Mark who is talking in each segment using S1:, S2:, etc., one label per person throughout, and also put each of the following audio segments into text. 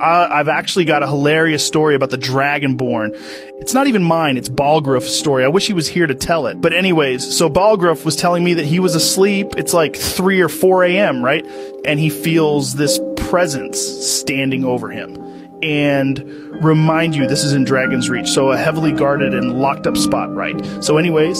S1: Uh, I've actually got a hilarious story about the Dragonborn. It's not even mine, it's Balgruff's story. I wish he was here to tell it. But, anyways, so Balgruff was telling me that he was asleep. It's like 3 or 4 a.m., right? And he feels this presence standing over him. And remind you, this is in Dragon's Reach, so a heavily guarded and locked up spot, right? So, anyways,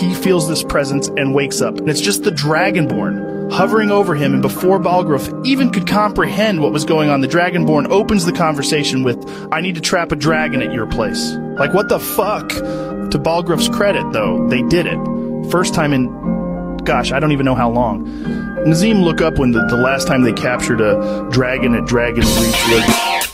S1: he feels this presence and wakes up. And it's just the Dragonborn hovering over him. And before Balgruuf even could comprehend what was going on, the Dragonborn opens the conversation with, I need to trap a dragon at your place. Like, what the fuck? To Balgruuf's credit, though, they did it. First time in, gosh, I don't even know how long. Nazim, look up when the, the last time they captured a dragon at Dragon's Reach was.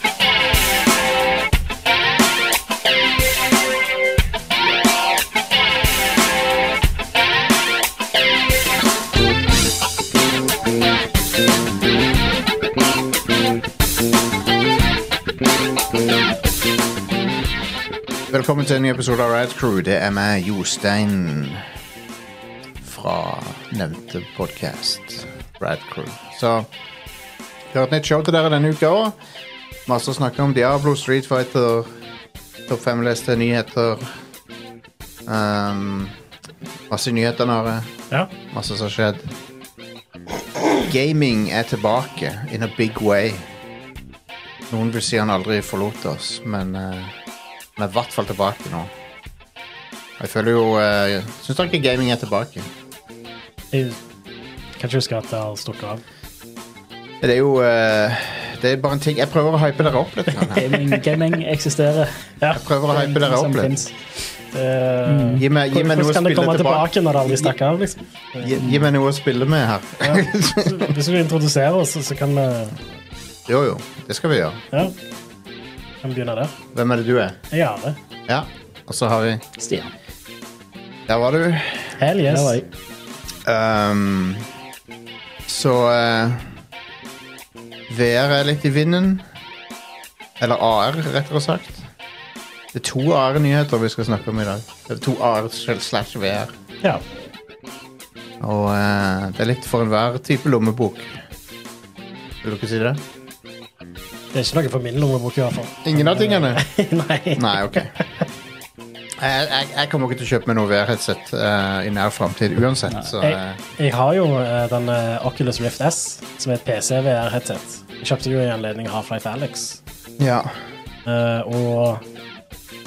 S2: Velkommen til en ny episode av Rad Crew. Det er meg, Jostein, fra nevnte podkast Rad Crew. Så vi har et nytt show til dere denne uka òg. Masse å snakke om Diablo, Street Fighter, topp fem-leste nyheter. Um, masse nyheter, Nare.
S1: Ja.
S2: Masse som har skjedd. Gaming er tilbake in a big way. Noen vil si han aldri forlot oss, men eh, han er i hvert fall tilbake nå. Og Jeg føler jo uh, Syns dere ikke gaming er tilbake?
S3: Jeg kan ikke huske at det har stukket av.
S2: Det er jo eh, Det er bare en ting Jeg prøver å hype dere opp litt. grann her.
S3: Gaming, gaming eksisterer. Ja. Jeg
S2: prøver å hype dere opp litt.
S3: Mm.
S2: Gi meg, gi meg noe å
S3: Hvordan kan det
S2: spille tilbake.
S3: komme tilbake når det aldri stakk av? Liksom?
S2: Gi, gi meg noe å spille med her.
S3: Hvis vi introduserer oss, så kan vi
S2: Jo, jo. Det skal vi gjøre.
S3: ja. kan vi begynne der.
S2: Hvem er det du er?
S3: Jeg gjør det.
S2: Ja. Og så har vi
S4: Stian.
S2: Der var du.
S3: Hell yes.
S4: Der var jeg.
S2: Ehm, så eh, VR er litt i vinden. Eller AR, rettere sagt. Det er to AR-nyheter vi skal snakke om i dag. Det er to AR slash VR.
S3: Ja.
S2: Og eh, det er litt for enhver type lommebok. Vil dere si det?
S3: Det er ikke noe for min lommebok, i hvert fall.
S2: Ingen av tingene?
S3: Nei.
S2: Nei, ok. Jeg, jeg, jeg kommer ikke til å kjøpe meg noe VR-headset eh, i nær framtid uansett. Så,
S3: Jeg,
S2: eh,
S3: jeg har jo eh, den eh, Oculus Rift S, som er et PC-VR-headset. Jeg kjøpte jo i anledning Half-Life Alex.
S2: ja.
S3: Eh, og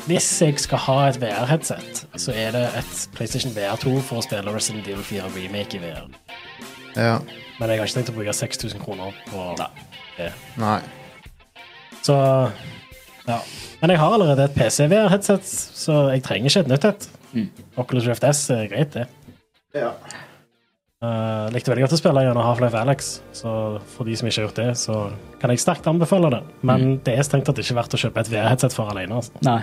S3: hvis jeg skal ha et VR-headset, så er det et PlayStation VR 2 for å spille Resident Evil 4 Remake i VR.
S2: ja.
S3: Men jeg har ikke tenkt å bruke 6000 kroner på det.
S2: Nei.
S3: Så ja. Men jeg har allerede et PC-VR-headset, så jeg trenger ikke et nytt et. Oculus Rift S er greit, det.
S2: Ja.
S3: Eh, likte veldig godt å spille gjennom Half-Life Alex, så for de som ikke har gjort det, så kan jeg sterkt anbefale det. Men det er strengt tatt ikke verdt å kjøpe et VR-headset for alene. Altså.
S4: Nei.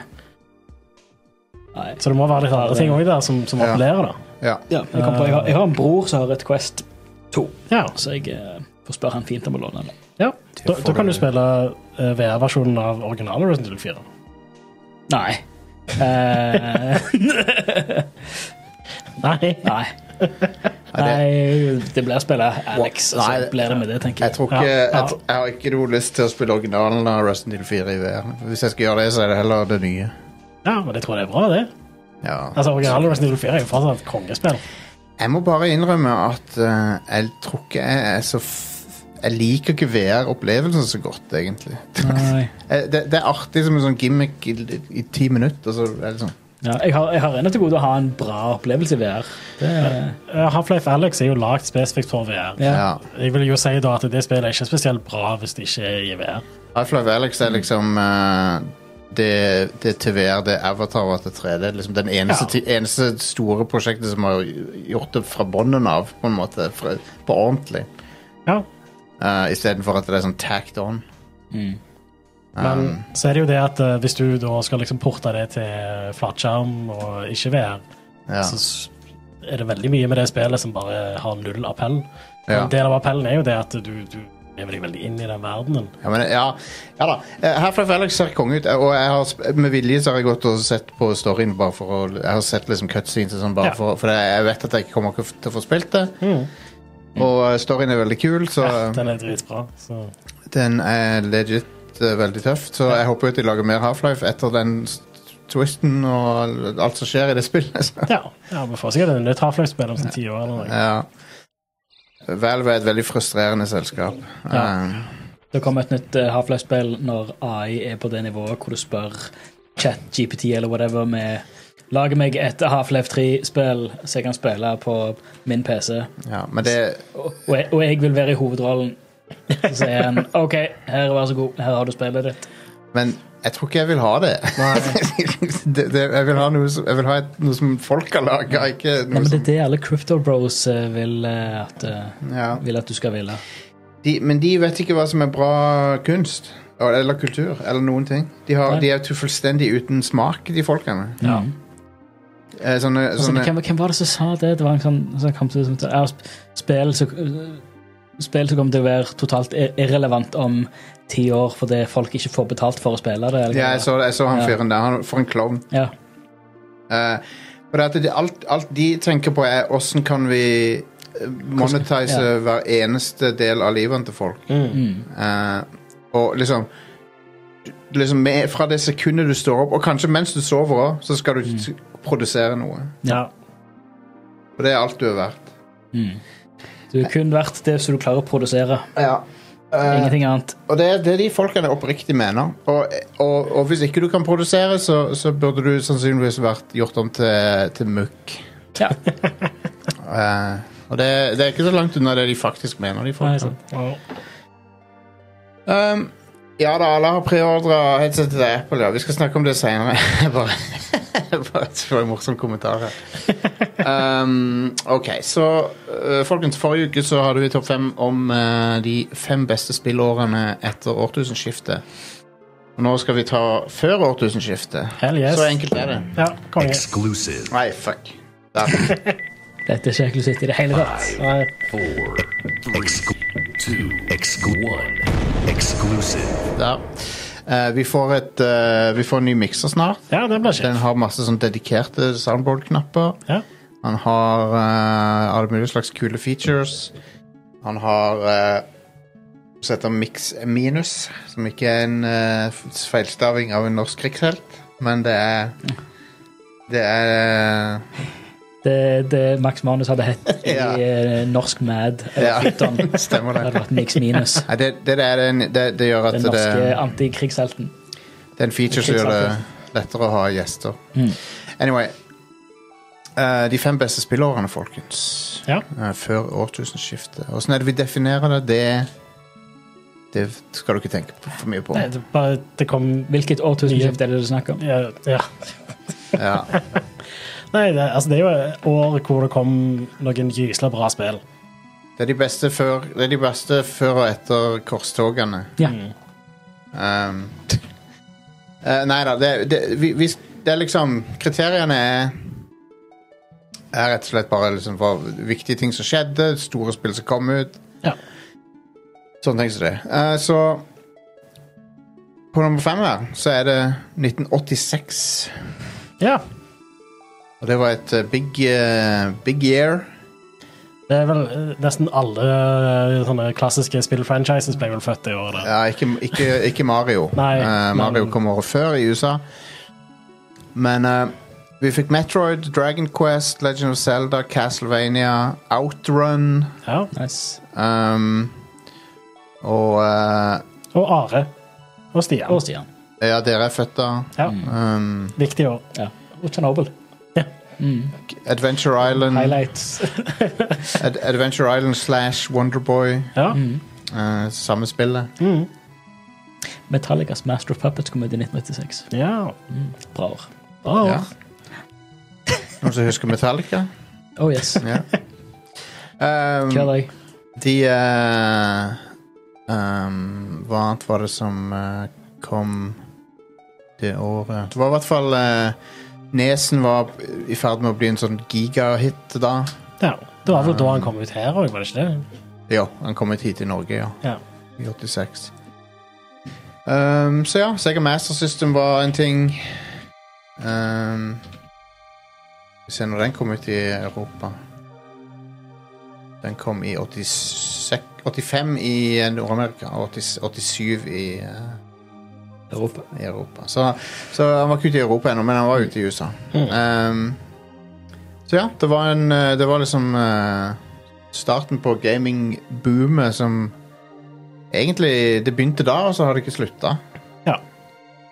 S4: Nei.
S3: Så det må være litt andre ting òg der som, som
S2: Ja.
S3: appellerer, da.
S2: ja.
S4: Ja, jeg, kom på, jeg, har, jeg har en bror som har et Quest 2,
S3: Ja,
S4: så jeg eh, får spørre han fint om å låne det.
S3: ja. Da,
S2: får
S3: da kan
S2: du-
S3: du spille eh, VR-versjonen av originale Resident Evil 4.
S4: Nei. Eh,
S3: Nei.
S4: nei. Nei, det blir å spille Alex, og
S2: Nei,
S4: så
S2: det-
S4: blir det med det, tenker
S2: Jeg
S4: jeg.
S2: tror ikke,
S3: Ja, ja.
S2: Jeg, tr- jeg har ikke noe lyst til å spille originalen av Resident Evil 4 i VR. Hvis jeg skal gjøre det, så er det heller det nye.
S3: Ja, men jeg tror det er bra, det.
S2: Ja.
S3: Altså, Originale Resident Evil 4 er jo fortsatt et kongespill.
S2: Jeg må bare innrømme at eh, jeg tror ikke jeg er så f Jeg liker ikke VR-opplevelsen så godt, egentlig.
S4: Nei.
S2: Eh, Det, det er artig som en sånn gimmick i, i ti minutter. Så er det sånn.
S4: Ja, jeg har, jeg har ennå til gode å ha en bra opplevelse i VR. Det,
S3: Eh, Half-Life Alex er jo lagd spesifikt for VR.
S4: ja.
S2: ja.
S3: Jeg vil jo si da at det spillet er ikke spesielt bra hvis det ikke er i VR.
S2: Half-Life Alex er liksom eh, det, det til VR, det Avatar var til 3D. Det er Liksom den eneste,
S3: Ja.
S2: ti- eneste store prosjektet som har gjort det fra bånden av, på en måte. Fra, på ordentlig.
S3: Ja,
S2: Uh, Istedenfor at det er sånn tacked on.
S4: Mm.
S3: Men
S2: Um.
S3: så er det jo det at eh, hvis du da skal liksom porte det til flatskjerm og ikke VR,
S2: Ja.
S3: så s- er det veldig mye med det spillet som bare har null appell.
S2: Ja.
S3: En del av appellen er jo det at du, du lever deg veldig inn i den verdenen.
S2: Ja, men, ja, ja da. Eh, Half-Life Alex ser konge ut, og jeg har, sp- med vilje så har jeg gått og sett på storyen bare for å Jeg har sett liksom cutscenes og sånn bare
S3: Ja.
S2: for, for jeg vet at jeg ikke kommer ikke f- til å få spilt det. Og eh, storyen er veldig kul, så
S3: Ja, den er dritbra. Så.
S2: den er legit eh, veldig tøft. Så jeg håper jo at de lager mer Half-Life etter den s- twisten og alt som skjer i det spillet. så.
S3: Ja, ja vi får sikkert en nytt Half-Life-spill om sånn ti år. eller noe.
S2: Ja. Valve er et veldig frustrerende selskap.
S3: Ja.
S2: Eh,
S4: Det kommer et nytt eh, Half-Life-spill når AI er på det nivået hvor du spør chat, GPT eller whatever med Lag meg et Half-Life 3-spill så jeg kan spille på min PC.
S2: ja, men det
S4: Og og jeg, og jeg vil være i hovedrollen. Så sier han OK, her, vær så god, her har du spillet ditt.
S2: Men jeg tror ikke jeg vil ha det. det, det jeg vil ha, noe som, jeg vil ha et, noe som folk har laga, ikke
S4: Nei,
S2: noe
S4: men Det
S2: som
S4: er det alle Crypto Bros eh, vil, eh, at, eh,
S2: ja.
S4: vil at du skal ville.
S2: de, Men de vet ikke hva som er bra kunst. Eller kultur. Eller noen ting. De, har,
S4: Nei.
S2: de er jo fullstendig uten smak, de folkene. Eh,
S4: Ja.
S2: Sånne,
S4: Mm. Altså,
S2: sånne,
S4: hvem, hvem var det som sa det? Det var en sånn som kom til, som, ja, sp- spill, som- eh, spill som kommer til å være totalt i- irrelevant om ti år fordi folk ikke får betalt for å spille det. Eller,
S2: ja, jeg så, jeg så han
S4: Ja.
S2: fyren der. Han, for en klovn.
S4: ja.
S2: Eh, for det at det, alt, alt de tenker på, er åssen kan vi eh, monetize
S4: Ja.
S2: hver eneste del av livet til folk.
S4: Mm.
S2: Eh, og liksom Liksom med, Fra det sekundet du står opp, og kanskje mens du sover òg, så skal du s- produsere noe.
S3: Ja.
S2: Og det er alt du er verdt.
S4: Mm. Du er kun verdt det som du klarer å produsere.
S2: Eh,
S4: Ingenting annet.
S2: og det er det de folkene oppriktig mener. Og, og, og hvis ikke du kan produsere, så, så burde du sannsynligvis vært gjort om til, til mukk.
S4: Ja.
S2: Eh, og det, det er ikke så langt unna det de faktisk mener. De
S3: Nei,
S2: folkene.
S3: sant. Ja.
S2: Um, ja da, alle har preordra headsetet til Apple, ja. Vi skal snakke om det seinere. bare bare et for en morsom kommentar her. Um, OK, så uh, folkens, forrige uke så hadde vi Topp 5 om uh, de fem beste spillårene etter årtusenskiftet. Og nå skal vi ta før årtusenskiftet.
S3: Hell yes.
S2: Så enkelt er det.
S3: Ja, konge.
S5: Exclusive.
S2: Nei, fuck. Der.
S4: Dette er ikke eksklusivt i det hele tatt.
S3: Nei.
S5: Four. Exclu- Two. Exclu- One. Exclusive.
S2: Der. Uh, vi, får et, uh, vi får en ny mikser snart.
S3: Ja, det blir
S2: Den
S3: kjekt.
S2: har masse sånn dedikerte soundboard-knapper.
S3: Ja.
S2: Han har eh, alle mulige slags kule features. Han har eh, så heter Mix Minus, som ikke er en eh, feilstaving av en norsk krigshelt, men det er Det er eh,
S4: Det, det Max Manus hadde hett i
S2: Ja.
S4: eh, norsk Mad
S2: Ja.
S4: eller Krypton.
S2: Stemmer
S4: Det hadde
S2: det.
S4: vært niks minus.
S2: Nei, det, det, er en, det, det gjør at
S4: Den
S2: det,
S4: norske
S2: det
S4: antikrigshelten.
S2: er en feature som gjør det lettere å ha gjester.
S3: Mm.
S2: Anyway eh, De fem beste spillårene, folkens.
S3: Ja.
S2: Eh, før årtusenskiftet. Åssen er det vi definerer det? Det, det skal du ikke tenke på- for mye på.
S3: Nei, det, bare, det kom
S4: Hvilket årtusenskifte er det du snakker om?
S3: ja, ja.
S2: Ja.
S3: Nei, det, altså, det er jo et år hvor det kom noen gysla bra spill.
S2: Det, er de beste før, det er de beste før og etter korstogene.
S4: Ja.
S3: Mm.
S2: Um, eh, nei da, det, det, vi, vi, det er liksom Kriteriene er er rett og slett bare liksom hva, viktige ting som skjedde, store spill som kom ut.
S3: Ja.
S2: Sånne ting som det. Eh, så på nummer fem her så er det 1986.
S3: Ja.
S2: Og det var et eh, big, eh, big year.
S3: Det er vel eh, nesten alle eh, sånne klassiske spillfranchises ble vel født det året. der.
S2: Ja, ikke, ikke, ikke Mario.
S3: Nei,
S2: Eh, Mario
S3: men-
S2: kom året før i USA. Men eh, vi fikk Metroid, Dragon Quest, Legend of Zelda, Castlevania, Outrun
S3: Ja.
S4: Nice.
S2: um, Og eh,
S3: Og Are. Og Stian.
S4: Og Stian.
S2: ja, dere er født da.
S3: Ja.
S2: Um,
S3: Viktig år.
S4: Ja. Og Tsjernobyl. Mm.
S2: Mm. Adventure Island.
S3: Highlights.
S2: Ad Adventure Island slash Wonderboy.
S3: Ja.
S4: Mm.
S2: Uh, samme spillet.
S3: Mm.
S4: Metallicas Master of Puppets kom ut i 1996.
S3: ja.
S4: Bra år.
S3: Bra år.
S2: Ja. Noen som husker Metallica?
S4: Oh yes.
S2: Ja. Um,
S4: Hver dag.
S2: De eh, ehm, Hva annet var det som eh, kom det året? Det var i hvert fall eh, Nesen var i ferd med å bli en sånn gigahit da.
S3: Ja. Det var vel da han kom ut her òg, var det ikke det?
S2: Ja, han kom hit til Norge, ja.
S3: Ja.
S2: I 86. Ehm, så ja, Sega Master System var en ting. Ehm, Vi ser når den kom ut i Europa. Den kom i 86, 85 i eh, Nord-Amerika og 80 87 i eh,
S4: Europa.
S2: i Europa. Så, så han var ikke ute i Europa ennå, men han var ute i USA. Ehm, så ja, det var, en, eh, det var liksom eh, starten på gaming-boomet som Egentlig, det begynte da, og så har det ikke slutta.
S1: Ja.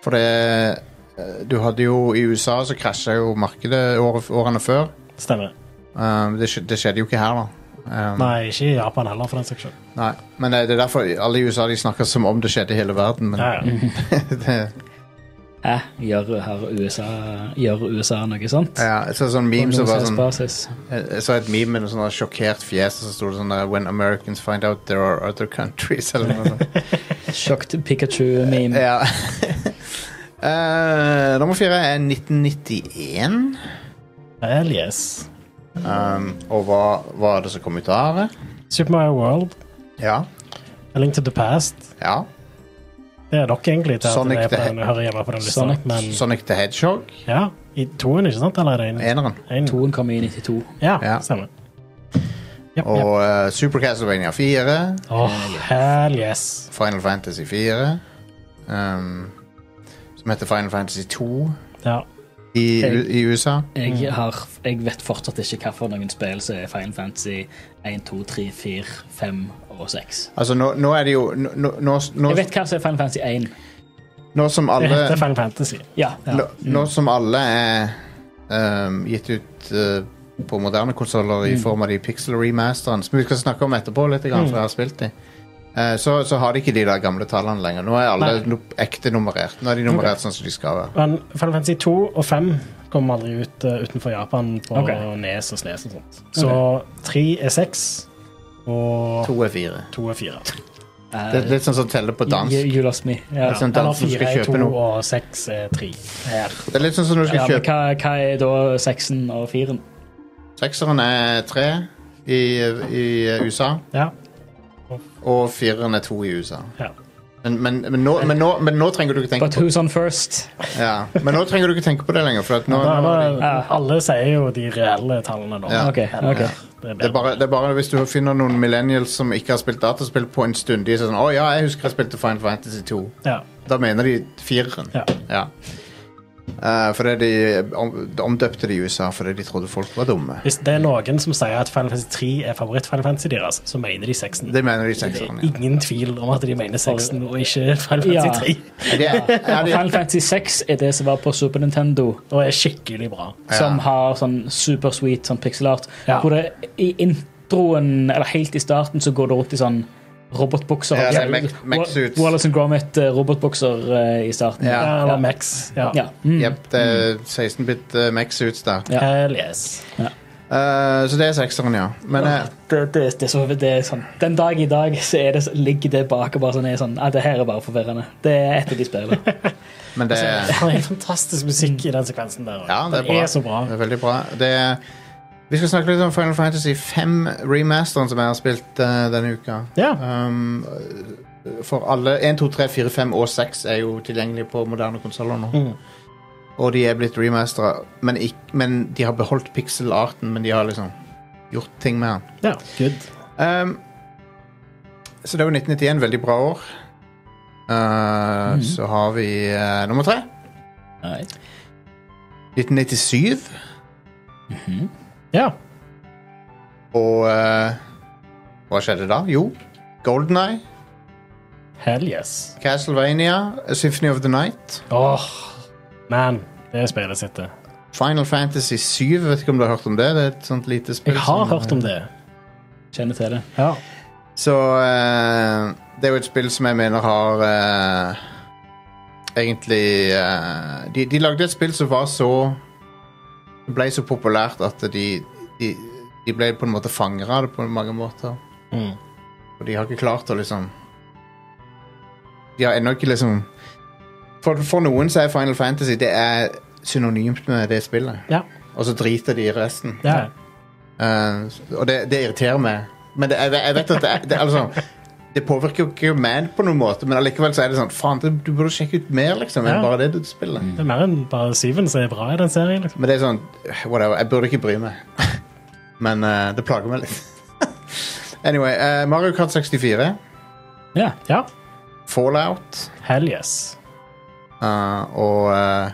S2: For det eh, Du hadde jo I USA så krasja jo markedet året- årene før.
S3: Stemmer.
S2: Ehm, det, skj- det skjedde jo ikke her, da. Ehm,
S3: Nei, ikke i Japan heller, for den saks skyld.
S2: nei. Men eh, det er derfor alle i USA de snakker som om det skjedde i hele verden. Men
S3: Ja, ja.
S2: det,
S4: Hæ? Eh, Gjør, her USA, gjør USA noe sånt?
S2: ja, jeg ser sånn memes som
S4: På
S2: var sånn
S4: basis.
S2: Jeg jeg så et meme med noe sånn der sjokkert fjes, og så sto det sånn der, When Americans find out there are other countries, eller noe sånt.
S4: Sjokt Pikachu-meme.
S2: ja. Eh, nummer fire er 1991.
S3: Hell yes.
S2: Um, og hva var det som kom ut av det?
S3: Super Mario World,
S2: Ja.
S3: A Link to the Past.
S2: ja.
S3: Det er nok egentlig til
S2: Sonic
S3: at det
S2: the
S3: er på den, hører hjemme på den lista.
S4: Sonic.
S3: Men
S2: Sonic the Hedgehog.
S3: ja, i toen, ikke sant? Eller er det
S2: Eneren.
S3: én?
S4: Toen kom i 92.
S3: Ja,
S2: Ja.
S3: stemmer. Jep,
S2: Og
S3: jep.
S2: eh, Super Castlevania 4.
S3: Åh, hell yes.
S2: Final Fantasy 4. Um, som heter Final Fantasy 2
S3: Ja.
S2: i, i USA.
S4: Jeg, har, jeg vet fortsatt ikke hva for noen spill som er Final Fantasy 1, 2, 3, 4, 5 og 6.
S2: Altså, nå, nå er det jo nå, nå, nå- nå,
S4: Jeg vet hva som er Final Fantasy 1.
S2: nå som
S3: Det
S2: alle
S3: heter Final Fantasy.
S4: Ja.
S2: Nå, nå som alle er ehm, gitt ut eh, på moderne konsoller
S4: Mm.
S2: i form av de pixel remasterne, som vi skal snakke om etterpå, litt, grann, for jeg har spilt de, eh, så, så har de ikke de der gamle tallene lenger. Nå er alle
S3: Nei.
S2: no ekte nummerert. Nå er de nummerert sånn som de skal være.
S3: Men Final Fantasy 2 og 5 kom aldri ut eh, utenfor Japan på
S4: Ok.
S3: Nes og Snes og sånt. Så 3 er 6, og
S2: To er fire.
S3: 2 er 4.
S4: Eh,
S2: Det er litt sånn som teller på dans.
S4: You, you lost me. Ja.
S2: Litt sånn
S3: Eller
S2: dans når du
S3: 4
S2: skal
S3: er 2,
S2: kjøpe noe.
S3: og 6 er 3. Her.
S2: Det er litt sånn som når du
S4: Ja,
S2: skal
S4: men
S2: kjøpe
S4: hva, hva er da seksen og firen?
S2: Sekseren er tre i, i eh, USA,
S3: Ja.
S2: og fireren er to i USA.
S3: ja.
S2: Men, men, men, nå, men, nå, men nå trenger du ikke tenke
S4: But
S2: på
S4: who's on first?
S2: ja. Men nå trenger du ikke tenke på det lenger. For at nå,
S3: Da,
S2: nå er de-
S3: da, alle sier jo de reelle tallene, da.
S2: Ja.
S4: Ok, ok.
S3: Det er
S2: Det er,
S3: bedre.
S2: bare, det er bare hvis du finner noen millennials som ikke har spilt dataspill på en stund. De er sånn 'Å ja, jeg husker jeg spilte Final Fantasy 2'.
S3: Ja.
S2: Da mener de fireren.
S3: Ja.
S2: Eh, fordi de om- de omdøpte det i USA fordi de trodde folk var dumme.
S3: Hvis det er noen som sier at Final Fantasy 3 er favoritt-Final Fantasy deres, så mener de 6.
S2: Det mener de sekseren. Ja.
S3: Ingen tvil om at de mener 6 og ikke Final
S4: Ja.
S3: Fantasy 3.
S2: Er det- er det-
S4: Final Fantasy 6 er det som var på Super Nintendo,
S3: Og er skikkelig bra.
S4: som har sånn supersweet sånn pixelart.
S3: Ja.
S4: Hvor det i introen, eller helt i starten, så går det rundt i sånn robotbukser.
S2: Ja, det er
S4: Sånn
S2: mech- mech
S4: Wa-
S2: suits.
S4: Wallace and Gromit-robotbukser eh, i starten.
S2: Ja.
S3: Ja, eller Max. Ja.
S4: Ja. Mm.
S2: Jep, det er 16-bit uh, Max-suits der.
S4: Ja.
S3: Hell yes.
S2: Eh, så det er sekseren, ja. Men eh,
S4: Det, det, det, er så, det er sånn, den dag i dag så er det, så- ligger det bak og bare sånn, er sånn ah, Det her er bare forvirrende. Det er et av de spillene.
S2: men det er
S3: Det er helt fantastisk musikk i den sekvensen der. også.
S2: Ja, det er bra.
S3: Den Altså, er så bra.
S2: Det er veldig bra. Det er, vi skal snakke litt om Final Fantasy 5-remasteren som jeg har spilt eh, denne uka.
S3: Ja.
S2: Um, for alle 1, 2, 3, 4, 5 og 6 er jo tilgjengelig på moderne konsoller nå.
S3: Mm.
S2: Og de er blitt remastera, men, ikk- men de har beholdt pixel-arten, men de har liksom gjort ting med den.
S3: Ja, good.
S2: Um, så det er jo 1991, veldig bra år. Uh, Så har vi eh, nummer tre. 1997.
S3: Ja.
S2: Og eh, hva skjedde da? Jo, Golden Eye,
S3: Hell yes.
S2: Castlevania, A Symphony of the Night,
S3: Åh, man. Det er spillet sitt, det.
S2: Final Fantasy 7. Vet ikke om du har hørt om det? Det er et sånt lite spill.
S3: Jeg har
S2: som-
S3: hørt om det.
S4: Kjenner til det.
S3: Ja.
S2: Så eh, det er jo et spill som jeg mener har eh, Egentlig eh, de, de lagde et spill som var så Ble så populært at de, de, de ble på en måte fanger av det på mange måter.
S3: Mm.
S2: Og de har ikke klart å liksom De har ennå ikke liksom for, for noen så er Final Fantasy Det er synonymt med det spillet.
S3: Ja.
S2: Og så driter de i resten.
S3: ja.
S2: Eh, og det, det irriterer meg. Men det, jeg, jeg vet at det, er- det, er altså, det påvirker jo ikke man på noen måte, men allikevel så er det sånn Faen, du, du burde sjekke ut mer, liksom, enn
S3: Ja.
S2: bare det du spiller.
S3: Det er mer enn bare Syven som er bra i den serien. liksom.
S2: Men det er sånn Whatever. Jeg burde ikke bry meg. men eh, det plager meg litt. anyway, eh, Mario Kart 64,
S4: Ja.
S3: Ja.
S2: Fallout,
S3: Hell yes.
S2: Eh, og eh,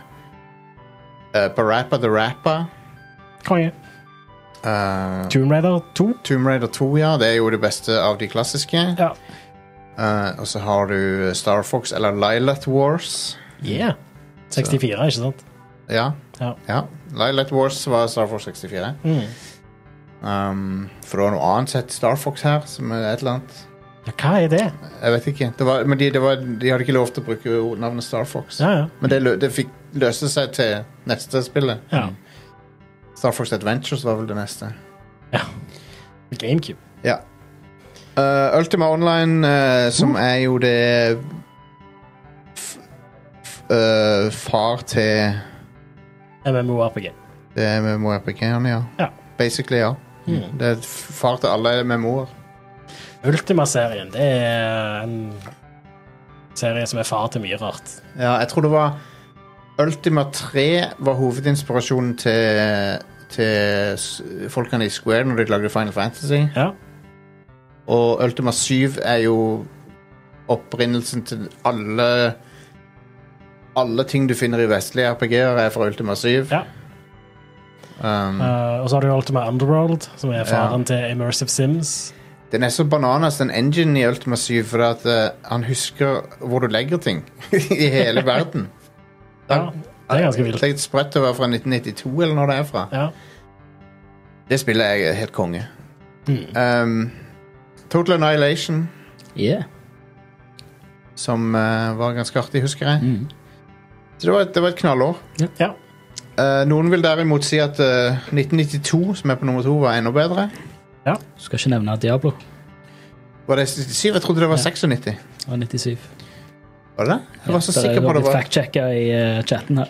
S2: eh, Barappa the Rapper.
S3: Konge.
S2: eh,
S3: Tomb Raider 2.
S2: Tomb Raider 2, ja. Det er jo det beste av de klassiske.
S3: Ja.
S2: Eh, og så har du Star Fox, eller Lilat Wars.
S3: Yeah. 64, ikke sant?
S2: Ja.
S3: Ja.
S2: Lilat Wars var Star Fox 64.
S3: Mm.
S2: Um, for det var noe annet sett Star Fox her, som er et eller annet.
S3: ja. Hva er det?
S2: Jeg vet ikke. Det var, men de, det var, de hadde ikke lov til å bruke navnet Star Fox.
S3: Ja, ja.
S2: Men det, lø- det fikk løse seg til neste spillet.
S3: ja.
S2: Star Fox Adventures var vel det neste.
S3: GameCube.
S2: Ja. Eh, Ultima Online, eh,
S3: Mm.
S2: som er jo det f f eh, Far til
S3: MMORPG.
S2: det MMO-RPG-ene, ja.
S3: Ja.
S2: Basically, ja.
S3: Mm.
S2: Det er f- far til alle MMO-er.
S3: Ultima-serien, det er en serie som er far til mye rart.
S2: Ja, jeg tror det var Ultima 3 var hovedinspirasjonen til, til s- folkene i Square når de lagde Final Fantasy.
S3: Ja.
S2: Og Ultima 7 er jo opprinnelsen til alle Alle ting du finner i vestlige RPG-er, er fra Ultima 7.
S3: Ja.
S2: Um,
S3: Eh, og så har du Ultima Underworld, som er faren til Immersive Sims.
S2: den er så bananas, den enginen i Ultima 7, for at eh, han husker hvor du legger ting i hele verden.
S3: Ja, det er ganske vilt.
S2: Tenk sprøtt å være fra 1992, eller når det er fra.
S3: Ja.
S2: Det spillet er helt konge.
S4: Mm.
S2: Um, Total Annihilation,
S4: Yeah.
S2: som eh, var ganske artig, husker jeg.
S4: Mm.
S2: Så det var, et- det var et knallår.
S3: ja.
S2: Eh, noen vil derimot si at eh, 1992, som er på nummer to, var enda bedre.
S4: Skal ikke nevne Diablo.
S2: Var det 97? Jeg trodde det var 96.
S4: Av 97.
S2: Var det det? Jeg var så
S4: Ja,
S2: sikker på det
S4: Det har
S2: var
S4: blitt fact-checka i eh, chatten her.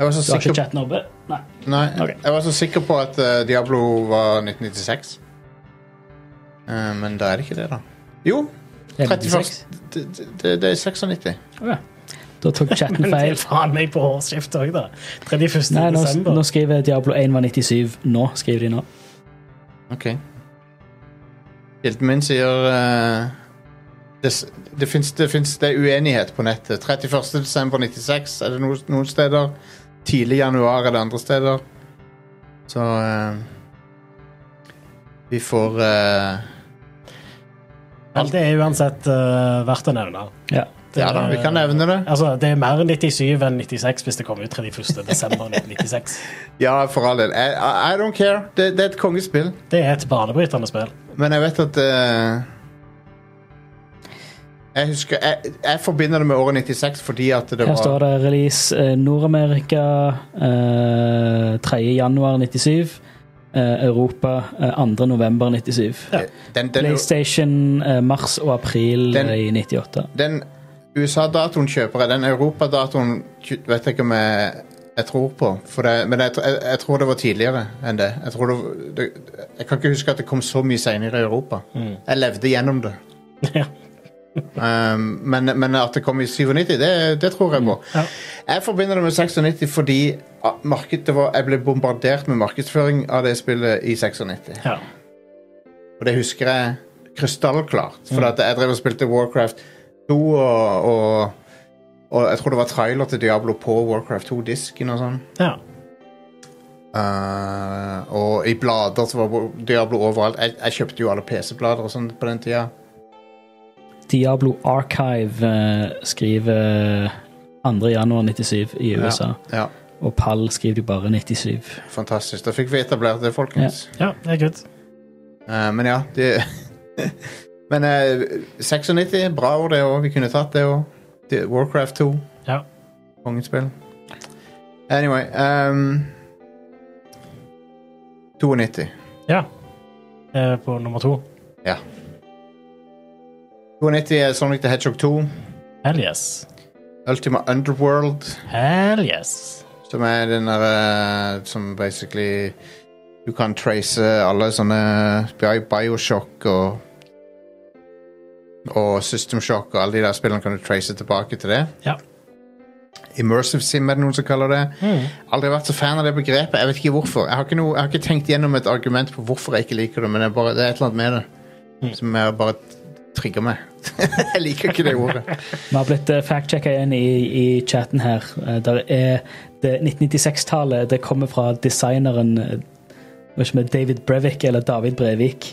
S2: Jeg var så
S4: Du har ikke
S2: sikker,
S4: chatten oppe? Nei.
S2: nei,
S4: Ok.
S2: jeg var så sikker på at eh, Diablo var 1996. Eh, men da er det ikke det, da. Jo,
S4: Det er
S2: 31. Det, det, det er 96.
S4: Ok. Da tok chatten
S3: Men det er
S4: feil.
S3: faen meg på årsskiftet òg, da. 31.
S4: Nei, nå,
S3: desember.
S4: nå skriver Diablo 1 var 97. Nå skriver de nå.
S2: Ok. Kilden min sier eh, det, s- det, finnes, det finnes det er uenighet på nettet. 31. desember 96 er det no, noen steder. Tidlig januar er det andre steder. Så eh, Vi får eh,
S3: Men det er uansett eh, verdt å nevne.
S4: Ja.
S3: Det,
S2: Ja da, vi kan nevne det.
S3: Altså, det er mer 97 enn 96 hvis det kommer ut 31. desember 1996.
S2: Ja, for all del. I, I I don't care. Det, det er et kongespill.
S3: Det er et banebrytende spill.
S2: Men jeg vet at eh, Jeg husker jeg, jeg forbinder det med året 96 fordi at det
S4: Her står
S2: var
S4: det release eh, Nord-Amerika eh, 3. januar 97. eh, Europa eh, 2. november 97.
S2: den, den,
S4: PlayStation eh, mars og april
S2: Den-
S4: eh, i 98.
S2: den USA-datoen kjøper jeg. Den Europa-datoen kj- vet jeg ikke om jeg, jeg tror på. For det, men jeg, tr- jeg, jeg tror det var tidligere enn det. Jeg, tror det, var- det, jeg kan ikke huske at det kom så mye seinere i Europa. Jeg levde gjennom det.
S3: Mm. Ja.
S2: Um, men, men at det kom i 97, det, det tror jeg på.
S3: Mm, Ja.
S2: Jeg forbinder det med 96 fordi ah, markedet var, jeg ble bombardert med markedsføring av det spillet i 96.
S3: Ja.
S2: Og det husker jeg krystallklart. For at jeg drev og spilte Warcraft 2, og, og, og jeg tror det var trailer til Diablo på Warcraft 2-disken og sånn.
S3: ja.
S2: Eh, og i blader så var Diablo overalt. Jeg, jeg kjøpte jo alle PC-blader og sånn på den tida.
S4: Diablo Archive eh, skriver 2. januar 97 i USA.
S2: Ja,
S4: Og Pall skriver de bare 97.
S2: fantastisk. Da fikk vi etablert det, folkens.
S3: ja, det er good.
S2: Eh, men ja, det Men eh, 96, bra år det òg. Vi kunne tatt det òg. Warcraft 2.
S3: Ja.
S2: Kongespill. Anyway ehm, 92.
S3: Eh, På nummer to.
S2: 92 er Sonic the Hedgehog 2.
S3: Hell yes.
S2: Ultima Underworld,
S3: Hell yes.
S2: som er den derre Som basically Du kan trace alle sånne Bi- Bioshock og og System Shock og alle de der spillene kan du trace tilbake til det.
S3: Ja.
S2: Immersive Sim er det noen som kaller det.
S3: Mm.
S2: Aldri vært så fan av det begrepet. Jeg vet ikke hvorfor. Jeg har ikke, noe, jeg har ikke tenkt gjennom et argument på hvorfor jeg ikke liker det, men det er, bare, det er et eller annet med det.
S3: Mm.
S2: Som er bare et trigger meg. jeg liker ikke det ordet.
S4: Vi har blitt eh, fact-checka igjen i, i chatten her. Eh, Der er det 1996-tallet Det kommer fra designeren eh, vet ikke om det er David Brevik eller David Brevik.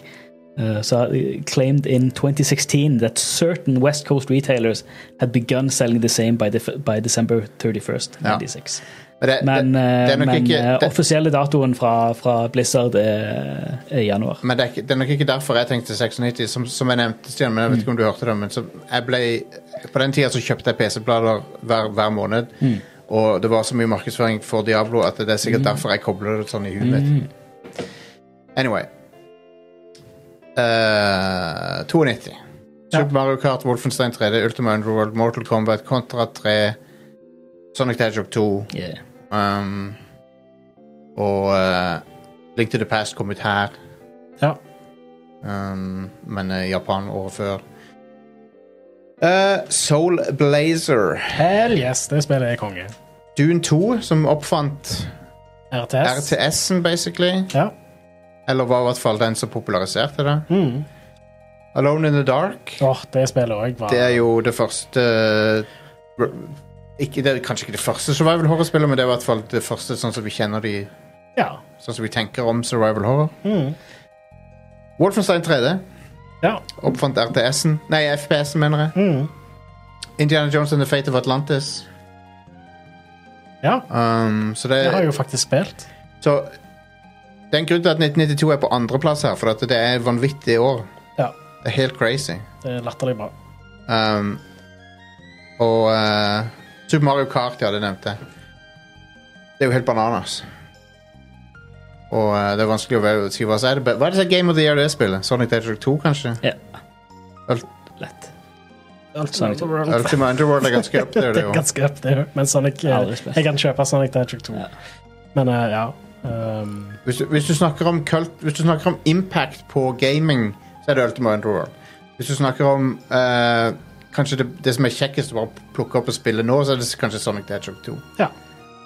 S4: eh, Så eh, claimed in 2016 that certain West Coast retailers had begun selling the same by, def- by December 31st,
S2: Ja.
S4: 96.
S2: Men det, det,
S4: Men,
S2: det er
S4: eh,
S2: nok
S4: men
S2: ikke,
S4: eh,
S2: det,
S4: offisielle datoen fra, fra Blizzard er, er januar.
S2: men det, er ikke, det er nok ikke derfor jeg tenkte 96, som, som jeg nevnte, Stian. Men jeg vet ikke om du hørte det, men så jeg ble, på den tida så kjøpte jeg PC-blader hver, hver måned. Og det var så mye markedsføring for Diablo at det er sikkert derfor jeg kobler det sånn i huet mitt. Anyway. Eh, 92. Super Mario Kart, Wolfenstein 3D, Ultima Underworld, Mortal Kombat, Contra 3, Sonic the Hedgehog 2
S4: Yeah.
S2: Um, og eh, Link to the Past kom ut her.
S3: Ja.
S2: Um, men eh, Japan året før. Eh, Soul Blazer.
S3: Hell yes, det spillet er konge.
S2: Dune 2, som oppfant
S3: RTS.
S2: RTS-en, basically.
S3: Ja.
S2: Eller var i hvert fall den som populariserte det.
S3: Mm.
S2: Alone in the Dark.
S3: Åh, det spillet òg var
S2: Det er jo det første eh, ikke, det er Kanskje ikke det første survival horror-spillet, men det er i hvert fall det første sånn som vi kjenner de
S3: Ja.
S2: Sånn som vi tenker om survival horror.
S3: Mm.
S2: Wolfenstein 3D.
S3: ja.
S2: Oppfant RTS-en. Nei, FPS-en, mener jeg.
S3: Mm.
S2: Indiana Jones and the Fate of Atlantis.
S3: Ja,
S2: Um, så det
S3: det har jeg jo faktisk spilt.
S2: Så det er en grunn til at 1992 er på andreplass her, for at det er vanvittig år.
S3: Ja.
S2: Det er helt crazy.
S3: Det er latterlig bra.
S2: Um, og eh, Super Mario Kart, ja, det nevnte jeg. Det er jo helt bananas. Og eh, det er vanskelig å være- si hva som er det. be- Hva er det som er Game of the Year, det spillet? Sonic the Hedgehog 2, kanskje?
S4: Ja.
S2: Ult-
S4: Lett. Sånn.
S3: Ultimate World.
S2: Ultima Underworld er ganske up there,
S3: Det
S2: det
S3: er
S2: òg.
S3: ganske up there. Men Sonic eh,
S4: Aldri spilt.
S3: Jeg kan kjøpe Sonic the Hedgehog 2.
S4: Ja.
S3: Men eh, ja. Um,
S2: Hvis, du- hvis, du snakker om kult- hvis du snakker om impact på gaming, så er det Ultima Underworld. Hvis du snakker om eh, kanskje det, det som er kjekkest å bare plukke opp og spille nå, så er det kanskje Sonic the Hedgehog 2.
S3: ja.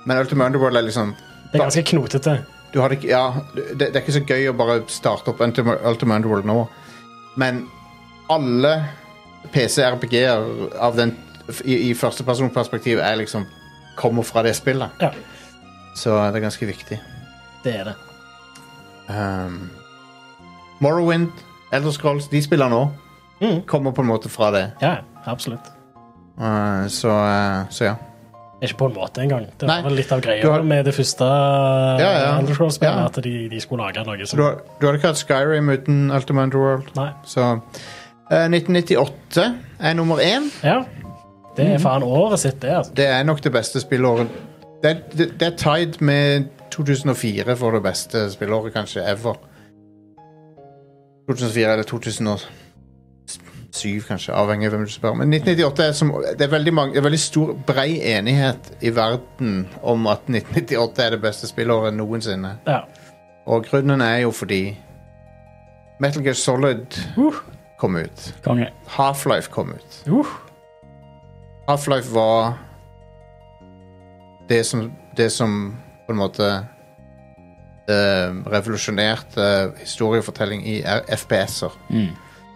S2: Men Ultima Underworld er liksom
S3: Det er ganske knotete.
S2: du har det, ikke- ja, det, det er ikke så gøy å bare starte opp Ultima, Ultima Underworld nå. Men alle PC-RPG-er av den i, i førstepersonperspektiv er liksom kommer fra det spillet.
S3: Ja.
S2: Så det er ganske viktig.
S3: Det er det.
S2: Um, Morrowind, Elder Scrolls, de spiller nå.
S3: Mm.
S2: Kommer på en måte fra det.
S3: Ja, absolutt.
S2: Uh, så, uh, så ja.
S3: Ikke på en måte engang. Det
S2: Nei.
S3: var vel litt av greia
S2: Du har-
S3: med det første
S2: ja.
S3: Elder Scrolls-spillet,
S2: Ja.
S3: at de, de skulle lage noe
S2: Du,
S3: som
S2: har, du hadde ikke hatt Skyrim uten Ultima Underworld.
S3: Nei.
S2: Så uh, 1998 er nummer én.
S3: Ja. Det
S2: Mm.
S3: er faen året sitt, det. altså.
S2: Det er nok det beste spillåret. Det, er- det, det er tied med 2004 for det beste spillåret kanskje ever. 2004 eller 2007, kanskje, avhengig av hvem du spør. Men 1998 er som Det er veldig, mange, det er veldig stor, brei enighet i verden om at 1998 er det beste spillåret noensinne.
S3: Ja.
S2: Og grunnen er jo fordi Metal Gear Solid kom ut.
S4: Konge.
S2: Half-Life kom ut.
S3: Uh,
S2: Half-Life var det som, det som på en måte eh, revolusjonerte historiefortelling i R- FPS-er.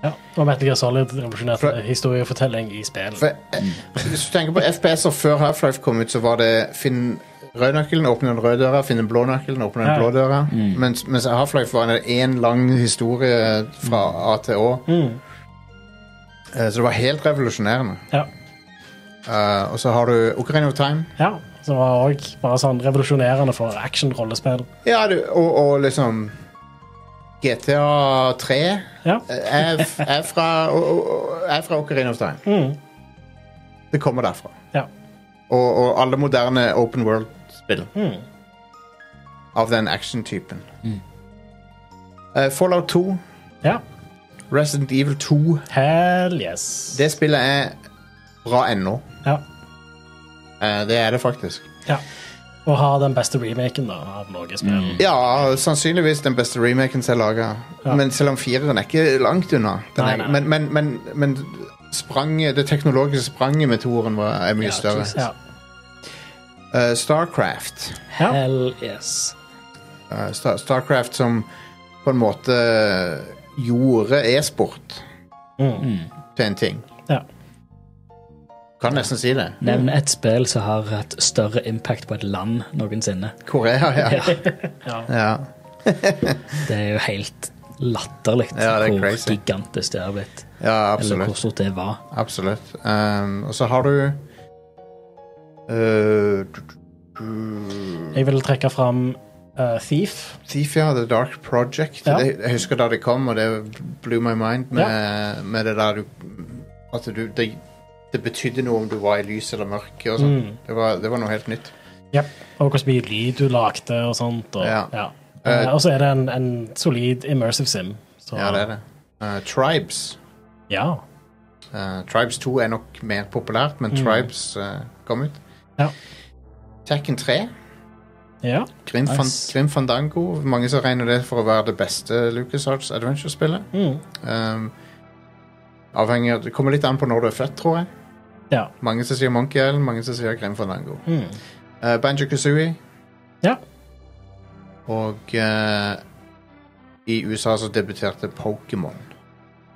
S3: ja. Og Metal Gear Solid revolusjonerte
S2: For-
S3: historiefortelling i spill.
S2: For, eh, Hvis du tenker på FPS-er før Half-Life kom ut, så var det finn rødnøkkelen, åpne den røde døra, finne blånøkkelen, åpne den
S3: Ja.
S2: blå døra. Mens, mens Half-Life var en- en lang historie fra A til Å.
S3: Mm.
S2: Eh, så det var helt revolusjonerende.
S3: Ja.
S2: Eh, og så har du Ocarina of Time.
S3: ja. Som var òg bare sånn revolusjonerende for action-rollespill.
S2: Ja, du, og, og liksom GTA 3
S3: Ja.
S2: eh, er, f- er, fra, og- og- og er fra Ocarina of Time.
S3: Mm.
S2: Det kommer derfra.
S3: Ja.
S2: Og, og alle moderne open world-spill
S3: Mm.
S2: av den action-typen. Eh, Fallout 2,
S3: ja.
S2: Resident Evil 2
S3: Hell yes.
S2: Det spillet er bra ennå.
S3: Ja.
S2: Eh, det er det faktisk.
S3: ja. Og ha den beste remaken da, av noe spill.
S2: Mm. Ja, sannsynligvis den beste remaken som er laga.
S3: Ja.
S2: Men selv om fireren er ikke langt unna. Den
S3: Nei,
S2: er,
S3: nei.
S2: Men, men, men, men spranget, det teknologiske spranget med toeren var- er mye
S4: Ja,
S2: større.
S4: Jesus.
S3: Ja.
S2: Eh, Starcraft.
S3: Ja.
S4: Hell yes.
S2: Eh, Star Starcraft som på en måte gjorde e-sport. til en ting.
S3: Mm. Ja.
S2: Kan nesten si det.
S4: Nevn et spill som har hatt større impact på et land noensinne.
S2: Korea, ja. ja.
S4: Det er jo helt latterlig
S2: Ja, det er
S4: hvor
S2: crazy.
S4: gigantisk det har blitt.
S2: Ja,
S4: Eller hvor
S2: absolutt.
S4: stort det var.
S2: Absolutt. Um, og så har du eh,
S3: Jeg vil trekke fram eh, Thief.
S2: Thief, ja. The Dark Project.
S3: Ja.
S2: Det, jeg husker da det kom, og det blew my mind med, med det der du At du det, det betydde noe om du var i lys eller mørke og sånn.
S3: Mm.
S2: Det, var- det var noe helt nytt.
S3: Og hvor mye lyd du lagde og sånt. Og,
S2: Ja.
S3: ja.
S2: Eh,
S3: Eh, og så er det en, en solid immersive sim. Så,
S2: Ja, det er det. Eh, Tribes.
S3: Ja.
S2: Eh, Tribes 2 er nok mer populært, men Tribes eh, kom ut.
S3: Mm. Ja.
S2: Tekken 3.
S3: ja.
S2: Grim,
S4: Nice.
S2: fan, Grim Fandango. Mange som regner det for å være det beste LucasArts Adventure-spillet.
S3: Mm.
S2: Um, avhengig av, Det kommer litt an på når du er født, tror jeg.
S3: Ja.
S2: Mange som sier Monkey Island, mange som sier Grim Fandango.
S3: Mm.
S2: Uh, Banjo Kazooie.
S3: Ja.
S2: Og eh, i USA så debuterte Pokémon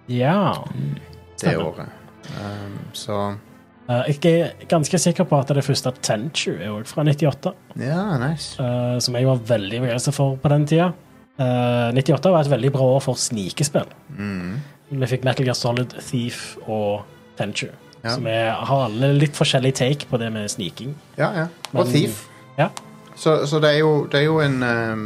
S3: ja.
S2: det
S3: Stemmer.
S2: året. Um, så
S3: Eh, jeg er ganske sikker på at det første Tenchu er også fra 98,
S2: Ja, nice.
S3: eh, som jeg var veldig begeistret for på den tida. Eh, 98 var et veldig bra år for snikespill.
S2: Mm.
S3: Vi fikk Metal Gear Solid, Thief og Tenchu,
S2: Ja.
S3: som er, har alle litt forskjellig take på det med sniking.
S2: Ja, ja. Og
S3: Men-
S2: Thief.
S3: Ja.
S2: Så, så det, er jo, det er jo en um,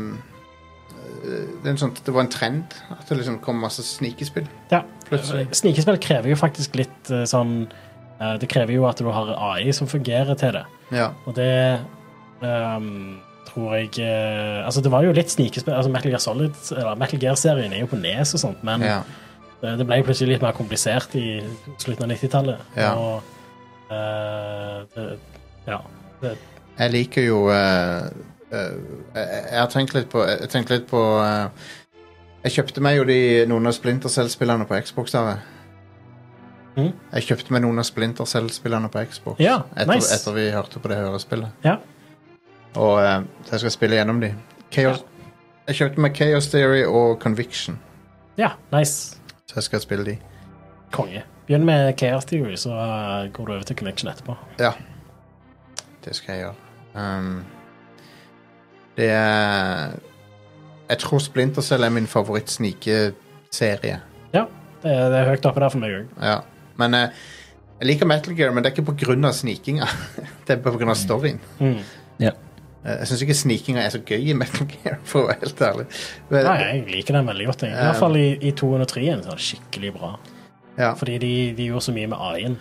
S2: det, er en sånn, det var en trend at det liksom kom masse snikespill.
S3: Ja.
S2: Plutselig.
S3: Snikespill krever jo faktisk litt eh, sånn eh, Det krever jo at du har AI som fungerer til det.
S2: Ja.
S3: Og det ehm, tror jeg eh, Altså, det var jo litt snikespill. Altså, Metal Gear Solid, eller Metal Gear-serien er jo på nes og sånt, men
S2: ja.
S3: eh, det ble jo plutselig litt mer komplisert i slutten av 90-tallet.
S2: Ja.
S3: Og eh, det, Ja. Det,
S2: Jeg liker jo eh, eh, jeg, jeg har tenkt litt på Jeg tenkte litt på eh, Jeg kjøpte meg jo de, noen av Splinter Cell-spillerne på Xbox. Der.
S3: Mhm.
S2: Jeg kjøpte meg noen av Splinter Cell-spillerne på Xbox
S3: Ja,
S2: etter,
S3: nice.
S2: etter vi hørte på det hørespillet.
S3: Ja.
S2: Og eh, så jeg skal spille gjennom de. Chaos, Jeg kjøpte meg Chaos Theory og Conviction,
S3: ja, nice.
S2: så jeg skal spille de.
S3: Konge. Begynn med Chaos Theory, så eh, går du over til Connection etterpå.
S2: Det skal jeg gjøre. Um, det er Jeg tror Splinter Cell er min favoritt-snikeserie.
S3: Det, er- det er høyt oppe der for meg òg.
S2: Ja. Men eh, jeg liker Metal Gear, men det er ikke pga. snikinga. det er pga. storyen.
S3: Mm.
S2: Eh, Jeg syns ikke snikinga er så gøy i Metal Gear, for å være helt ærlig. Men,
S3: Nei, jeg liker den veldig godt. Jeg. I
S2: eh,
S3: hvert fall i, i 203-en så er det skikkelig bra.
S2: ja.
S3: Fordi de, de gjorde så mye med AI-en.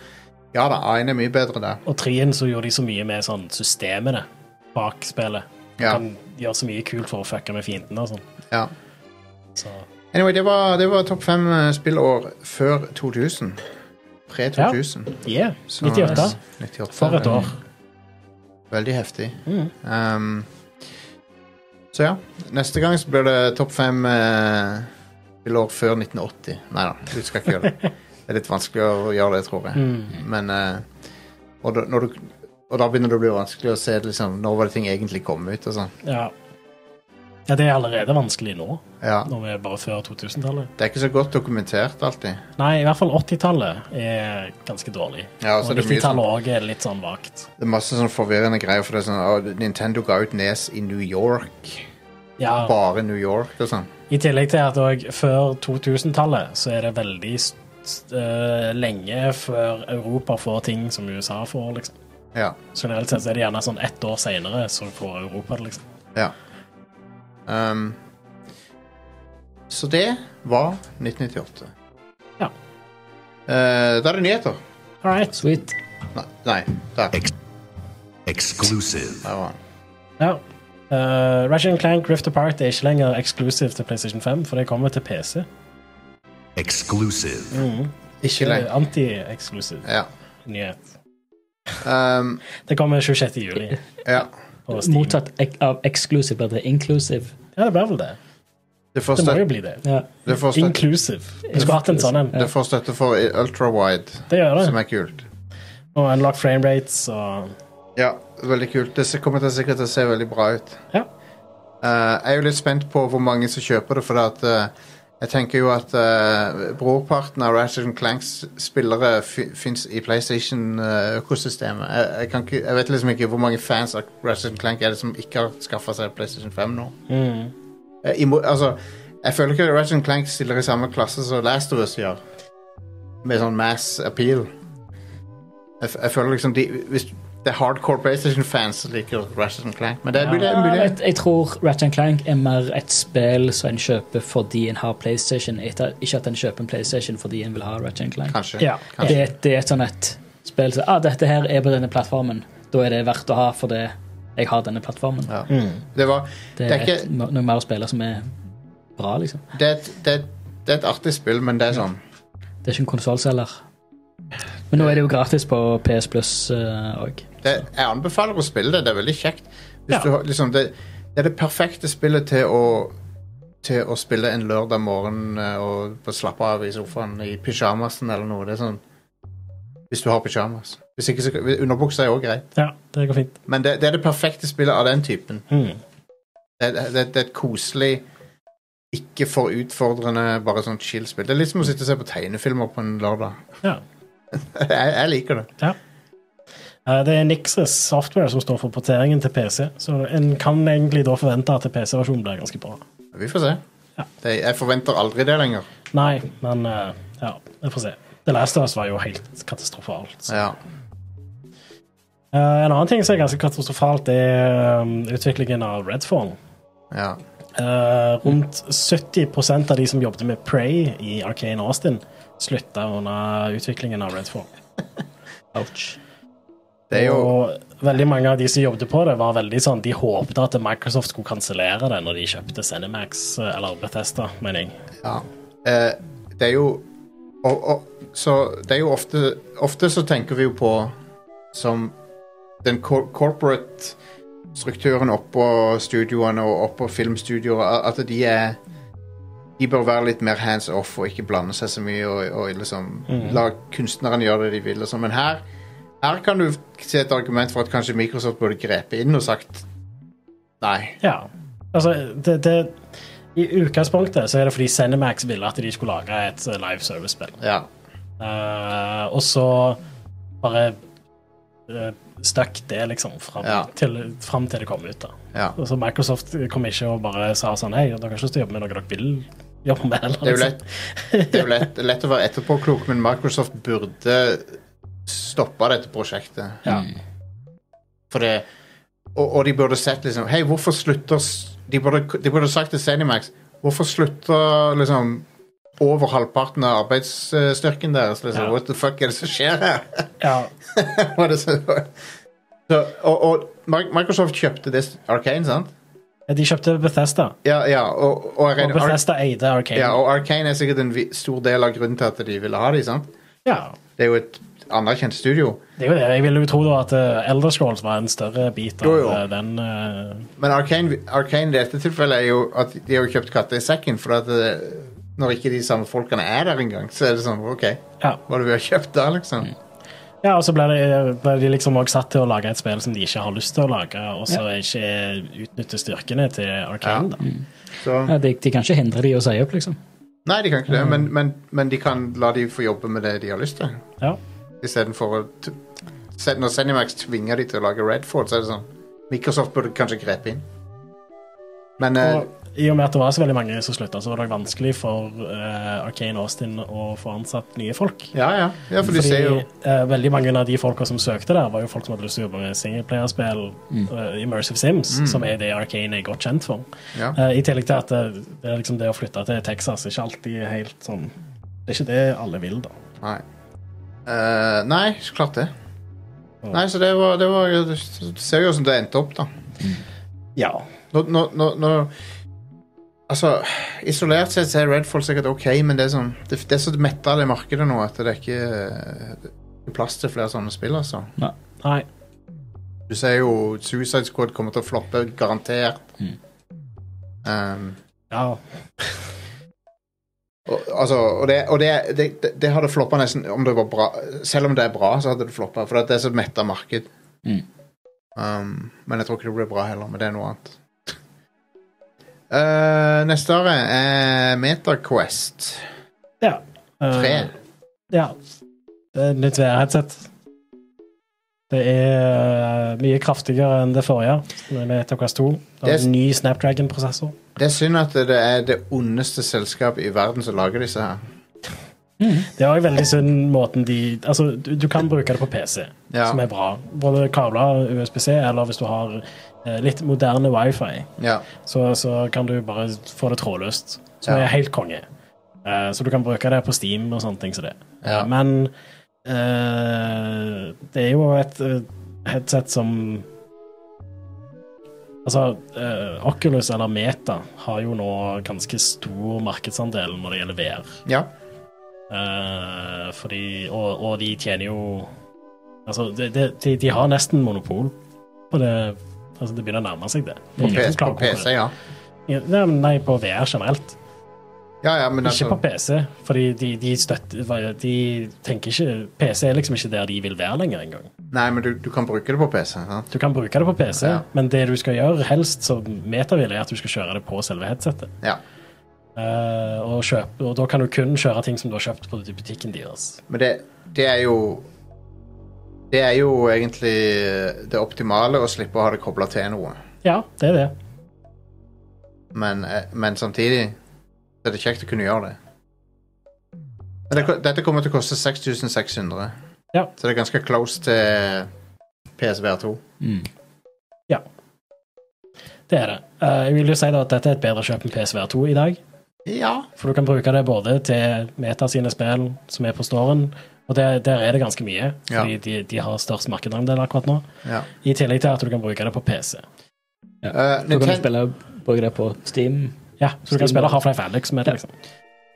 S2: ja da, A1 er mye bedre der.
S3: Og 3-en så gjorde de så mye med sånn systemene bak spillet. Du
S2: Ja.
S3: kan gjøre så mye kult for å fucke med fiendene og sånn.
S2: ja.
S3: Så
S2: Anyway, det var, det var topp fem eh, spillår før 2000. Pre-2000.
S3: yeah,
S2: Så-
S3: 98.
S2: 98.
S3: For et år.
S2: Veldig heftig.
S3: Mm.
S2: Um, så ja, neste gang så blir det topp fem uh, spillår før 1980. Nei da, du skal ikke gjøre det. Det er litt vanskelig å gjøre det, tror jeg.
S3: Mm.
S2: Men eh, og, da, når du, og da begynner det å bli vanskelig å se liksom, når var det ting egentlig kom ut. Og sånn.
S3: Ja. ja, det er allerede vanskelig nå,
S2: ja,
S3: når vi er bare før 2000-tallet.
S2: det er ikke så godt dokumentert alltid.
S3: Nei, i hvert fall 80-tallet er ganske dårlig.
S2: Ja,
S3: Og
S2: så er det mye
S3: 90-tallet òg er litt sånn vagt.
S2: Det er masse sånn forvirrende greier. For det er sånn, «Å, Nintendo ga ut Nes i New York.
S3: Ja,
S2: Bare New York og sånn.
S3: I tillegg til at òg før 2000-tallet så er det veldig st st- eh, lenge før Europa får ting som USA får, liksom.
S2: Ja.
S3: Så Generelt sett så er det gjerne sånn ett år seinere så får Europa det, liksom.
S2: Ja. Ehm, så det var 1998.
S3: Ja.
S2: Eh, da er det nyheter.
S3: All right.
S4: Sweet.
S2: Nei, nei der. der
S5: Exclusive.
S2: var den.
S3: Ja. Uh, Ratchet Clank Rift Apart er ikke lenger eksklusiv til PlayStation 5, for det kommer til PC.
S5: Exclusive.
S2: Ikke
S3: Det er
S2: lenge.
S3: Anti-eksklusiv
S2: Ja.
S3: nyhet.
S2: Ehm,
S3: Det kommer 26. juli.
S2: ja.
S3: på Steam.
S4: Motsatt ek av eksklusiv blir det inklusiv.
S3: Ja, det blir vel det.
S2: Det får
S3: Det må jo
S2: støtte,
S3: bli det.
S4: Ja.
S2: det får støtte,
S3: Inclusive. Du skulle hatt en sånn en.
S2: det får støtte for ultrawide,
S3: Det gjør
S2: som
S3: det.
S2: er kult.
S3: Og unlock frame rates og
S2: Ja, veldig kult. Det ser- kommer til sikkert til å se veldig bra ut.
S3: Ja.
S2: Eh, jeg er jo litt spent på hvor mange som kjøper det, for at, eh, Jeg tenker jo at eh, brorparten av Ratchet Clanks spillere fins i PlayStation-økosystemet. jeg, jeg, kan ikke- jeg vet liksom ikke hvor mange fans av Ratchet Clank er det som ikke har skaffa seg PlayStation 5 nå. Eh, i mo- altså, jeg føler ikke Ratchet Clank stiller i samme klasse som Last of Us gjør, med sånn mass appeal. Jeg, f- jeg føler liksom de, hvis, Det er hardcore PlayStation-fans som liker Ratchet Clank, men det er mulig.
S4: Ja,
S2: mulig-
S4: jeg, jeg tror Ratchet Clank er mer et spill som en kjøper fordi en har PlayStation, etter- ikke at en kjøper en PlayStation fordi en vil ha Ratchet Clank.
S2: Kanskje.
S3: Ja.
S2: kanskje.
S4: Det, det er et sånn et spill som ah, dette her er på denne plattformen. Da er det verdt å ha fordi jeg har denne plattformen.
S2: Ja.
S3: Mm.
S2: Det var
S4: Det
S2: Det
S4: er
S2: er
S4: et, noe mer å spille som er bra, liksom.
S2: det er, et, det, er, et- det er et artig spill, men det er sånn
S4: Det er ikke en konsollselger. Men nå er det jo gratis på PS Plus eh, òg.
S2: det, Jeg anbefaler å spille det. Det er veldig kjekt. Hvis
S3: Ja.
S2: du, har- liksom, det, det er det perfekte spillet til å til å spille en lørdag morgen eh, og få slappe av i sofaen i pysjamasen eller noe. Det er sånn Hvis du har pysjamas. Hvis ikke, så Underbuksa er òg greit.
S3: ja, det går fint.
S2: Men det, det er det perfekte spillet av den typen.
S3: Mm.
S2: Det, det, det, det er et koselig, ikke for utfordrende, bare sånn chill-spill. Det er litt som å sitte og se på tegnefilmer på en lørdag.
S3: Ja.
S2: jeg, jeg liker det.
S3: Eh, Det er Nixes software som står for porteringen til PC, så en kan egentlig da forvente at PC-versjonen blir ganske bra.
S2: Vi får se.
S3: Ja.
S2: Det, jeg forventer aldri det lenger.
S3: Nei, men eh, ja, vi får se. The Last of Us var jo helt katastrofalt. så.
S2: Ja.
S3: Eh, en annen ting som er ganske katastrofalt, er um, utviklingen av Redfall.
S2: ja.
S3: Eh, rundt 70 av de som jobbet med Prey i Arcane Austin, slutta under utviklingen av Redfall.
S4: Ouch.
S2: Det er jo
S3: Og veldig mange av de som jobbet på det, var veldig sånn De håpte at Microsoft skulle kansellere det når de kjøpte Cinemax, eller Bethesda, mener jeg.
S2: ja. Eh, Det er jo og, og, Så det er jo ofte Ofte så tenker vi jo på som den cor corporate strukturen oppå studioene og oppå filmstudioer, a- at de er De bør være litt mer hands off og ikke blande seg så mye og, og liksom la kunstnerne gjøre det de vil og sånn, men her her kan du se et argument for at kanskje Microsoft burde grepe inn og sagt nei.
S3: Ja. Altså, det, det I utgangspunktet så er det fordi Cinemax ville at de skulle lage et eh, live service-spill.
S2: Ja.
S3: Eh, og så bare uh, stakk det, liksom, fram,
S2: Ja.
S3: til, fram til det kom ut. da.
S2: ja.
S3: Og så Microsoft kom ikke og bare sa sånn Hei, dere har ikke lyst til å jobbe med noe dere vil jobbe med? Eller, liksom.
S2: Det er jo lett, det er jo lett, lett å være etterpåklok, men Microsoft burde stoppa dette prosjektet.
S4: Ja.
S2: For det, og, og de burde sett liksom Hei, hvorfor slutter s- De burde, de burde sagt til Zenimax Hvorfor slutter liksom over halvparten av arbeidsstyrken deres? Liksom,
S3: Ja.
S2: What the fuck er det som skjer her?
S3: Ja.
S2: Var det så, så, og, og Mi- Microsoft kjøpte det Arcane, sant?
S3: De kjøpte Bethesda.
S2: Ja, ja, og, og, jeg
S3: Og
S2: regner- Ar-
S3: Bethesda eide Arcane.
S2: ja, og Arcane er sikkert en vi- stor del av grunnen til at de ville ha de, sant?
S3: Ja,
S2: Det er jo et anerkjent studio.
S3: det er jo det. Jeg ville jo tro da at eh, Elder Scrolls var en større bit av
S2: Jo, jo.
S3: eh, den. eh,
S2: Men Arcane, Arcane i dette tilfellet er jo at de har jo kjøpt katta i sekken, for at eh, når ikke de samme folkene er der engang, så er det sånn OK,
S3: ja. Mm.
S2: hva er det vi har kjøpt da, liksom?
S3: ja, og så ble, det, ble de liksom også satt til å lage et spill som de ikke har lyst til å lage, og så
S4: Ja.
S3: ikke utnytte styrkene til Arcane, da.
S2: Så,
S4: Ja, de, de kan ikke hindre de å si opp, liksom.
S2: nei, de kan ikke det,
S3: Eh.
S2: men, men, men de kan la de få jobbe med det de har lyst til,
S3: Ja.
S2: istedenfor å t- se- Når Zenimax tvinger de til å lage Redford, så er det sånn Microsoft burde kanskje grepe inn. Men eh,
S3: Og i og med at det var så veldig mange som slutta, så var det vanskelig for eh, Arcane Austin å få ansatt nye folk.
S2: Ja, ja. ja for
S3: Fordi
S2: de ser jo
S3: eh, veldig mange av de folka som søkte der, var jo folk som hadde lyst til å jobbe med singleplayerspill,
S2: Mm.
S3: eh, Immersive Sims, som er det Arcane er godt kjent for.
S2: Ja.
S3: Eh, I tillegg til at det, det, er liksom det å flytte til Texas er ikke alltid helt sånn Det er ikke det alle vil, da.
S2: Nei. Eh, nei, så klart det.
S3: Ja.
S2: Nei, så det var, det var Det ser jo hvordan det endte opp, da.
S3: Ja.
S2: Nå, nå, nå, nå Altså, isolert sett så er Redfall sikkert OK, men det er sånn Det, det er så metta det markedet nå at det er ikke eh, det er plass til flere sånne spill, altså.
S3: Nei.
S2: Du ser jo Suicide Squad kommer til å floppe, garantert.
S4: Mm.
S2: Um,
S3: Ja.
S2: og, altså, og, det, og det, det, det, det hadde floppa nesten om det var bra. Selv om det er bra, så hadde det floppa, for det er så metta marked.
S4: Mm.
S2: Um, men jeg tror ikke det blir bra heller, men det er noe annet. Eh, neste år er Metaquest
S3: Ja. Eh,
S2: 3.
S3: Ja. Det er et nytt VR-headset. Det er eh, mye kraftigere enn det forrige, som er med Quest 2.
S2: Det
S3: Det er
S2: er-
S3: en ny Snapdragon-prosessor.
S2: Det er synd at det er det ondeste selskapet i verden som lager disse her.
S3: Det er òg veldig synd måten de Altså, du, du kan bruke det på PC,
S2: Ja.
S3: som er bra. Både kabler, USBC, eller hvis du har eh, litt moderne wifi,
S2: Ja.
S3: så, så kan du bare få det trådløst. Som
S2: Ja.
S3: er helt konge. Eh, så du kan bruke det på Steam og sånne ting som det.
S2: Ja.
S3: Men eh, det er jo et eh, headset som Altså, eh, Oculus eller Meta har jo nå ganske stor markedsandel når det gjelder VR.
S2: ja.
S3: Eh, fordi, og, og de tjener jo Altså, de, de, de, de har nesten monopol på det. Altså, det begynner å nærme seg det. det
S2: På,
S3: er ingen
S2: P-
S3: som
S2: på
S3: klager
S2: PC,
S3: det.
S2: ja.
S3: Ja, Nei, men nei, på VR generelt.
S2: Ja, ja, men
S3: Ikke på
S2: altså,
S3: PC, fordi de, de støtter De tenker ikke PC er liksom ikke der de vil være lenger engang.
S2: Nei, men du, du kan bruke det på PC. Sant?
S3: Du kan bruke det på PC,
S2: Ja.
S3: men det du skal gjøre helst som meta vil, er at du skal kjøre det på selve headsetet.
S2: Ja.
S3: Eh, og, kjøpe, og da kan du kun kjøre ting som du har kjøpt på butikken deres.
S2: Men det, det er jo Det er jo egentlig det optimale å slippe å ha det kobla til noe.
S3: Ja, det er det.
S2: Men, eh, men samtidig så er det kjekt å kunne gjøre det. Men det, dette kommer til å koste 6600.
S3: Ja.
S2: Så det er ganske close til PSVR2.
S4: Mm.
S3: Det er det. Eh, jeg vil jo si da at dette er et bedre kjøp enn PSVR2 i dag.
S2: Ja.
S3: For du kan bruke det både til Meta sine spill som er på storen, og der, der er det ganske mye,
S2: Ja.
S3: fordi de, de har størst markedsandel akkurat nå.
S2: ja.
S3: I tillegg til at du kan bruke det på PC.
S2: Eh,
S4: Så kan du
S2: Ninten-
S4: spille, bruke det på Steam.
S3: Ja, Så du kan
S4: Steam.
S3: spille Half-Life Alyx med det, liksom.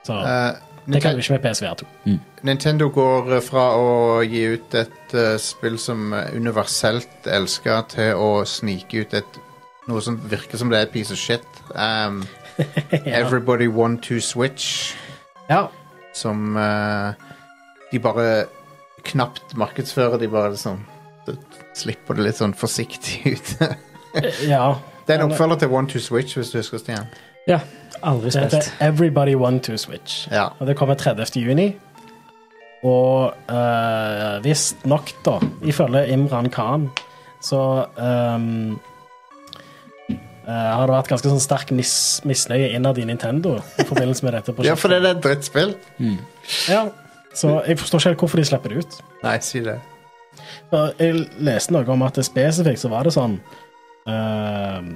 S3: Så
S2: eh,
S3: det kan
S2: Ninten-
S3: du ikke med PSVR2.
S2: Nintendo går eh, fra å gi ut et eh, spill som eh, universelt elsker, til å snike ut et noe som virker som det er et piece of shit. Um,
S3: ja.
S2: Everybody want to switch.
S3: ja.
S2: Som eh, de bare knapt markedsfører. De bare liksom d- slipper det litt sånn forsiktig ut.
S3: ja.
S2: det er en oppfølger til One to Switch, hvis du husker, Stian.
S4: Aldri
S3: Det heter
S4: spilt.
S3: Everybody Want to Switch.
S2: Ja.
S3: Og det kommer 30. juni. Og uh, visstnok, da, ifølge Imran Khan, så ehm, eh, har det vært ganske sånn sterk mis misnøye innad i Nintendo i forbindelse med dette
S2: ja,
S3: prosjektet.
S2: for det er et drittspill.
S3: Ja. Så jeg forstår ikke helt hvorfor de slipper det ut.
S2: Nei, si det.
S3: For Jeg leste noe om at det spesifikt så var det sånn ehm,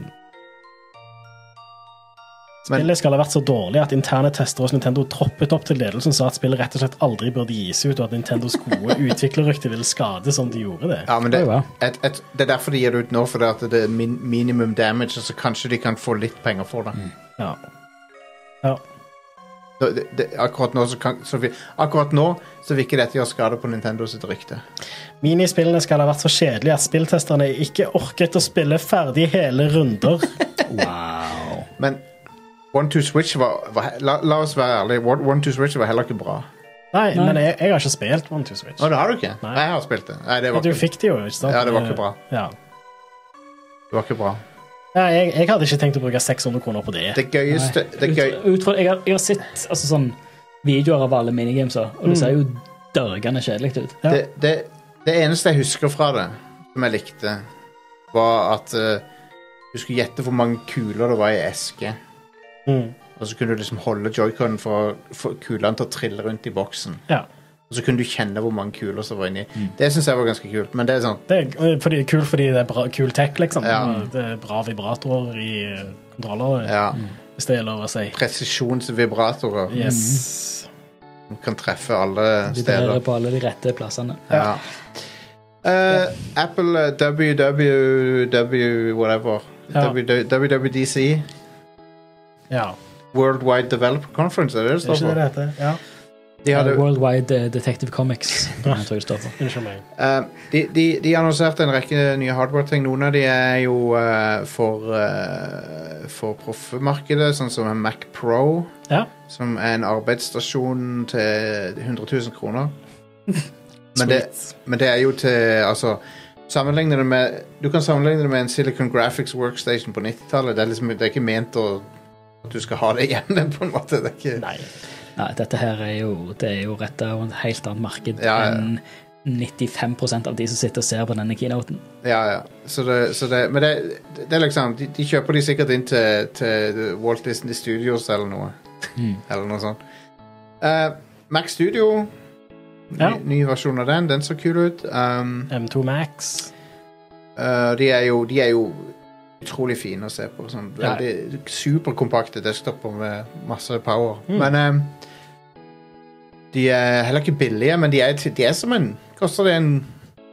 S2: Men,
S3: Spillet skal ha vært så dårlig at interne tester hos Nintendo troppet opp til ledelsen og sa at spillet rett og slett aldri burde gis ut, og at Nintendos gode utviklerrykte ville skade som de gjorde det.
S2: ja, men det,
S4: Oi, wow.
S2: et, et, det er derfor de gir det ut nå, for det, at det er min, minimum damage, så kanskje de kan få litt penger for det.
S3: Ja. ja.
S2: Da- det, det akkurat, nå så kan, så vi, akkurat nå så vil ikke dette gjøre skade på Nintendo sitt rykte.
S3: Minispillene skal ha vært så kjedelige at spilltesterne ikke orket å spille ferdig hele runder.
S4: Wow.
S2: Men One to Switch var, var la, la oss være ærlige. One, One to Switch var heller ikke bra.
S3: Nei, men jeg, jeg har ikke spilt One Two Switch.
S2: Å, det har du ikke? Nei,
S3: Nei.
S2: jeg har spilt det. Nei, det var,
S3: Du
S2: ikke,
S3: fikk det jo, ikke sant? Eh,
S2: Ja, det var ikke bra.
S3: Ja.
S2: det var ikke bra.
S3: Ja, jeg, jeg hadde ikke tenkt å bruke 600 kroner på det.
S2: Det gøyeste det
S4: Ut,
S2: gøy,
S4: ut fra, jeg, har, jeg har sett altså, sånn, videoer av alle minigameser, og det ser jo dørgende kjedelig ut.
S3: Ja.
S2: det, det, det eneste jeg husker fra det, som jeg likte, var at eh, du skulle gjette hvor mange kuler det var i eske.
S3: Mm.
S2: Og så kunne du liksom holde joyconen for å få kulene til å trille rundt i boksen.
S3: Ja.
S2: Og så kunne du kjenne hvor mange kuler som var inni.
S3: Mm.
S2: Det syns jeg var ganske kult. Men det er sånn
S3: Det er eh, fordi, kult fordi det er bra, kul tech, liksom.
S2: Ja.
S3: Det er bra vibratorer i eh, kontroller,
S2: ja,
S3: hvis det er lov å si.
S2: presisjonsvibratorer
S3: Yes.
S2: som kan treffe alle steder.
S4: Vibrerer på alle de rette plassene.
S2: Ja. Eh, Apple eh, WWW whatever.
S3: Ja.
S2: WW WWDC. Mm.
S3: Ja.
S2: Worldwide Developer Conference, er det det
S3: Det er
S2: står
S3: ikke det
S2: for?
S3: det heter? Ja.
S2: De, hadde,
S4: Worldwide eh, Detective Comics. Den tror jeg det står for.
S3: Unnskyld meg.
S2: eh, de, de, de annonserte en rekke nye hardware-ting. Noen av de er jo eh, for, eh, for proffmarkedet, sånn som en Mac Pro,
S3: Ja.
S2: som er en arbeidsstasjon til 100 000 kroner. Men det, men det er jo til Altså, sammenligne det med Du kan sammenligne det med en Silicon Graphics Workstation på 90-tallet. Det, er liksom, det er ikke ment å at du skal ha det igjen, på en måte. Det er ikke
S3: Nei.
S4: Nei, dette her er jo, det er jo retta av et helt annet marked
S2: Ja, ja.
S4: enn 95 av de som sitter og ser på denne keynoten.
S2: Ja, ja. Så det, så det, men det, det er liksom de, de kjøper de sikkert inn til, til Walt Disney Studios eller noe. Eller noe sånt. Eh, Mac Studio, ny,
S3: Ja.
S2: ny versjon av den, den så kul ut. Um,
S3: M2 Max.
S2: eh, de, er jo, de er jo utrolig fine å se på. Sånn,
S3: Ja.
S2: veldig superkompakte desktoper med masse power.
S3: Mm.
S2: Men eh, de er heller ikke billige, men de er, til- de er som en Koster det en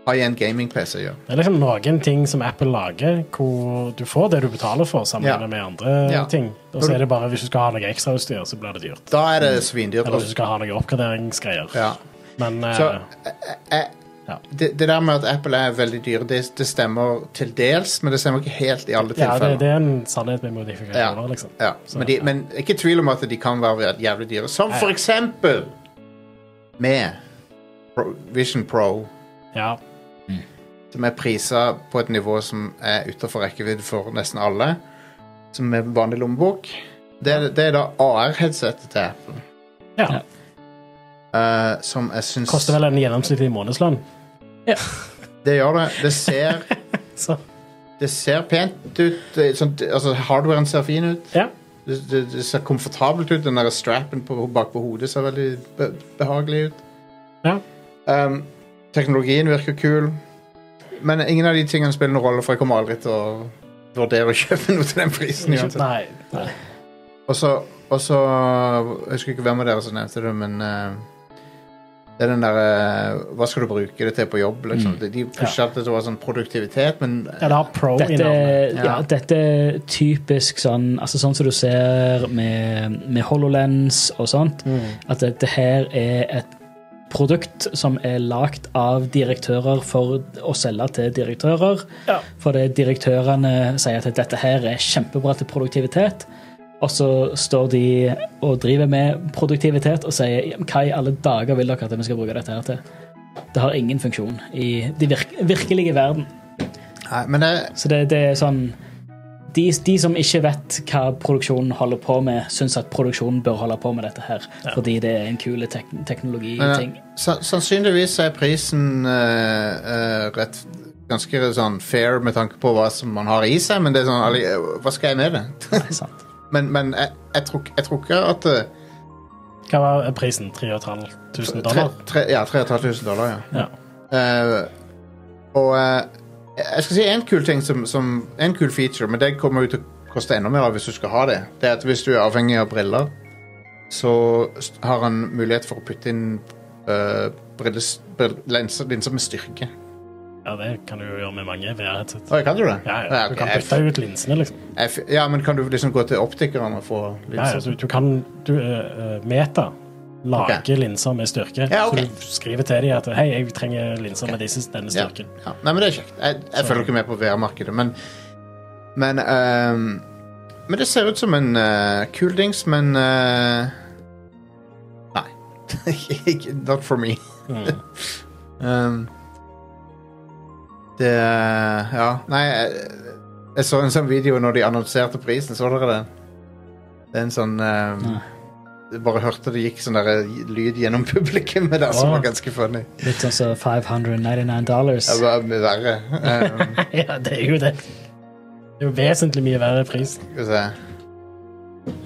S2: high-end gaming-PC gjør?
S3: Det er liksom noen ting som Apple lager, hvor du får det du betaler for, sammenlignet
S2: Ja.
S3: med andre
S2: Ja.
S3: ting. Og så er det bare hvis du skal ha noe ekstrautstyr, så blir det dyrt.
S2: Da er det svindyrt.
S3: Mm.
S2: altså.
S3: Eller hvis du skal ha noe oppgraderingsgreier.
S2: Ja.
S3: Men eh,
S2: Så eh, eh,
S3: Ja.
S2: det, det der med at Apple er veldig dyre, det, det stemmer til dels, men det stemmer ikke helt i alle
S3: ja, det,
S2: tilfeller.
S3: det er en sannhet med modifikasjoner,
S2: Ja.
S3: liksom.
S2: Ja,
S3: Så,
S2: men, de,
S3: ja.
S2: men ikke tvil om at de kan være jævlig dyre. Som
S3: Ja, ja.
S2: for eksempel med Pro, Vision Pro,
S3: Ja.
S2: som er prisa på et nivå som er utenfor rekkevidde for nesten alle, som er vanlig lommebok. Det, er- det er da AR-headsetet til Apple,
S3: ja.
S4: Ja.
S2: eh, som jeg syns
S3: Koster vel en gjennomsnittlig månedslønn.
S2: Det gjør det. Det ser,
S3: Så
S2: det ser pent ut. det- Sånn, altså, hardwaren ser fin ut.
S3: ja.
S2: Det, det, det ser komfortabelt ut. Den der strappen på, bak på hodet ser veldig be behagelig ut.
S3: ja.
S2: Um, teknologien virker kul, men ingen av de tingene spiller noen rolle, for jeg kommer aldri til å vurdere å kjøpe noe til den prisen.
S3: Ikke,
S2: uansett.
S3: nei. nei.
S2: Og så og så- Jeg husker ikke hvem av dere som nevnte det, men uh, det er den derre Hva skal du bruke det til på jobb? Liksom. De- De pusher alltid til å være sånn produktivitet, men
S3: Mm. Ja, det har pro i
S4: Dette,
S3: navnet.
S4: ja.
S2: Ja.
S4: dette er typisk sånn altså sånn som du ser med, med HoloLens og sånt, at dette her er et produkt som er lagd av direktører for å selge til direktører.
S3: Ja.
S4: For det direktørene sier at dette her er kjempebra til produktivitet. Og så står de og driver med produktivitet og sier "Ja, men hva i alle dager vil dere at vi skal bruke dette her til? Det har ingen funksjon i den virk virkelige verden.
S2: Nei, eh, men det,
S4: Så det, det er sånn de, de som ikke vet hva produksjonen holder på med, syns at produksjonen bør holde på med dette her, fordi det er en kul tek
S2: Men,
S4: teknologiting.
S2: sa- sannsynligvis er prisen eh, eh, rett, ganske sånn fair med tanke på hva som man har i seg, men det er sånn, alle- eh, hva skal jeg med det?
S4: Nei, sant.
S2: men men jeg, jeg, tror, ikke- jeg tror ikke at eh,
S3: Hva var prisen? 3500
S2: tre,
S3: dollar?
S2: tre, Ja, 3500 dollar, ja.
S3: Ja.
S2: Eh, og eh, jeg skal si en kul ting som, som En kul feature, men det kommer jo til å koste enda mer av hvis du skal ha det. Det er at hvis du er avhengig av briller, så st- har han mulighet for å putte inn eh, brilles, brill, lenser, linser med styrke.
S3: ja, det kan du jo gjøre med mange VR-headset.
S2: Oi, kan du det?
S3: Ja, ja. Du
S2: ok,
S3: kan
S2: jeg-
S3: bytte ut linsene, liksom.
S2: jeg f- ja, men kan du liksom gå til optikeren og få sånn
S3: Ja, ja,
S2: linser?
S3: du, du kan du, eh, eh, Meta lager
S2: Ok.
S3: linser med styrke.
S2: Ja, ok.
S3: Så du skriver til dem at hei, jeg trenger linser med disse, denne
S2: Ja,
S3: styrken.
S2: ja. Nei, men det er kjekt. Jeg, jeg
S3: Så-
S2: følger ikke med på VR-markedet, men men, ehm, men det ser ut som en eh, kul dings, men eh, Nei. Ikke- Not for me.
S3: Mm.
S2: Ehm, det Ja, nei jeg, jeg så en sånn video når de annonserte prisen. Så dere den? Det er en sånn ehm,
S4: Nei.
S2: Jeg bare hørte det gikk sånn der lyd gjennom publikummet der, som
S3: Åh.
S2: var altså ganske funny.
S4: Litt sånn som 599 dollars.
S2: Det var mye verre. Ehm,
S3: ja, det er jo det. Det er jo vesentlig mye verre pris
S2: Skal vi se.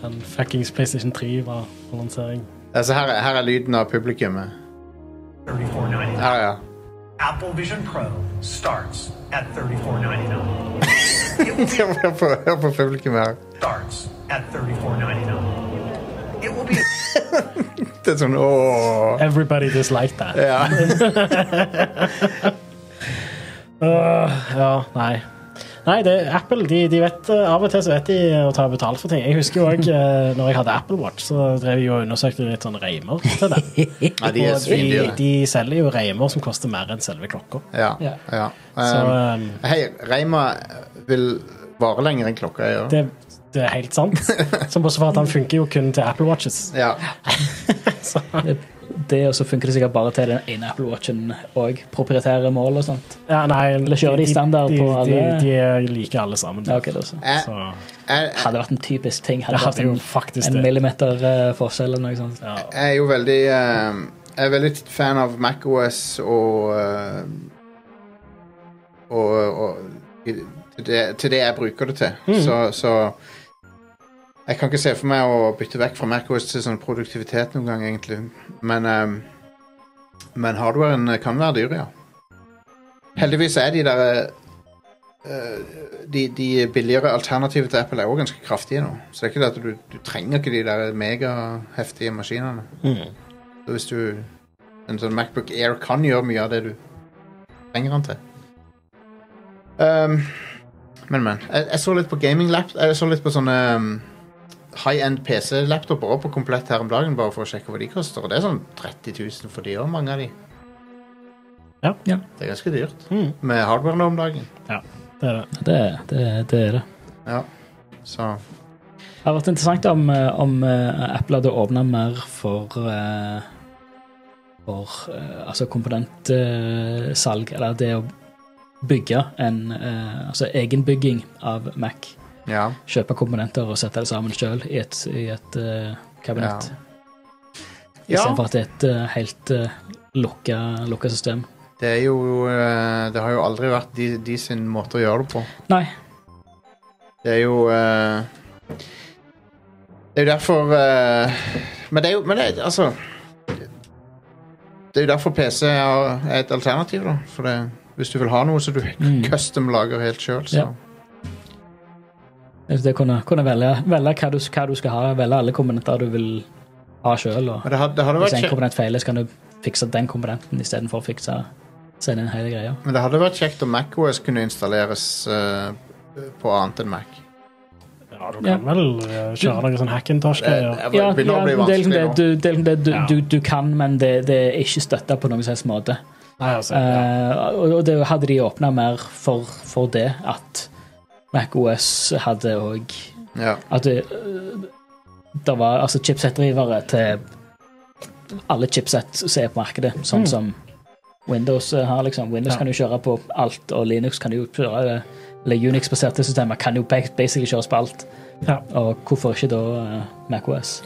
S3: enn fuckings PlayStation 3 var på lansering.
S2: Altså, her, er- her er lyden av publikummet.
S6: $34.99.
S2: Ja, ja.
S6: Apple Vision Pro starts at $34.99.
S2: Hør på, hør på publikummet her.
S6: Starts at $34.99. It will be.
S2: Det er sånn ååå.
S3: Everybody disliked that.
S2: Ja.
S3: Øh, ja, nei. Nei, det er Apple. De, de vet, eh, av og til så vet de å ta betalt for ting. Jeg husker jo òg uh, når jeg hadde Apple Watch, så drev jeg jo og undersøkte litt sånn reimer til det.
S2: Nei, de er
S3: Og de,
S2: svindyre.
S3: de selger jo reimer som koster mer enn selve klokka.
S2: Ja.
S4: Ja.
S2: ja.
S3: Så
S2: Um,
S3: um,
S2: Hei, Reima vil vare lenger enn klokka gjør.
S3: det, det er helt sant. Som også for at han funker jo kun til Apple Watches.
S2: Ja.
S3: Så,
S4: Det det, og så funker det sikkert bare til den ene Apple Watchen og proprietære mål og sånt.
S3: Ja, nei,
S4: Eller kjører de standard
S3: de,
S4: på
S3: De,
S4: alle?
S3: de er like alle sammen.
S4: Ja, ok, det er sånn.
S2: Jeg,
S3: Så,
S2: jeg,
S4: Hadde vært en typisk ting. Hadde
S3: det
S4: vært
S3: hadde jo
S4: en,
S3: faktisk
S4: en
S3: det.
S4: millimeter eh, forskjell eller noe sånt.
S3: Ja.
S2: jeg er jo veldig eh, Jeg er veldig fan av MacOS og, eh, og Og i- til det, til det jeg bruker det til. Så, så Jeg kan ikke se for meg å bytte vekk fra MacOS til sånn produktivitet noen gang, egentlig. Men eh, Men hardwaren kan være dyr, ja. Heldigvis er de der eh, de, de billigere alternativene til Apple er også ganske kraftige nå. Så det er ikke det at du, du trenger ikke de der megaheftige maskinene.
S3: Mm.
S2: Så hvis du En sånn Macbook Air kan gjøre mye av det du trenger den til. Ehm, men, men. Jeg, jeg så litt på gaming-lap... Jeg så litt på sånne ehm, high-end PC-laptoper også på komplett her om dagen, bare for å sjekke hva de koster. Og det er sånn 30 000 for de òg, mange av de.
S3: Ja.
S4: Ja.
S2: Det er ganske dyrt.
S3: Mm.
S2: Med hardware nå om dagen.
S3: Det er det.
S4: Det, det, det er det.
S2: Ja. Så
S4: Det hadde vært interessant om, eh, om eh, Apple hadde åpna mer for eh, For eh, altså komponentsalg, eller det å bygge en eh, Altså egenbygging av Mac.
S2: ja.
S4: Kjøpe komponenter og sette det sammen sjøl i et, i et eh, kabinett. Istedenfor at det er et eh, helt uh, lukka, lukka system.
S2: Det er jo eh, Det har jo aldri vært de, de sin måte å gjøre det på.
S4: Nei.
S2: Det er jo eh, Det er jo derfor eh, Men det er jo men det, er- Altså Det er jo derfor PC er, er et alternativ, da. For det, hvis du vil ha noe, så du
S4: Mm.
S2: custom lager helt sjøl, så
S4: Ja. Det å kunne, kunne velge, velge hva, du, hva du skal ha, velge alle komponenter du vil ha sjøl.
S2: Men det, had- det hadde
S4: Hvis
S2: vært
S4: en
S2: kjekt,
S4: komponent feiler, så kan du fikse den komponenten istedenfor å fikse sende inn hele greia.
S2: men det hadde vært kjekt om MacOS kunne installeres eh, på annet enn Mac.
S3: Ja, du kan
S4: Ja. Eh,
S3: vel eh, kjøre noen sånn Hackintosh-greier.
S2: Jeg
S4: Ja,
S2: begynner å bli
S4: det er
S2: vanskelig
S4: liksom det,
S2: nå.
S4: du, det, er liksom det du,
S3: Ja.
S4: du, du kan, men det, det er ikke støtta på noen som helst måte.
S3: Nei, altså, ja.
S4: Eh, og- og det hadde de åpna mer for, for det at MacOS hadde òg
S2: Ja.
S4: At det, eh, det var altså chipset-drivere til alle chipset som er på markedet, sånn
S3: Mm.
S4: som Windows eh, har. liksom. Windows
S3: Ja.
S4: kan jo kjøre på alt, og Linux kan jo kjøre det. Eller Unix-baserte systemer kan jo ba- basically kjøres på alt.
S3: Ja.
S4: Og hvorfor ikke da eh, MacOS?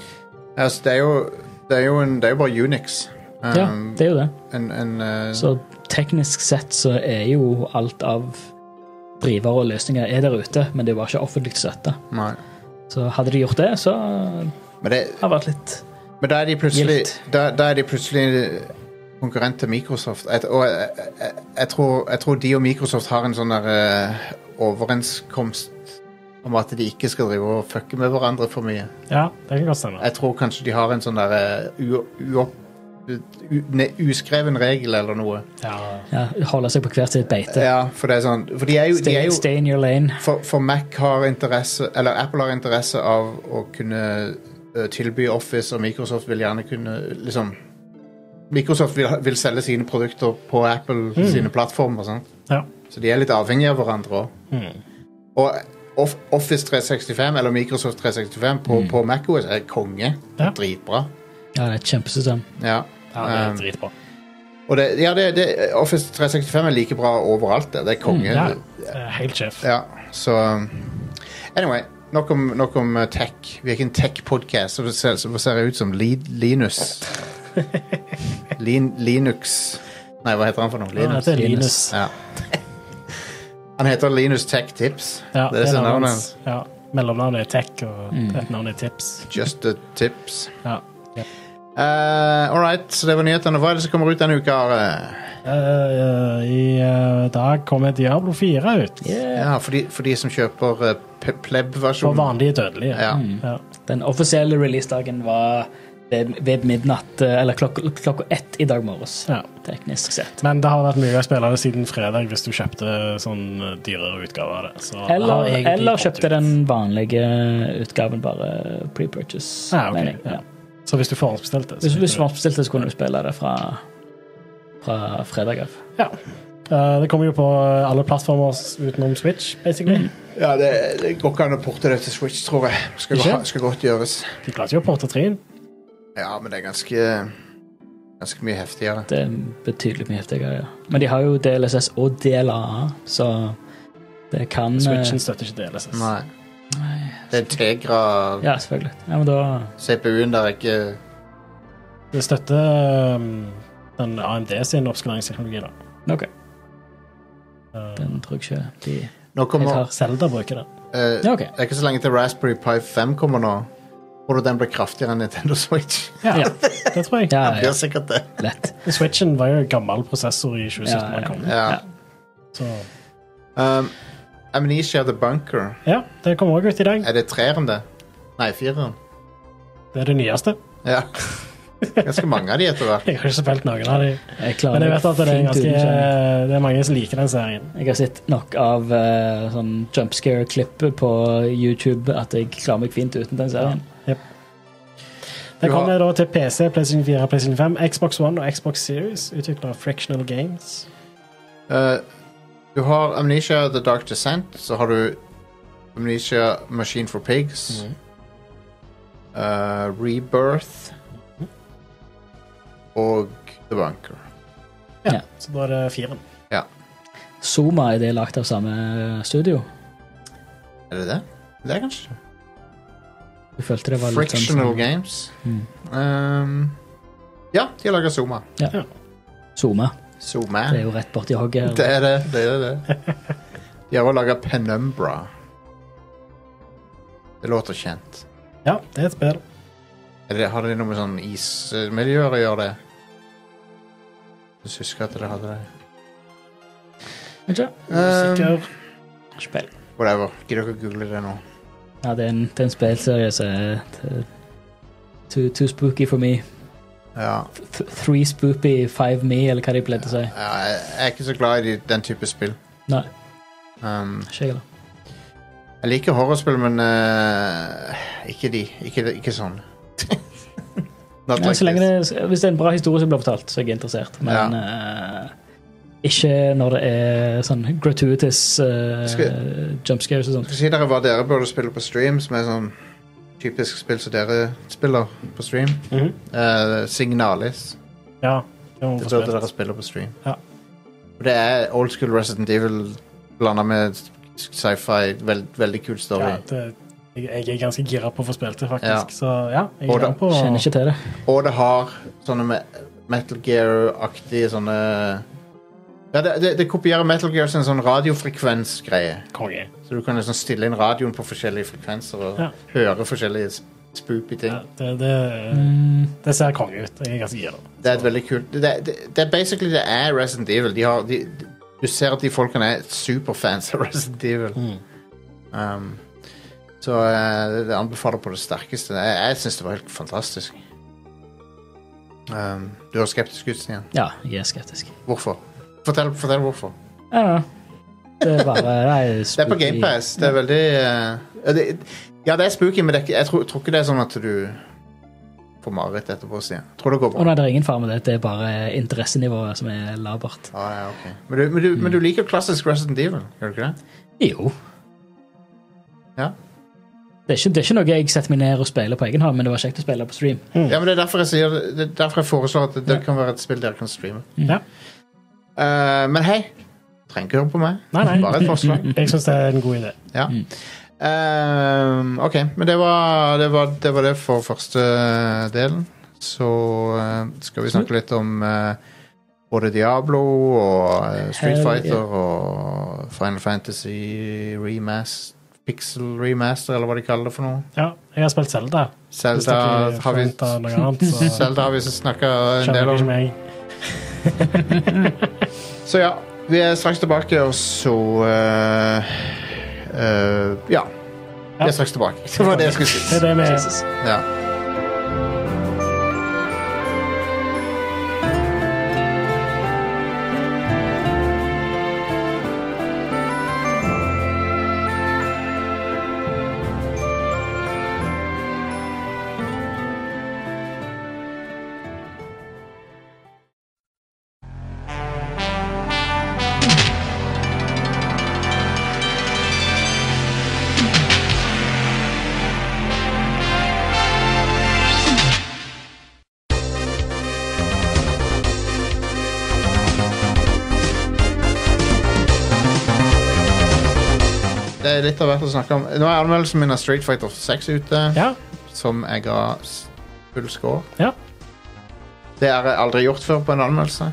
S2: Altså, det er jo Det er jo, en, det er jo bare Unix. Um,
S4: ja, det er jo det.
S2: en, en, eh,
S4: Så teknisk sett så er jo alt av drivere og løsninger er der ute, men det var ikke offentlig støtte.
S2: Nei.
S4: Så hadde de gjort det, så øh,
S2: Men, det,
S4: hadde det vært litt
S2: men da er de plutselig
S4: Gildt.
S2: da, da er de plutselig konkurrent til Microsoft. Jeg, og jeg, jeg, jeg, tror, jeg tror de og Microsoft har en sånn der eh, overenskomst om at de ikke skal drive og fucke med hverandre for mye.
S3: ja, det kan godt stemme.
S2: Jeg tror kanskje de har en sånn der eh, u, uopp- u, ne, uskreven regel eller noe.
S3: Ja.
S4: ja, Holde seg på hvert sitt beite.
S2: Ja, for det er sånn For de er jo, de
S4: Stay,
S2: er jo
S4: stay in your lane.
S2: For, for Mac har interesse Eller Apple har interesse av å kunne ø, tilby Office, og Microsoft vil gjerne kunne liksom Microsoft vil, vil selge sine produkter på Apple
S3: Hmm.
S2: sine plattformer. Sant?
S3: Ja.
S2: Så de er litt avhengige av hverandre òg.
S3: Mm.
S2: Og Off- Office 365 eller Microsoft 365 på, på MacOS er konge. Det
S3: Hmm. Ja.
S2: er Dritbra.
S4: Ja, det er et kjempesystem.
S2: Ja.
S3: ja, det
S2: Um,
S3: er dritbra.
S2: og det, ja, det, det, Office 365 er like bra overalt. Det, det er konge.
S3: Hmm, Ja, det er helt sjef.
S2: Ja, så um, Anyway, nok om, nok om uh, tech. Vi er ikke en tech-podkast, så det ser, så det ser ut som Li Linus. Lin Linux Nei, hva heter han for noe?
S3: Ja,
S2: Linus.
S3: det er Linus.
S2: Ja. Han heter Linus Tech Tips.
S3: Ja,
S2: det er
S3: navnet
S2: navnet.
S3: hans. Mm. Ja. Mellomnavnet er Tech, og et navn er Tips.
S2: Just the tips.
S3: Ja.
S2: Uh, All right, så det var nyhetene. Hva er det som kommer ut denne uka? Are?
S3: Eh, I eh, dag kommer Diablo 4 ut.
S2: Ja, for de, for de som kjøper uh, pe-
S3: For
S2: pleb-versjonen.
S3: vanlige dødelige. Mm.
S2: Ja.
S3: Ja.
S4: Den offisielle releasedagen var ved, ved midnatt, eh, eller klokka, klokka ett i dag morges,
S3: Ja.
S4: teknisk sett.
S3: Men det har vært mye å spille det siden fredag hvis du kjøpte sånn eh, dyrere utgave av det. Så det har
S4: Eller,
S3: egentlig
S4: eller
S3: kommet
S4: kjøpte
S3: ut.
S4: den vanlige utgaven, bare pre-purchase.
S3: Ja, Ah, ok,
S4: mener jeg.
S3: ja.
S4: Ja.
S3: Så hvis du forhåndsbestilte så
S4: Hvis, hvis
S3: vet
S4: du
S3: du-
S4: var bestilt, så kunne du spille det fra, fra fredag av.
S3: Ja. Eh, det kommer jo på alle plattformer s- utenom Switch, basically.
S2: Ja, det, det går ikke an å porte det til Switch, tror jeg. Skal,
S3: Ikke?
S2: skal godt gjøres.
S3: De klarte jo å porte 3
S2: Ja, men det er ganske Ganske mye heftigere.
S4: Det er betydelig mye heftigere, ja. Men de har jo DLSS og DLA, så det kan eh,
S3: Switchen støtter ikke liksom. DLSS.
S2: Nei. Det er Tegra
S4: Ja, selvfølgelig. Ja, men da
S2: CPU-en der er ikke
S3: Det støtter um, den AMD sin oppskaleringsteknologi, da.
S4: OK. Den tror jeg ikke de
S2: Nå kommer
S4: Jeg
S3: Selda bruker det.
S2: eh,
S4: Ja, OK.
S2: Det er ikke så lenge til Raspberry Pi 5 kommer nå. Tror du den blir kraftigere enn Nintendo Switch?
S3: Ja, det tror jeg.
S4: Ja,
S2: Det
S4: ja.
S2: blir sikkert det.
S4: Lett.
S3: Switchen var jo en gammel prosessor i 2017
S4: Ja,
S3: da
S4: ja.
S3: den kom.
S2: Ja.
S3: Så
S2: Um, Amnesia The Bunker.
S3: ja, det kommer òg ut i dag.
S2: Er det treeren, det? Nei, fireren.
S3: Det er det nyeste.
S2: Ja. Ganske mange av de etter hvert.
S3: Jeg har ikke spilt noen av de.
S4: Jeg klarer
S3: Men jeg vet at det er,
S4: fint
S3: ganske, eh,
S4: uten skjerm.
S3: det er mange som liker den serien.
S4: Jeg har sett nok av eh, sånn jumpscare-klipp på YouTube at jeg klarer meg fint uten den serien.
S3: Det
S2: Du har-
S3: kommer da til PC, PlayStation 4, PlayStation 5, Xbox One og Xbox Series, utvikla av Frictional Games.
S2: Eh, du har Amnesia The Dark Descent, så har du Amnesia Machine for Pigs.
S4: Mhm.
S2: eh, Rebirth.
S4: Mhm.
S2: Og The Bunker.
S4: Ja.
S3: Så da er det firen.
S4: Zoma er det lagt av samme studio.
S2: Er det det? Det er kanskje det.
S4: Jeg følte det var litt sånn-
S2: Frictional Games.
S4: Mm.
S2: Um, ja, de har laga Zoma.
S4: Zoma.
S2: Zoma.
S4: Det er jo rett borti hogget.
S2: Det er det. det, er det. De har også laga Penumbra. Det låter kjent.
S3: Ja, det er et spill.
S2: Er det, har det noe med sånn ismiljøer å gjøre, det? Jeg husker at det hadde det.
S4: Ikke?
S2: Um,
S3: Sikker.
S4: Spill.
S2: whatever. Gidder dere å google det nå?
S4: Ja, det er en, det er en spillserie som er t- too, too spooky for me.
S2: Ja.
S4: Th three spoopy, five me, eller hva de pleide å si.
S2: ja. Jeg er ikke så glad i de- den type spill.
S4: Nei,
S2: Um,
S4: ikke jeg, da.
S2: jeg liker horrorspill, men eh, ikke de. Ikke, ikke sånn. Not
S4: Ja,
S2: like
S4: så lenge
S2: this.
S4: det, hvis det er en bra historie som blir fortalt, så er jeg interessert. Men eh, ikke når det er sånn gratuitous uh,
S2: Skal-
S4: jump scares og
S2: Jeg
S4: sånt.
S2: skal si dere hva dere burde spille på stream, som er sånn typisk spill som dere spiller på stream.
S3: Mhm.
S2: Eh, Signalis.
S3: Ja. det må man
S2: Det
S3: få
S2: burde
S3: spilt.
S2: dere spille på stream.
S3: Ja.
S2: Og Det er old school Resident Evil blanda med sci-fi. Veld, veldig kul story.
S3: Ja, det, jeg, jeg er ganske gira på å få spilt det, faktisk.
S2: Ja.
S3: Så ja, jeg
S2: Og
S3: er
S2: da-
S3: gang på
S4: Kjenner ikke til det.
S2: Og det har sånne me Metal Gear-aktige sånne ja, det, det, det kopierer Metal Gear sin sånn radiofrekvensgreie.
S3: konge.
S2: Så du kan liksom stille inn radioen på forskjellige frekvenser og
S3: Ja.
S2: høre forskjellige sp- spoopy ting.
S3: Ja, det, det,
S4: Mm.
S3: det ser konge ut. Jeg er ganske gira.
S2: Det er et veldig kult det, det, det er basically det er Resident Evil. De har, de, du ser at de folkene er superfans av Resident Evil. Um, så eh, det, det anbefaler på det sterkeste. Jeg, jeg syns det var helt fantastisk. Um, du var skeptisk ut, Stian.
S4: Ja, jeg er skeptisk.
S2: Hvorfor? Fortell, fortell hvorfor.
S4: Jeg vet ikke. Det er bare nei,
S2: Det er på
S4: spooky.
S2: GamePass. Det er veldig eh, ja, det, Ja, det er spooky, men det er, ikke- jeg tror, tror ikke det er sånn at du får mareritt etterpå, Stian. Tror det går
S4: Å
S2: bra.
S4: nei, det er ingen fare med det. Det er bare interessenivået som er labert.
S2: Ah, ja, ok. men, du, men, du, men du liker klassisk Resident Evil, gjør du ikke det?
S4: Jo.
S2: Ja.
S4: Det er, ikke, det er ikke noe jeg setter meg ned og spiller på egen hånd, men det var kjekt å spille på stream.
S2: Ja, men Det er derfor jeg, sier, det er derfor jeg foreslår at det, det kan være et spill dere kan streame.
S3: Ja.
S2: Eh, men hei, trenger ikke høre på meg.
S3: Nei, nei.
S2: Bare et forslag.
S3: Jeg syns det er en god idé.
S2: Ja. Eh, ok, men det var, det var det var det for første delen. Så eh, skal vi snakke litt om eh, både Diablo og eh, Street
S4: Hell,
S2: Fighter
S4: ja.
S2: og Final Fantasy remaster, Pixel remaster, eller hva de kaller det for noe.
S3: Ja, jeg har spilt Zelda. Hvis
S2: Zelda
S3: dere
S2: har vi,
S3: forventer noe annet, så
S2: Zelda har vi snakka en
S3: skjønner
S2: del
S3: dere
S2: om.
S3: ikke meg.
S2: Så ja, vi er straks tilbake, og så eh, eh, Ja. Vi er straks tilbake. Det var det jeg skulle si.
S3: Det er det vi
S4: Jesus.
S2: Ja.
S7: Thank
S2: det er litt av hvert å snakke om. Nå er anmeldelsen min av Street Fighter 6 ute,
S3: Ja,
S2: som jeg ga s- full score.
S3: ja.
S2: Det har jeg aldri gjort før på en anmeldelse.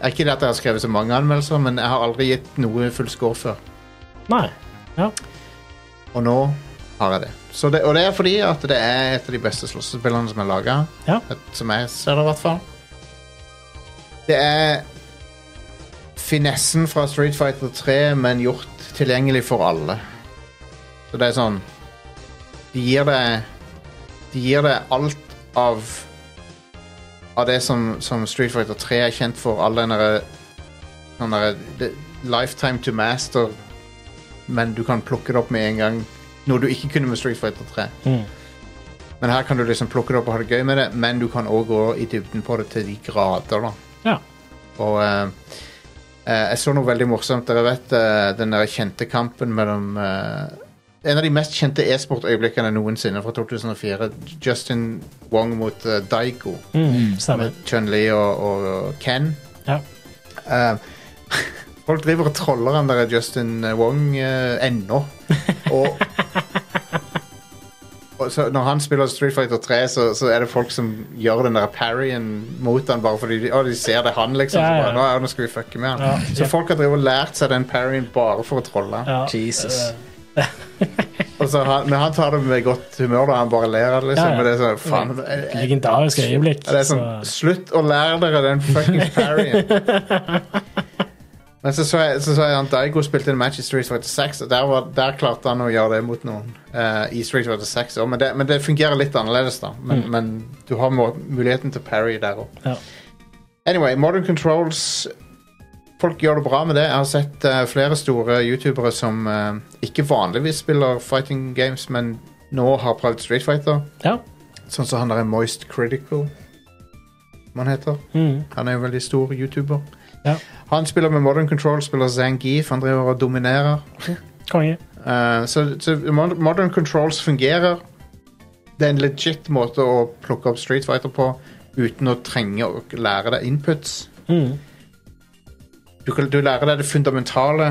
S2: Er Ikke det at jeg har skrevet så mange anmeldelser, men jeg har aldri gitt noe full score før.
S3: Nei. Ja.
S2: Og nå har jeg det. Så det. Og det er fordi at det er et av de beste slåssespillene som er laga.
S3: Ja.
S2: Som jeg ser det, i hvert fall. Det er finessen fra Street Fighter 3, men gjort tilgjengelig for alle. Så det er sånn De gir deg De gir deg alt av Av det som, som Street Fighter 3 er kjent for. All den derre sånn derre det- Lifetime to master men du kan plukke det opp med en gang. Noe du ikke kunne med Street Fighter 3. Men her kan du liksom plukke det opp og ha det gøy med det, men du kan òg gå i dybden på det til de grader, da.
S3: ja.
S2: Og eh, eh, jeg så noe veldig morsomt. Dere vet eh, den der kjente kampen mellom eh, En av de mest kjente e-sportøyeblikkene noensinne fra 2004. Justin Wong mot eh, Daiko.
S3: Mm, stemmer.
S2: Chun-Li og, og, og Ken.
S3: Ja.
S2: Eh, folk driver og troller han der Justin Wong eh, ennå. Og, og så når han spiller Street Fighter 3, så, så er det folk som gjør den der parryen mot han bare fordi de, å, de ser det er han, liksom.
S3: Ja, ja.
S2: Så bare, nå, ja, nå skal vi fucke med han.
S3: Ja.
S2: Så folk har drevet og lært seg den parryen bare for å trolle.
S3: ja. Eh,
S4: Jesus.
S2: Og så han, men han tar det med godt humør, da. Han bare ler av det, liksom.
S3: Ja, ja.
S2: Men det er sånn, faen, jeg- jeg-
S3: Legendarisk øyeblikk.
S2: Ja, Det er sånn,
S3: så-
S2: Slutt å lære dere den fucking parryen. Men så så jeg, så så jeg han Daigo spilte en match i Street Fighter 6, og der, var, der klarte han å gjøre det mot noen. eh, I Street Fighter 6 også, men, det, men det fungerer litt annerledes, da.
S3: Mm.
S2: Men, men du har må, muligheten til parry der òg.
S3: Ja.
S2: Anyway, Modern Controls Folk gjør det bra med det. Jeg har sett eh, flere store youtubere som eh, ikke vanligvis spiller fighting games, men nå har prøvd Street Fighter.
S3: ja.
S2: Sånn som han der er Moist Critical, som han heter.
S3: Mm.
S2: Han er en veldig stor YouTuber.
S3: Ja.
S2: Han spiller med Modern Control, spiller Zangief, han driver og dominerer.
S3: Konge.
S2: Eh, så, så Mod- Modern Controls fungerer. Det er en legit måte å plukke opp Street Fighter på uten å trenge å lære deg inputs.
S3: Mm.
S2: Du, kan, du lærer deg det fundamentale,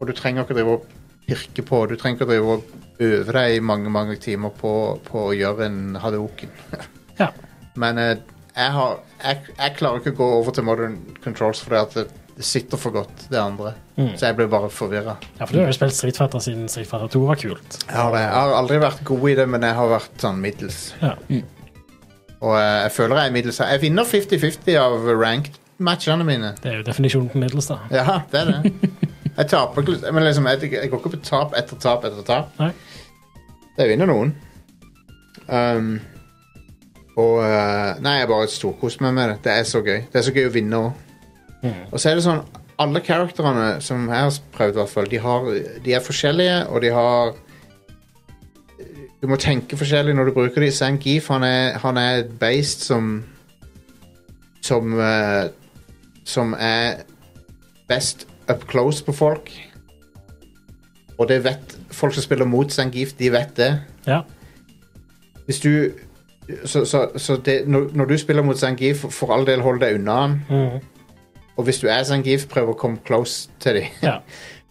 S2: og du trenger ikke drive og pirke på. Du trenger ikke drive og øve deg i mange mange timer på, på å gjøre en hadoken.
S3: Ja.
S2: Men eh, jeg, har, jeg, jeg klarer ikke å gå over til Modern Controls fordi at det, det sitter for godt, det andre. Så jeg blir bare forvirra.
S3: ja, for du har jo spilt Street Fighter siden Street Fighter 2 var kult.
S2: Jeg, har det. jeg har aldri vært god i det, men jeg har vært sånn middels.
S3: Ja.
S4: Mm.
S2: Og eh, jeg føler jeg er middels. Jeg vinner 50-50 av ranked-matchene mine.
S3: Det er jo definisjonen på middels, da.
S2: Ja, det er det. Jeg taper ikke Men liksom, jeg, jeg går ikke på tap etter tap etter tap.
S3: Nei.
S2: Jeg vinner noen. Um, og eh, Nei, jeg bare storkoser meg med det. Det er så gøy. Det er så gøy å vinne òg. Og så er det sånn Alle karakterene som jeg har prøvd, i hvert fall, de, har, de er forskjellige, og de har Du må tenke forskjellig når du bruker dem. Sam Geef, han er, han er et beist som Som eh, Som er best up close på folk. Og det vet folk som spiller mot Zangief, de vet det.
S3: Ja.
S2: Hvis du Så, så, så det, når, når du spiller mot Zangief, for all del, hold deg unna han.
S3: Mm.
S2: Og hvis du er Zangief, prøv å komme close til dem.
S3: ja.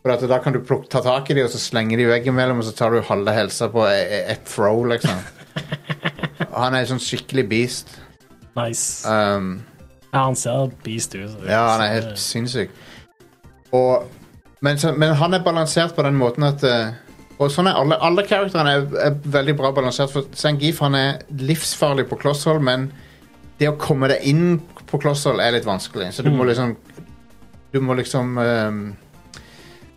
S2: For at da kan du plukke, ta tak i dem, og så slenge dem veggimellom, og så tar du halve helsa på e- e- ett throw, liksom. Og han er en sånn skikkelig beast.
S3: Nice.
S2: Um,
S3: Ja, han ser beast ut. så- eh,
S2: Ja, han er helt sinnssyk. Og, men, så, men han er balansert på den måten at eh, Og sånn er alle, alle karakterene er, er veldig bra balansert. For Zangief han er livsfarlig på klosshold, men det å komme deg inn på klosshold er litt vanskelig. Så
S3: Mm.
S2: du må liksom Du må liksom eh,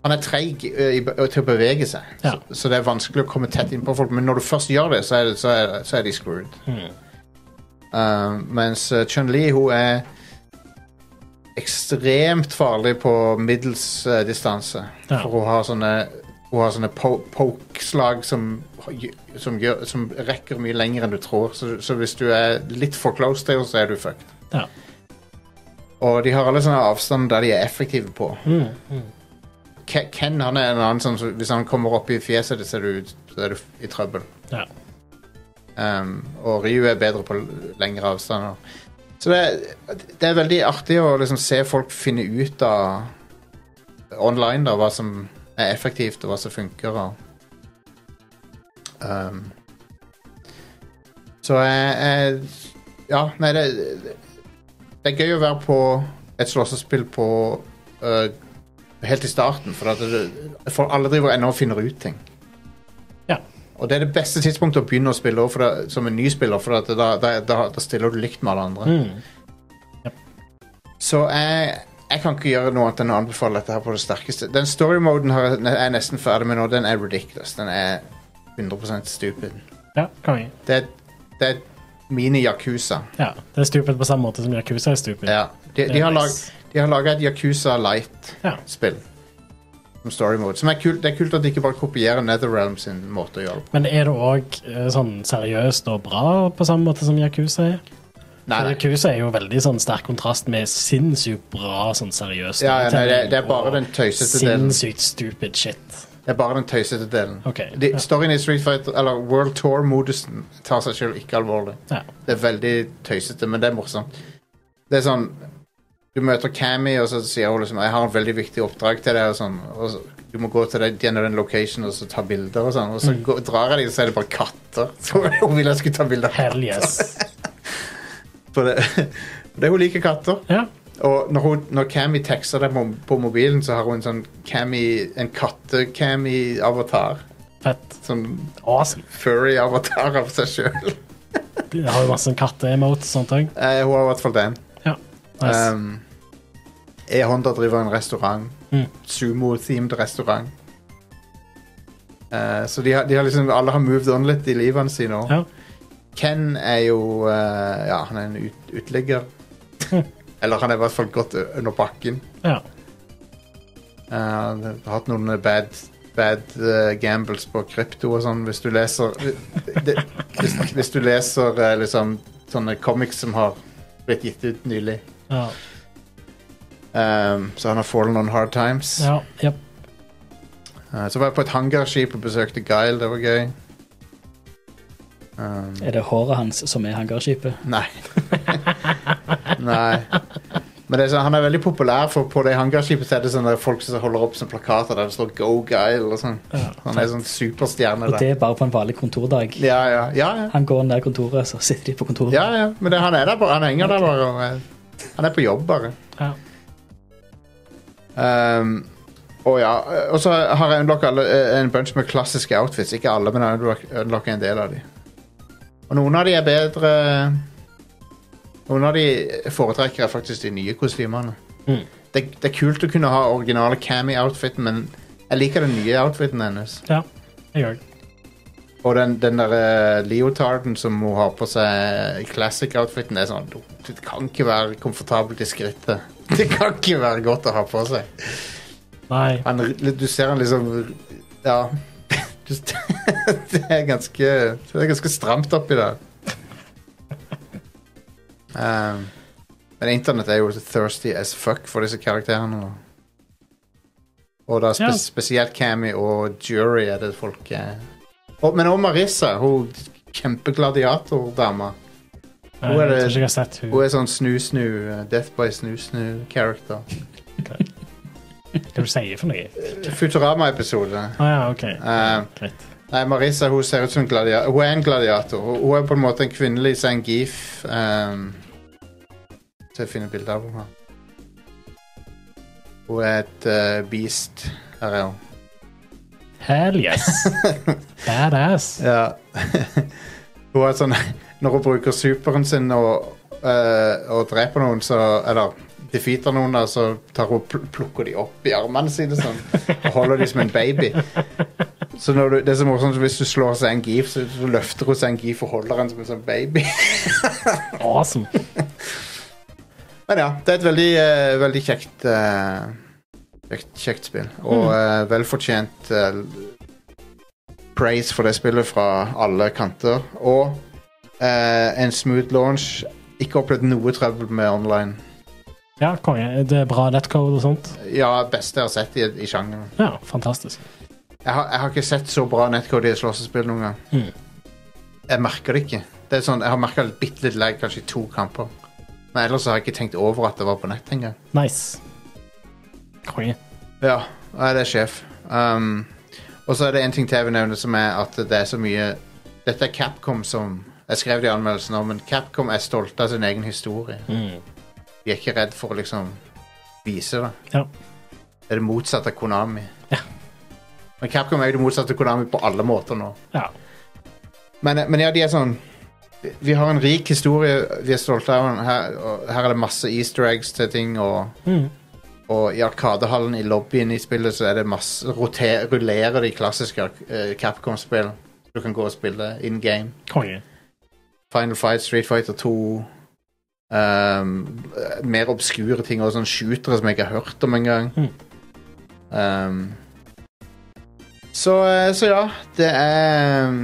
S2: Han er treig eh, i be- til å bevege seg,
S3: Ja.
S2: så, så det er vanskelig å komme tett innpå folk. Men når du først gjør det, så er, det, så er, så er de screwed.
S3: Mm.
S2: Eh, mens eh, Chun-Li, hun er ekstremt farlig på middels eh, distanse.
S3: Ja.
S2: For hun har sånne hun har sånne po poke-slag som, som, gjør- som rekker mye lenger enn du tror. Så, så hvis du er litt for close til henne, så er du fucked.
S3: Ja.
S2: Og de har alle sånne avstander der de er effektive på. Ke- Ken han er en annen sånn som Hvis han kommer opp i fjeset ditt, så er du, så er du i trøbbel.
S3: Ja.
S2: Um, og Ryu er bedre på l- lengre avstander. Så det er, det er veldig artig å liksom se folk finne ut av online da, hva som er effektivt, og hva som funker. Og, um, så jeg, jeg Ja, nei, det, det det er gøy å være på et slåssespill på øh, Helt i starten, for, at det, for alle driver ennå og finner ut ting.
S3: Ja.
S2: Og det er det beste tidspunktet å begynne å spille også for da- som en ny spiller, for at da, da, da, da stiller du likt med alle andre.
S3: Mm.
S2: Så jeg, jeg kan ikke gjøre noe annet enn å anbefale dette her på det sterkeste. Den story-moden har jeg- er jeg nesten ferdig med nå. Den er ridiculous. Den er 100 stupid.
S3: Ja, konge.
S2: Det er, det er mini-Yakuza.
S3: Ja, det er stupid på samme måte som Yakuza er stupid.
S2: Ja. De, de, har lag,
S3: nice.
S2: de har laga et Yakuza Light
S3: Ja.
S2: spill som story mode. Som er kult, det er kult at de ikke bare kopierer Netherrealm sin måte å gjøre det på.
S3: Men er det òg sånn seriøst og bra på samme måte som Yakuza er?
S2: Nei,
S3: For
S2: nei.
S3: Yakuza er jo veldig sånn sterk kontrast med sinnssykt bra sånn seriøst.
S2: Ja, ja, nei, det- det er bare
S3: og
S2: den tøysete delen.
S3: Sinnssykt stupid shit.
S2: Det er bare den tøysete delen.
S3: Ok,
S2: De,
S3: ja.
S2: storyen i Street Fighter, eller World Tour-modusen tar seg selv ikke alvorlig.
S3: Ja.
S2: Det er veldig tøysete, men det er morsomt. Det er sånn Du møter Cammy, og så sier hun liksom 'Jeg har en veldig viktig oppdrag til deg', og sånn. Og så, du må gå til den, den og den location og så ta bilder og sånn. Og
S3: Mm.
S2: så går, drar jeg dit, og så er det bare katter. Så hun ville jeg skulle ta bilder. av
S3: Hell yes.
S2: For det, det er hun liker katter.
S3: Ja.
S2: Og når, hun, når Cammy tekster deg på, på mobilen, så har hun en sånn Cammy, en katte-Cammy-avatar.
S3: Fett.
S2: Sånn
S3: Awesome.
S2: furry-avatar av seg sjøl.
S3: Jeg har jo masse sånn katte-emotes og sånne ting.
S2: Eh, hun har i hvert fall den.
S3: Ja. Nice.
S2: Um, E-Honda driver en restaurant.
S3: Mm.
S2: Sumo-themed restaurant. Eh, så de har, de har liksom alle har moved on litt i livene sine òg.
S3: Ja.
S2: Ken er jo eh, Ja, han er en ut, uteligger.
S3: Mm.
S2: Eller han er i hvert fall godt ø- under bakken.
S3: ja.
S2: Eh, Han har hatt noen eh, bad, bad eh, gambles på krypto og sånn. Hvis du leser det, hvis, hvis du leser eh, liksom sånne comics som har blitt gitt ut nylig.
S3: Ja.
S2: Um, så han har fallen on hard times.
S3: ja. Jep.
S2: Uh, så var jeg på et hangarskip og besøkte Guile. Det var gøy. Um,
S4: Er det håret hans som er hangarskipet?
S2: nei. nei. Men det er sånn, han er veldig populær, for på det hangarskipet så er det sånne folk som holder opp som plakater der det står 'Go Guile' og sånn. Han er sånn superstjerne
S4: Og det
S2: der.
S4: er bare på en vanlig kontordag.
S2: Ja, ja, ja, ja.
S4: Han går ned kontoret, så sitter de på kontoret.
S2: ja, ja. Men det, han er der bare. Han henger der bare. Og, eh, han er på jobb, bare.
S3: Ja.
S2: Um, og ja, og så har jeg unlocka alle- eh, en bunch med klassiske outfits. Ikke alle, men jeg har unlocka en del av dem. Og noen av de er bedre Noen av de foretrekker jeg faktisk de nye kostymene.
S3: Mm.
S2: Det, det er kult å kunne ha originale Cammy-outfiten, men jeg liker den nye outfiten hennes.
S3: ja. Jeg òg.
S2: Og den, den der eh, leotarden som hun har på seg i classic-outfiten, er sånn Det kan ikke være komfortabelt i skrittet. Det kan ikke være godt å ha på seg.
S3: Nei.
S2: Han, du ser han liksom Ja. Du- Det er ganske Det er ganske stramt oppi der. Um, men internett er jo thirsty as fuck for disse karakterene. nå. Og da spe
S3: Ja.
S2: spesielt Cammy og Jury er det folk er og, Men også Marissa, hun kjempegladiatordama.
S3: Nei,
S2: Hun er
S3: Jeg tror
S2: det-
S3: ikke jeg har sett hun.
S2: Hun er sånn snu-snu, uh, Death by snu-snu-character.
S3: Hva er det du sier for noe?
S2: Futurama-episode.
S3: Å ja, OK.
S2: Um,
S3: Greit.
S2: Nei, Marissa hun ser ut som en gladiator. Hun er en gladiator. Hun hun er på en måte en kvinnelig Zangief. Um, så jeg finner bilde av henne. Hun er et eh, beast. Her er hun.
S3: Hell yes. Badass.
S2: Ja. hun er sånn Når hun bruker superen sin og, eh, og dreper noen, så Eller defeater noen, da, så tar hun, pl- plukker de opp i armene sine sånn, og holder de som en baby. Så når du, det er så morsomt, Hvis du slår Zangief, så, så løfter hun Zangief og holder henne som en sånn baby.
S3: Awesome.
S2: Men ja, det er et veldig, eh, veldig kjekt, eh, kjekt Kjekt spill. Og eh, velfortjent eh, praise for det spillet fra alle kanter. Og eh, en smooth launch. Ikke opplevd noe trøbbel med online.
S3: Ja, konge. Det er bra netcode og sånt.
S2: Ja, beste jeg har sett i, i sjangeren.
S3: Ja, fantastisk.
S2: Jeg har, jeg har ikke sett så bra nettkode i et slåssespill noen gang.
S3: Mhm.
S2: Jeg merker det ikke. Det er sånn, Jeg har merka bitte litt lag kanskje i to kamper. Men ellers så har jeg ikke tenkt over at det var på nett engang.
S3: Nice. Konge.
S2: Ja, nei, det er sjef. Eh, Um, og så er det en ting til jeg vil nevne, som er at det er så mye Dette er Capcom som Jeg skrev det i anmeldelsen òg, men Capcom er stolte av sin egen historie. De er ikke redd for å liksom vise det.
S3: Ja.
S2: Det er det motsatte av Konami.
S3: Ja.
S2: Men Capcom er jo det motsatte av Konami på alle måter nå.
S3: ja.
S2: Men, men ja, de er sånn vi- Vi har en rik historie vi er stolte av. den. Her, og her er det masse easter eggs til ting. Og, og i Arkadehallen i lobbyen i spillet så er det masse roter, rullerer de klassiske eh, Capcom-spillene. Du kan gå og spille in game.
S3: Konge.
S2: Final Fight, Street Fighter 2 um, Mer obskure ting og sånn shootere som jeg ikke har hørt om engang. Um, så, eh, så ja, det er um,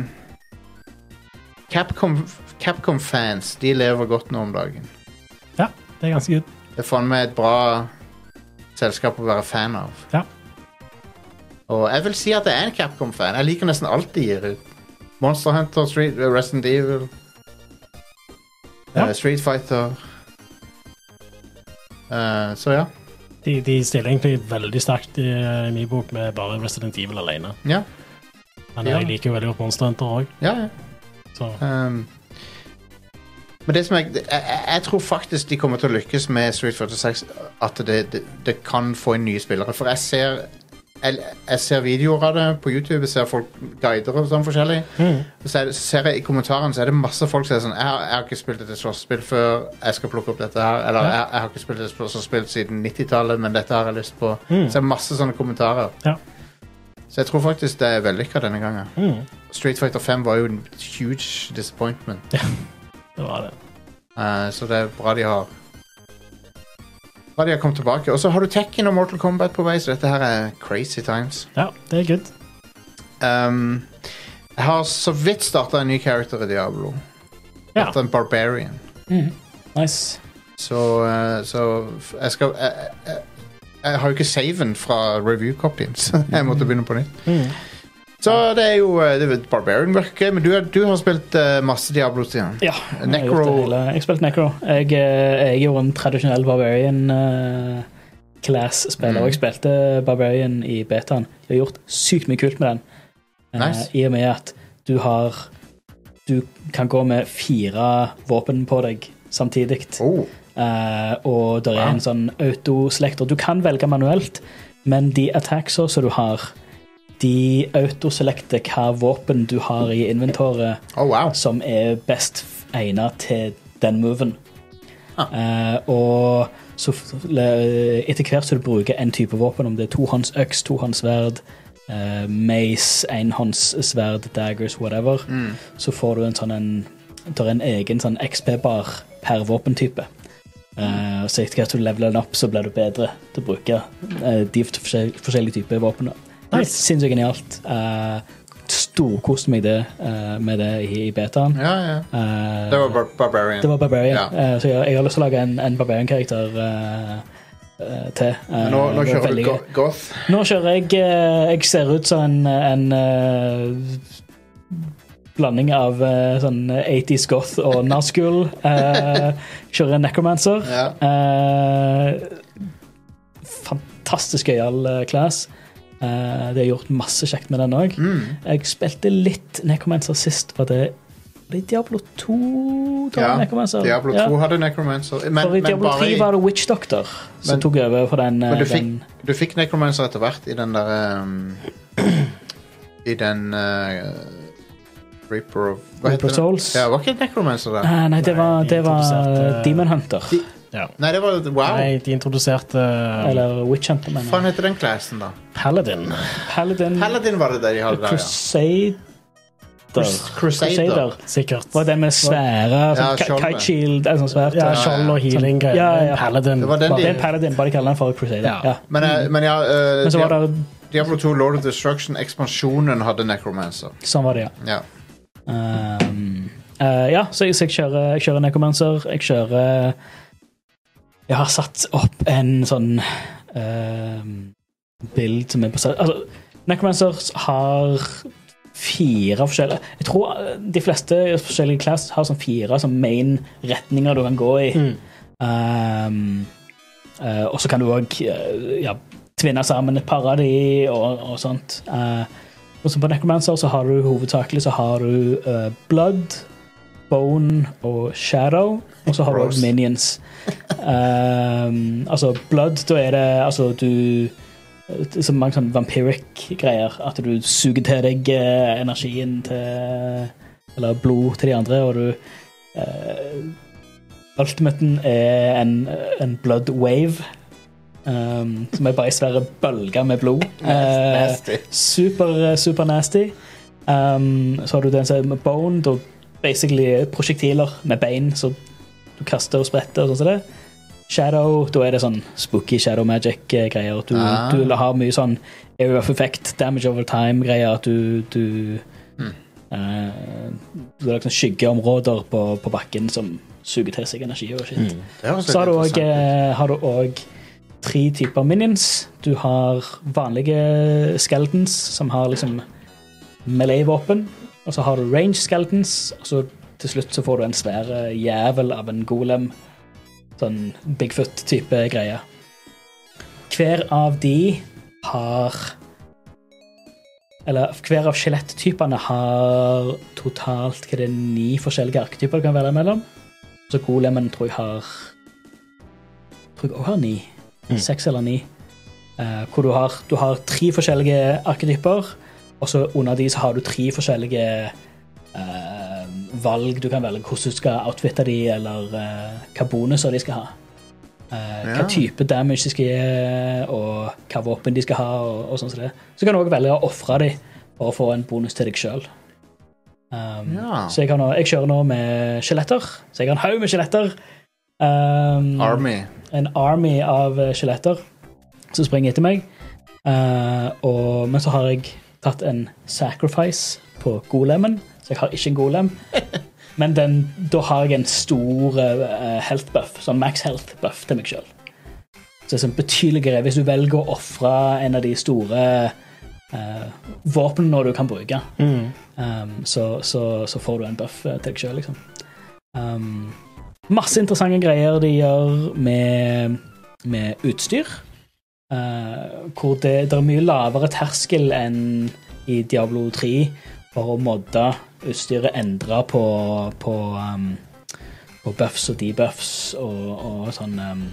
S2: Capcom, Capcom-fans de lever godt nå om dagen.
S3: Ja, det er ganske good.
S2: Det er faen meg et bra selskap å være fan av.
S3: Ja.
S2: Og jeg vil si at jeg er en Capcom-fan. Jeg liker nesten alt de gir ut. Monster Hunter, Street, eh, Resident Evil
S3: Ja.
S2: eh, Street Fighter Eh, Så ja.
S3: De, de stiller egentlig veldig sterkt i eh, min bok med bare Resident Evil alene.
S2: Ja,
S3: Men
S2: Ja.
S3: jeg liker jo veldig godt Monster Hunter òg,
S2: ja, ja.
S3: så
S2: Ehm, men det som jeg, jeg, jeg- jeg tror faktisk de kommer til å lykkes med Street Fighter 6. At det, det, det kan få inn nye spillere. For jeg ser jeg, jeg ser videoer av det på YouTube, jeg ser folk guider og sånn forskjellig. Og Så er det- så ser jeg i kommentarene så er det masse folk som er sånn jeg, har- 'Jeg har ikke spilt et slåsspill før. Jeg skal plukke opp dette her.' Eller jeg, 'Jeg har ikke spilt et slåsspill siden 90-tallet, men dette har jeg lyst på.' Så det er masse sånne kommentarer.
S3: Ja.
S2: Så jeg tror faktisk det er vellykka denne gangen.
S3: mm,
S2: Street Fighter 5 var jo en huge disappointment.
S3: det var det.
S2: Eh, så det er bra de har Bra de har kommet tilbake. Og så har du Tekken og Mortal Kombat på vei, så dette her er crazy times.
S3: Ja, det er good.
S2: Um, jeg har så vidt starta en ny character i Diablo.
S3: Ja.
S2: Startet En barbarian.
S4: Nice.
S2: Så, eh, så f- jeg skal jeg, jeg, jeg har jo ikke saven fra review-copyen, så jeg måtte begynne på nytt. Så det er jo eh, det er jo- Barbarian virker gøy, men du, er- du har spilt eh, masse Diablo, Stian.
S4: Ja. jeg har
S2: Necro.
S4: gjort det hele. Jeg spilte Necro. Jeg, eh, jeg er jo en tradisjonell Barbarian eh, class-spiller.
S2: Mm.
S4: og Jeg spilte Barbarian i betaen. Jeg har gjort sykt mye kult med den. Eh,
S2: Nice.
S4: I og med at du har Du kan gå med fire våpen på deg samtidig.
S2: Oh.
S4: Eh, og det er
S2: Wow.
S4: en sånn autoselektor. Du kan velge manuelt, men de attackser som du har, de autoselekter hva våpen du har i inventoret
S2: Oh, wow.
S4: som er best f- egnet til den moven.
S2: Ah.
S4: Eh, og så f- le- etter hvert som du bruker en type våpen, om det er tohåndsøks, tohåndssverd, eh, mace, enhåndssverd, daggers, whatever,
S2: Mm.
S4: så får du en sånn en, der er en egen sånn XP-bar per våpentype. Eh, og så etter hvert som du leveler den opp, så blir du bedre til å bruke eh, de f- forskjell- forskjellige typer våpen. da.
S3: Nice.
S4: Sinnssykt genialt. Eh, Storkoste meg det eh, med det i, i betaen.
S2: Ja, ja.
S4: Eh,
S2: Det var bar Barbarian.
S4: det var Barbarian.
S2: Ja.
S4: Eh, så jeg, jeg har lyst til å lage en, en Barbarian-karakter eh, eh, til. Eh,
S2: Men nå, nå
S4: det er
S2: kjører du
S4: veldig
S2: go
S4: gøy.
S2: goth.
S4: Nå kjører jeg eh, Jeg ser ut som en, en eh, blanding av eh, sånn 80s goth og Nazgul. Eh, kjører en necromancer.
S2: Ja.
S4: Eh, fantastisk gøyal eh, class. Eh, det er gjort masse kjekt med den òg.
S2: Mm.
S4: Jeg spilte litt Necromancer sist. Var det var det Diablo 2? da,
S2: Ja,
S4: Necromancer?
S2: Diablo 2
S4: Ja.
S2: hadde Necromancer. Men,
S4: For i
S2: men,
S4: Diablo
S2: bare
S4: 3
S2: i,
S4: var det Witch Doctor som
S2: Men-
S4: tok over for den. eh,
S2: men du, fikk,
S4: den
S2: du fikk Necromancer etter hvert i den derre um, I den eh, Reaper of Hva heter
S4: Reaper of
S2: det?
S4: Souls.
S2: Ja, var ikke det Necromancer der?
S4: Eh, nei, det var,
S3: de
S4: det var
S3: introduserte-
S4: Demon Hunter.
S2: De-
S3: Ja.
S2: Nei, det var Wow.
S3: Nei, de introduserte um,
S4: Eller Witch Hunter,
S2: Hva
S4: mener
S2: faen
S4: jeg.
S2: heter den classen, da?
S3: Paladin.
S4: Paladin,
S2: Paladin var det det de hadde der, ja.
S4: Crusader.
S2: Crus- Crusader.
S3: Sikkert.
S4: Var den med svære
S2: Ja,
S4: sånn, ka-
S2: skjold.
S4: kite shield eller sånn svært.
S3: Ja,
S4: eh,
S3: skjold og healing-greier.
S4: Ja, ja, ja.
S3: Paladin.
S2: Det var den
S4: Det er en
S2: de
S4: Paladin, bare de kaller den for Crusader.
S3: Ja.
S4: Ja.
S2: Men, eh, men ja, eh,
S4: Men så var
S2: Dia-
S4: det
S2: Diablo 2 Lord of Destruction, ekspansjonen, hadde Necromancer.
S4: Sånn var det, ja.
S2: Ja.
S4: Um, eh, ja, så jeg, så jeg kjører, jeg kjører Necromancer. Jeg kjører Jeg har satt opp en sånn um, bild som er på altså, Necromancer har fire forskjellige Jeg tror eh, de fleste forskjellige class har sånn fire sånn main retninger du eh, kan gå i. Um, eh, og så kan du òg ja, tvinne sammen et par av de og, og sånt. Eh, og så på Necromancer så har du hovedsakelig så har du eh, Blood, Bone og Shadow. Og så har du
S2: Gross.
S4: også Minions. Ehm, altså Blood, da er det altså du det er så mange sånn vampiric-greier. At du suger til deg eh, energien til Eller blod til de andre, og du eh, Ultimaten er en, en blood wave. ehm, som er bare ei svære bølge med blod. Eh,
S2: Nasty.
S4: super, super nasty. Ehm, så har du den som er med bone, da basically prosjektiler med bein som du kaster og spretter. og sånn som det. Shadow, da er det sånn spooky shadow magic-greier. Du,
S2: Ah.
S4: du har mye sånn area of effect, damage over time-greier. At du, du eh, Du har liksom skyggeområder på, på bakken som suger til seg energi og shit.
S2: Det høres
S4: Så har du
S2: litt interessant ut.
S4: også, eh, har du òg tre typer minions. Du har vanlige skeletons som har liksom melee-våpen. Og så har du range skeletons, og så til slutt så får du en svær eh, jævel av en golem. Sånn Bigfoot-type greie. Hver av de har Eller hver av skjeletttypene har totalt hva det er, ni forskjellige arketyper du kan velge mellom. Så golemen tror jeg har Tror jeg også har ni.
S2: Mm.
S4: Seks eller ni. Eh, hvor du har, du har tre forskjellige arketyper, og så under de så har du tre forskjellige eh, valg du kan velge hvordan du skal outfitte de, eller eh, hva bonuser de skal ha. Eh,
S2: Ja.
S4: Hva type damage de skal gi, og hva våpen de skal ha. og, og sånn som det. Så kan du òg velge å ofre de for å få en bonus til deg sjøl. Um,
S2: Ja.
S4: Så jeg, har nå, jeg kjører nå med skjeletter. Så jeg har en haug med skjeletter. Um,
S2: Army.
S4: En army av eh, skjeletter som springer etter meg. Eh, og, men så har jeg tatt en sacrifice på golemen, så jeg har ikke en golem. Men den, da har jeg en stor eh, health buff, sånn max health buff til meg sjøl. Så det er sånn betydelig greie. Hvis du velger å ofre en av de store eh, våpnene du kan bruke, um, så, så, så får du en buff eh, til deg sjøl, liksom. Um, masse interessante greier de gjør med, med utstyr. eh, hvor det, det er mye lavere terskel enn i Diablo 3 for å modde utstyret, endre på, på, um, på buffs og debuffs og, og sånne um,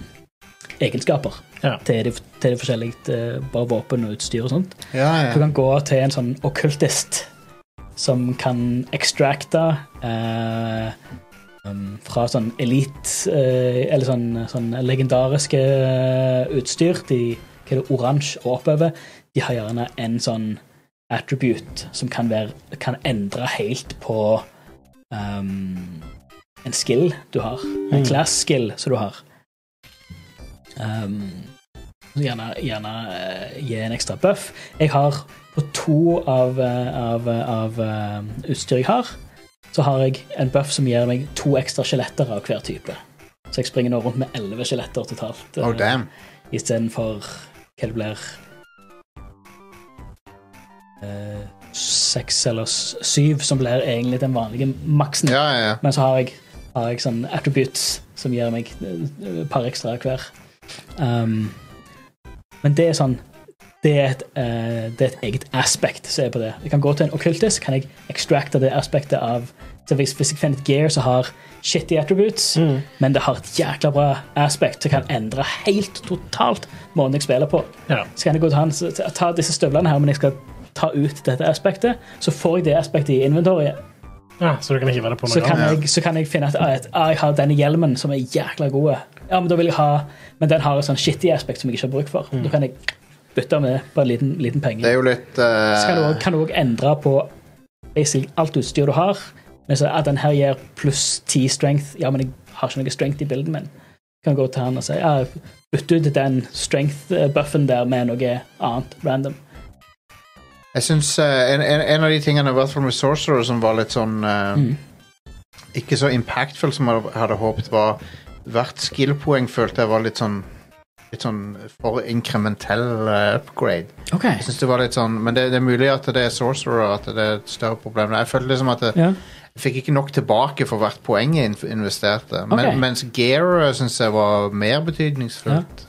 S4: egenskaper
S3: Ja.
S4: til de, til de forskjellige eh, bare våpen og utstyr og sånt.
S2: Ja,
S4: Du
S2: ja.
S4: kan gå til en sånn okkultist som kan extracte eh, um, fra sånn elite eh, Eller sånn, sånn legendariske eh, utstyr. De, hva er det, oransje og oppover. De har gjerne en sånn attribute som kan, være, kan endre helt på um, en skill du har. En class skill som du har. Um, så gjerne, gjerne eh, gi en ekstra buff. Jeg har på to av, eh, av, eh, av eh, utstyr jeg har, så har jeg en buff som gir meg to ekstra skjeletter av hver type. Så jeg springer nå rundt med elleve skjeletter totalt. eh,
S2: Oh, damn.
S4: istedenfor hva det blir eh, Seks eller s- syv, som blir egentlig den vanlige maksen.
S2: Ja, ja, ja.
S4: Men så har jeg, har jeg sånn attributes som gir meg eh, et par ekstra hver. Um, men det er sånn det er, et, eh, det er et eget aspekt som er på det. Jeg kan gå til en okkultist, kan jeg extracte det aspektet av så hvis, hvis jeg finner et gear som har shitty attributes, men det har et jækla bra aspekt som kan endre helt totalt måten jeg spiller på,
S3: Ja.
S4: så kan jeg gå til han så- så- ta disse støvlene her, men jeg skal ta ut dette aspektet, så får jeg det aspektet i inventoriet
S3: ja, så du kan hive det på
S4: så
S3: noe
S4: kan,
S3: annet.
S4: jeg, så kan jeg finne at, at ah, jeg har denne hjelmen som er jækla god. Ja, men da vil jeg ha Men den har et sånn shitty aspekt som jeg ikke har bruk for. Da kan jeg bytte med på en liten, liten penge.
S2: Det er jo litt eh,
S4: Så kan du også- kan du òg endre på basically alt utstyr du har. Men så at den her gir pluss 10 strength Ja, men jeg har ikke noe strength i bilden min. Kan gå til han og si ja, bytt ut den strength-buffen der med noe annet random.
S2: Jeg syns en, en, en av de tingene i hvert fall med Sorcerer som var litt sånn eh,
S4: Mm.
S2: Ikke så impactful som jeg hadde håpet, var hvert skill-poeng følte jeg var litt sånn Litt sånn for inkrementell eh, upgrade.
S4: Okay.
S2: Jeg synes det var litt sånn, Men det, det er mulig at det er Sorcerer at det er et større problem. Jeg følte liksom at det,
S4: Ja.
S2: jeg fikk ikke nok tilbake for hvert poeng jeg inv- investerte. Men,
S4: Ok.
S2: Mens Gearer syns jeg var mer betydningsfullt.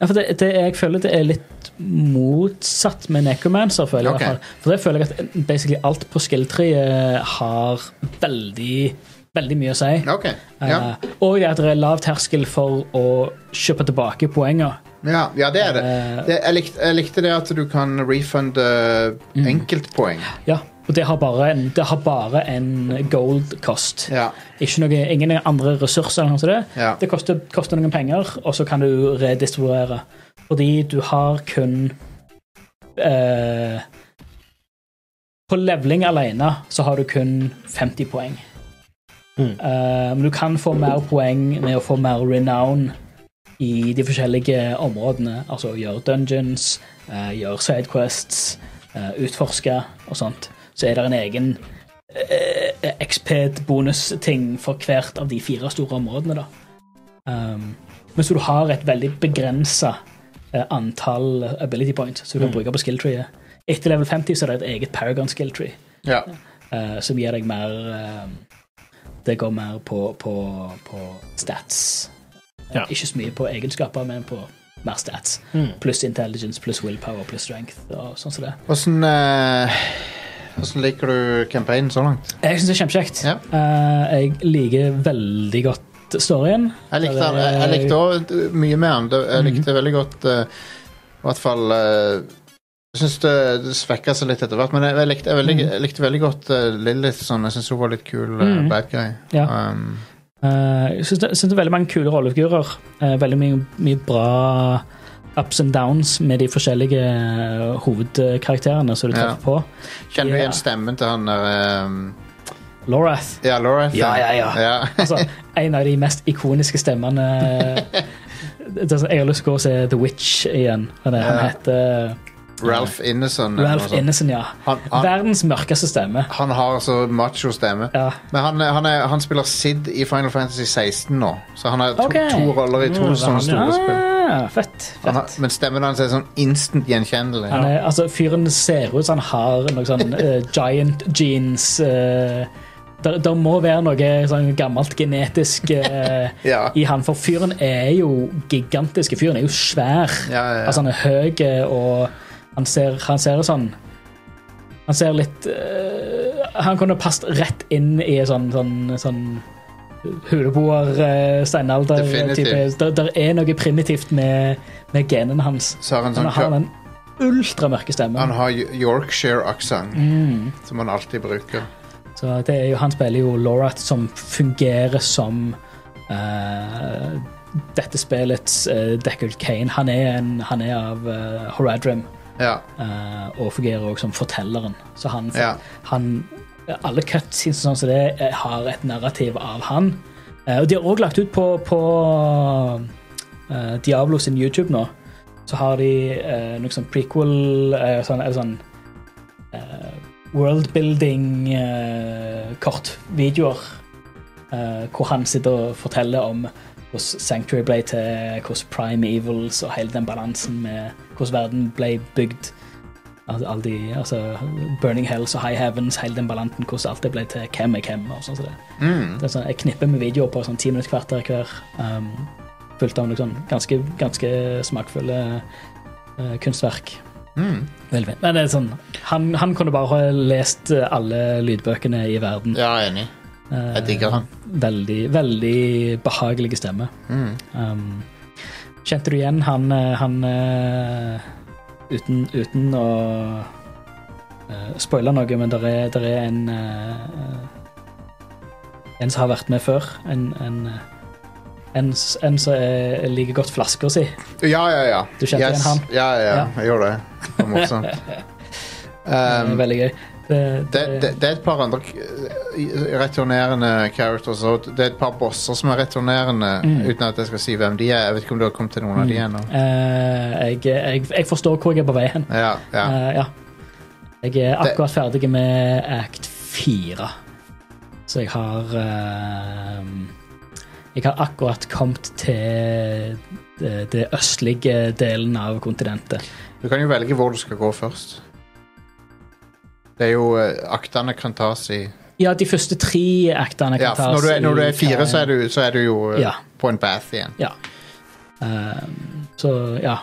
S4: Ja, for det, det, jeg føler det er litt motsatt med Necromancer. føler jeg i
S2: Ok.
S4: hvert fall. For det føler jeg at basically alt på skill-treet har veldig, veldig mye å si.
S2: OK. Ja.
S4: Eh, og det at det er lav terskel for å kjøpe tilbake poenger.
S2: Ja, ja, det er det.
S4: Eh.
S2: det jeg, likte, jeg likte det at du kan refunde
S4: Mm.
S2: enkeltpoeng.
S4: Ja, og det har bare en, det har bare en gold cost.
S2: Ja.
S4: Ikke noe, ingen andre ressurser. eller noe sånt.
S2: Ja.
S4: Det koster, koster noen penger, og så kan du redistribuere. Fordi du har kun eh, På leveling alene så har du kun 50 poeng. Eh, men du kan få mer poeng med å få mer renown i de forskjellige områdene. Altså gjøre dungeons, eh, gjøre sidequests, eh, utforske og sånt. Så er det en egen eh, XP-bonus-ting for hvert av de fire store områdene, da. Um, men så du har et veldig begrensa eh, antall ability points som du
S2: Mm.
S4: kan bruke på skill treet. Etter level 50 så er det et eget Paragon skill tree,
S2: Ja.
S4: eh, som gir deg mer eh, Det går mer på, på, på stats. Eh,
S1: Ja.
S4: Ikke så mye på egenskaper, men på mer stats.
S2: Mm.
S4: Pluss intelligence, pluss willpower, pluss strength og sånn som det.
S2: Hvordan, eh, hvordan liker du campaignen så langt?
S4: Jeg syns det er kjempekjekt.
S2: Ja.
S4: Eh, jeg liker veldig godt storyen.
S2: Jeg likte,
S4: Der
S2: den. jeg, jeg
S4: er- Mm.
S2: likte også mye med den. Det- Jeg likte veldig godt eh, I hvert fall eh, Jeg syns det, det svekka seg litt etter hvert, men jeg, jeg, likte, jeg, veldig,
S4: Mm.
S2: jeg likte veldig godt eh, Lilith. Sånn. Jeg syns hun var litt kul eh,
S4: Mhm.
S2: bad guy.
S4: Ja.
S2: Um,
S4: Eh, jeg syns det, jeg synes det er veldig mange kule rollefigurer. Eh, veldig mye, mye bra ups and downs med de forskjellige eh, hovedkarakterene som du
S2: Ja.
S4: treffer på.
S2: kjenner du
S4: Ja.
S2: igjen stemmen til han der um,
S4: Lorath.
S2: Ja, Laura?
S4: Ja, ja, ja.
S2: ja.
S4: Altså, en av de mest ikoniske stemmene Det er sånn, Jeg har lyst til å gå og se The Witch igjen. Han, er,
S2: Ja.
S4: han heter
S2: Ralph Innocent. eller noe
S4: Ralph
S2: sånt.
S4: Innocent, ja.
S2: Han- han-
S4: Verdens mørkeste stemme.
S2: Han har så macho stemme.
S4: Ja.
S2: Men han, er- han, er, han spiller Sid i Final Fantasy 16 nå, så han har to,
S4: Ok.
S2: to roller i to
S3: Mm,
S2: sånne
S3: han,
S2: store spill.
S4: Ah, fett.
S2: Han har,
S4: fett.
S2: men stemmen hans er sånn instant gjenkjennelig.
S4: Han er, altså, fyren ser ut som han har noe sånn eh, giant jeans eh, der, der må være noe sånn gammelt genetisk eh,
S2: Ja.
S4: i han, for fyren er jo gigantisk. Fyren er jo svær.
S2: Ja, ja, ja.
S4: Altså, han er høy, eh, og han ser, han ser sånn Han ser litt eh, Han kunne passet rett inn i en sånn, sånn, sånn Huleboer, eh, steinalder type.
S2: Definitivt.
S4: Der, der er noe primitivt med, med genene hans.
S2: Så har han
S4: Han
S2: sånn
S4: har
S2: kø-
S4: den ultramørke
S2: han
S4: stemmen.
S2: har Yorkshire-aksent,
S4: Mm.
S2: som han alltid bruker.
S4: Så det er jo, han spiller jo Lorath, som fungerer som eh, dette spillets eh, Deckard Kane. Han er, en, han er av eh, Horadrim
S2: Ja.
S4: eh, og fungerer også som fortelleren. Så han,
S2: Ja.
S4: han Alle cutscenes og sånn som det eh, har et narrativ av han. Eh, og de har også lagt ut på, på eh, Diablo sin YouTube nå. Så har de eh, noe sånn prequel eh, sånn, Eller sånn eh, worldbuilding-kortvideoer. eh, hvor han sitter og forteller om hvordan Sanctuary ble til, hvordan Prime Evils og hele den balansen med hvordan verden ble bygd. Al- Alle de, altså Burning Hells og High Heavens, hele den balansen, hvordan alt det ble til, hvem er hvem. og sånn som det.
S2: Mm.
S4: Det er sånn, Jeg knipper med videoer på sånn ti minutter kvarter hver. Um, fullt av liksom, ganske, ganske smakfulle eh, kunstverk.
S2: Mm.
S4: Veldig. Men det er sånn, han, han kunne bare ha lest eh, alle lydbøkene i verden.
S2: Ja, jeg er enig. Jeg digger han.
S4: Veldig, veldig behagelige stemme.
S2: Mm.
S4: Um, kjente du igjen han, eh, han eh, uten, uten å eh, spoile noe, men der er, der er en eh, En som har vært med før. En, en, eh, en, s- en som er- liker godt flasker si.
S2: Ja, ja, ja.
S4: Du kjente igjen han?
S2: Ja, ja, ja.
S4: Ja.
S2: Jeg gjorde det. Det var morsomt.
S4: Det er
S2: Um,
S4: veldig gøy. Det,
S2: det, det, det er et par andre eh, returnerende characters også. Det er et par bosser som er returnerende, uten at jeg skal si hvem de er. Jeg vet ikke om du har kommet til noen av de ennå.
S4: eh, jeg, jeg, jeg forstår hvor jeg er på vei hen.
S2: Ja, ja.
S4: Eh, ja. Jeg er akkurat ferdig med act 4. Så jeg har eh, Jeg har akkurat kommet til det, det østlige delen av kontinentet.
S2: Du kan jo velge hvor du skal gå først. Det er jo eh, Aktene kan tas i
S4: Ja, de første tre actene kan
S2: Ja, for når du er, når du er fire, så er du, så er du jo eh,
S4: Ja.
S2: på en path igjen.
S4: Ja. Ehm, Så ja.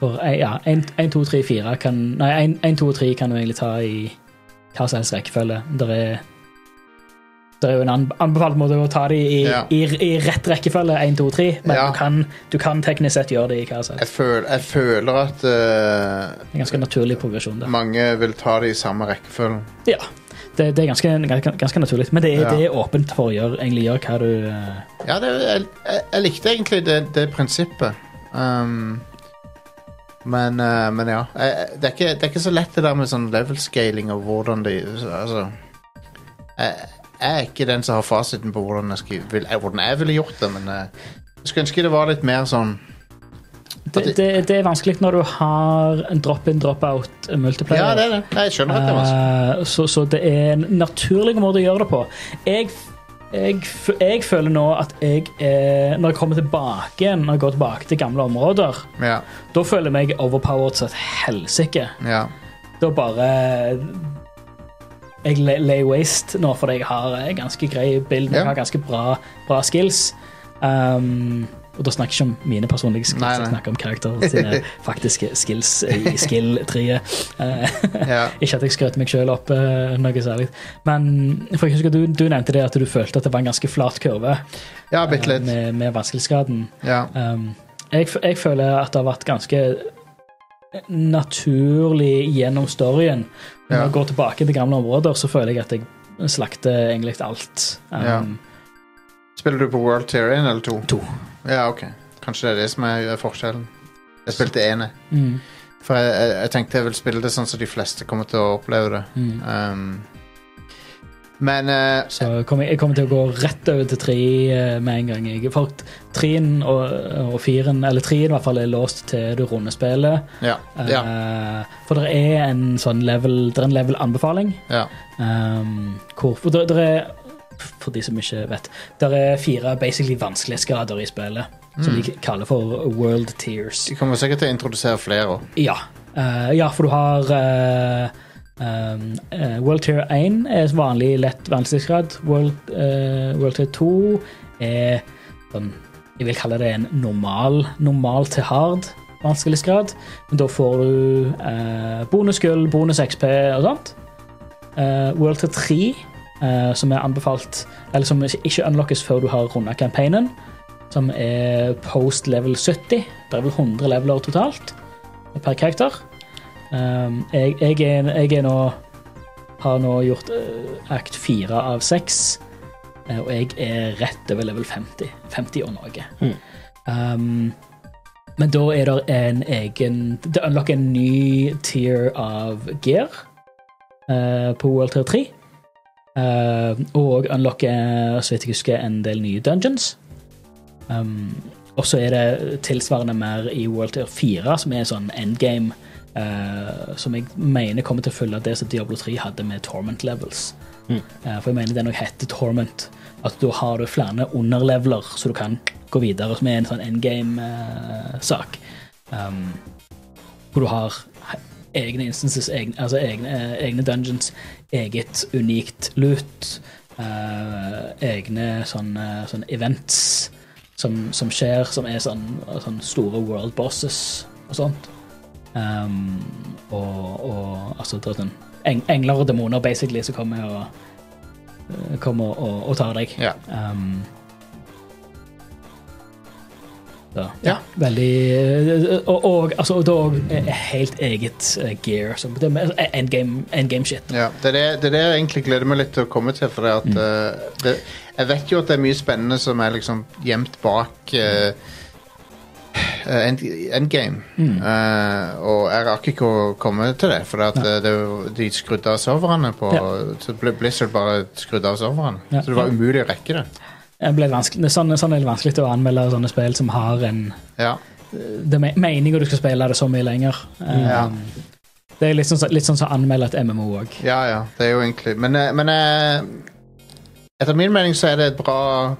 S4: For eh, ja, 1, 2, 3, 4 kan Nei, 1, 2 og 3 kan du egentlig ta i hva som helst rekkefølge. Der er det er jo en anb- anbefalt måte å ta de i,
S2: Ja.
S4: i, i rett rekkefølge, 1, 2, 3, men
S2: Ja.
S4: du, kan, du kan teknisk sett gjøre det i hva som helst.
S2: Jeg, føl, jeg føler at eh,
S4: Det er ganske naturlig progresjon. der.
S2: mange vil ta det i samme rekkefølge.
S4: Ja, det, det er ganske, ganske, ganske naturlig. Men det er,
S2: Ja.
S4: det er åpent for å gjøre, egentlig gjøre hva du eh,
S2: Ja, det, jeg, jeg, jeg likte egentlig det, det prinsippet. Um, men, eh, men ja. Jeg, jeg- det, er ikke, det er ikke så lett det der med sånn level-scaling og hvordan det Altså jeg, jeg er ikke den som har fasiten på hvordan jeg, skal, vil, eh, hvordan jeg ville gjort det, men eh, jeg skulle ønske det var litt mer sånn
S4: det,
S2: At det-
S4: det, det er vanskelig når du har en drop-in, drop-out eh, multiplayer.
S2: Ja, det er det. Nei, Jeg skjønner at det er vanskelig.
S4: Eh, så, så det er en naturlig måte å gjøre det på. Jeg, jeg, f- jeg føler nå at jeg er Når jeg kommer tilbake igjen, når jeg går tilbake til gamle områder,
S2: Ja,
S4: da føler jeg meg overpowered som et helsike.
S2: ja.
S4: Da bare Jeg lay, lay waste nå fordi jeg har eh, ganske grei bild,
S2: Ja.
S4: jeg har ganske bra, bra skills. Um, og da snakker jeg ikke om mine personlige skills,
S2: Nei,
S4: jeg
S2: nei.
S4: snakker om karakterene sine faktiske skills i skill-treet. Eh,
S2: ja.
S4: ikke at jeg skrøt meg sjøl opp eh, noe særlig. Men for jeg husker du, du nevnte det at du følte at det var en ganske flat kurve
S2: ja
S4: eh,
S2: bitte litt.
S4: med, med vanskelighetsgraden.
S2: Ja.
S4: Um, jeg, f- jeg føler at det har vært ganske naturlig gjennom storyen. Når
S2: Ja.
S4: jeg går tilbake til gamle områder, så føler jeg at jeg slakter egentlig alt. Um,
S2: Ja. Spiller du på World Tier 1 eller 2?
S4: To.
S2: Ja, ok. Kanskje det er det som er er forskjellen. Jeg spilte ene.
S4: Mm,
S2: For jeg, jeg, jeg tenkte jeg ville spille det sånn som de fleste kommer til å oppleve det.
S4: mm.
S2: Um, men eh,
S4: Så jeg kommer, jeg kommer til å gå rett over til tre eh, med en gang. Jeg, for treen og, og firen, eller treen i hvert fall, er låst til du runder spillet.
S2: ja, ja,
S4: Eh, For det er en sånn level Det er en level-anbefaling.
S2: ja.
S4: ehm, hvor for det, det er For de som ikke vet Det er fire basically vanskelighetsgrader i spillet. Som de kaller for world tears.
S2: De kommer sikkert til å introdusere flere. også.
S4: Ja, Eh, ja for du har eh, ehm, eh, World tier 1 er vanlig lett vanskelighetsgrad. World, eh, world tier 2 er sånn Jeg vil kalle det en normal, normal til hard vanskelighetsgrad. Men da får du eh, bonusgull, bonus XP og sånt. Eh, World tier 3, eh, som er anbefalt Eller som ikke unlockes før du har runda campaignen. Som er post level 70. Det er vel 100 leveler totalt per karakter. Um, jeg, jeg, er, jeg er nå har nå gjort eh, act 4 av 6, og jeg er rett over level 50. 50 og noe.
S3: Mm.
S4: Um, men da er det en egen Det unlocker en ny tier av gear eh, på World Tier 3. eh, og unlocker, så vidt jeg husker, en del nye dungeons. Um, og så er det tilsvarende mer i World Tier 4, som er en sånn endgame. eh, som jeg mener kommer til å følge det som Diablo 3 hadde med Torment Levels.
S3: Mm.
S4: Eh, for jeg mener det nok heter Torment. At da har du flere underleveler, så du kan gå videre, som er en sånn endgame-sak. um, hvor du har egne instances, egne, altså egne, eh, egne dungeons, eget unikt loot, eh, egne sånne, sånne events som, som skjer, som er sånn, sånn store world bosses og sånt. Um, og, og altså det er sånn eng, engler og demoner basically som kommer og, eh, kommer og, og tar deg.
S2: Ja.
S4: Um, så,
S2: Ja.
S4: Veldig Og, og altså, og dog eh, helt eget eh, gear. Som, det er mer endgame, endgame shit.
S2: Ja, det, er det, det er det jeg egentlig gleder meg litt til å komme til. For det at,
S4: Mm.
S2: eh, det, jeg vet jo at det er mye spennende som er liksom gjemt bak eh, eh, end, endgame.
S4: Mm.
S2: Eh, og jeg rakk ikke å komme til det, for at, eh, det, de skrudde av serverne på Så ble Blizzard bare skrudde av serverne.
S4: Ja.
S2: Så det var umulig å rekke det.
S4: Det ble vanskelig- det er sånn, sånn er det vanskelig å anmelde sånne spill som har en
S2: Ja,
S4: Det er me- meningen du skal spille det så mye lenger. Eh,
S2: ja,
S4: Det er litt sånn, som- litt sånn som å anmelde et MMO òg.
S2: ja, ja det er jo egentlig Men, eh, men eh, etter min mening så er det et bra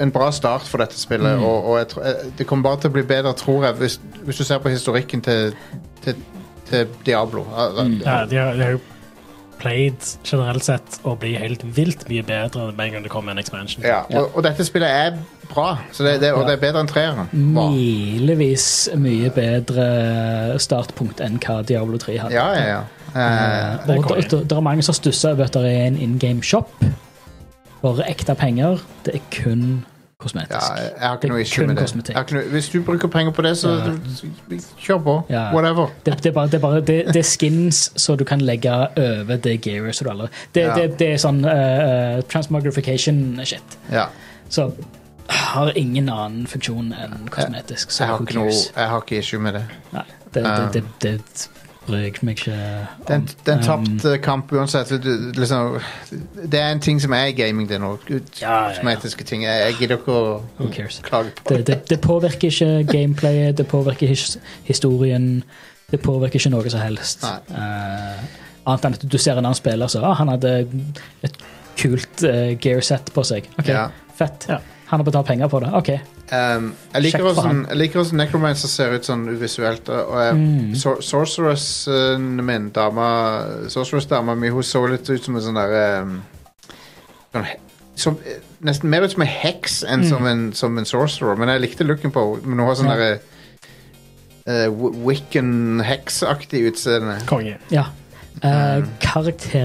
S2: en bra start for dette spillet,
S4: Mm.
S2: og, og jeg, tr- eh, det kommer bare til å bli bedre, tror jeg, hvis, hvis du
S4: Mm.
S2: ser på historikken til, til, til Diablo. Al- al-
S3: Ja, de har, de har jo played generelt sett å bli helt vilt mye bedre med en gang det kommer en expansion.
S2: Ja, og, og dette spillet er bra, så det, det, og det er bedre enn treeren. var.
S4: Milevis mye bedre startpunkt enn hva Diablo 3 hadde.
S2: Ja, ja, ja. Eh,
S3: det er
S4: og
S3: konge.
S4: det, det, det er mange som stusser over at det er en in game shop. For ekte penger, det er kun
S2: ja,
S4: kosmetisk.
S2: jeg har ikke
S4: Det er
S2: noe issue
S4: kun
S2: med det.
S4: kosmetikk.
S2: Jeg har ikke noe, hvis du bruker penger på det, så kjør på.
S4: Ja.
S2: Whatever.
S4: Det, det, er bare, det, er bare, det, det er skins som du kan legge over det gearet som du allerede det,
S2: Ja.
S4: det, det er sånn eh, transmogrification shit.
S2: Ja.
S4: Så har ingen annen funksjon enn kosmetisk. Så
S2: Jeg har
S4: who
S2: ikke noe Eh.
S4: cares?
S2: Jeg har ikke issue med det.
S4: Nei, det, det, det, det, bryr jeg meg ikke om.
S2: Det er en, det er en
S4: Um,
S2: tapt eh, kamp uansett. Du- du- Liksom, det er en ting som er i gaming, det nå.
S4: ja, ja.
S2: Kosmetiske ting. Jeg, jeg gidder ikke å
S4: Who cares?
S2: klage på
S4: Det, det, det påvirker ikke gameplayet, det påvirker ikke his historien, det påvirker ikke noe som helst.
S2: Nei.
S4: Eh, annet enn at du ser en annen spiller, så ah, han hadde et kult eh, gear set på seg. Ok,
S2: Ja.
S4: Fett.
S3: Ja.
S4: Han har betalt penger på det. Ok.
S2: Um, jeg liker
S4: Sjekk for
S2: hvordan-
S4: han.
S2: jeg liker hvordan Necromancer ser ut sånn visuelt. Og, og jeg,
S4: Mm.
S2: sor Sorceressen min, dama Sorceress-dama mi, hun så litt ut som en sånn derre um, sånn, he- som, eh, Nesten mer ut som en heks enn som, en, som en sorcerer, men jeg likte looken på henne. Men hun har sånn
S4: Mm. Ja.
S2: derre eh, Wi- Wiccan-heksaktig utseende.
S3: Konge.
S4: Ja. Eh,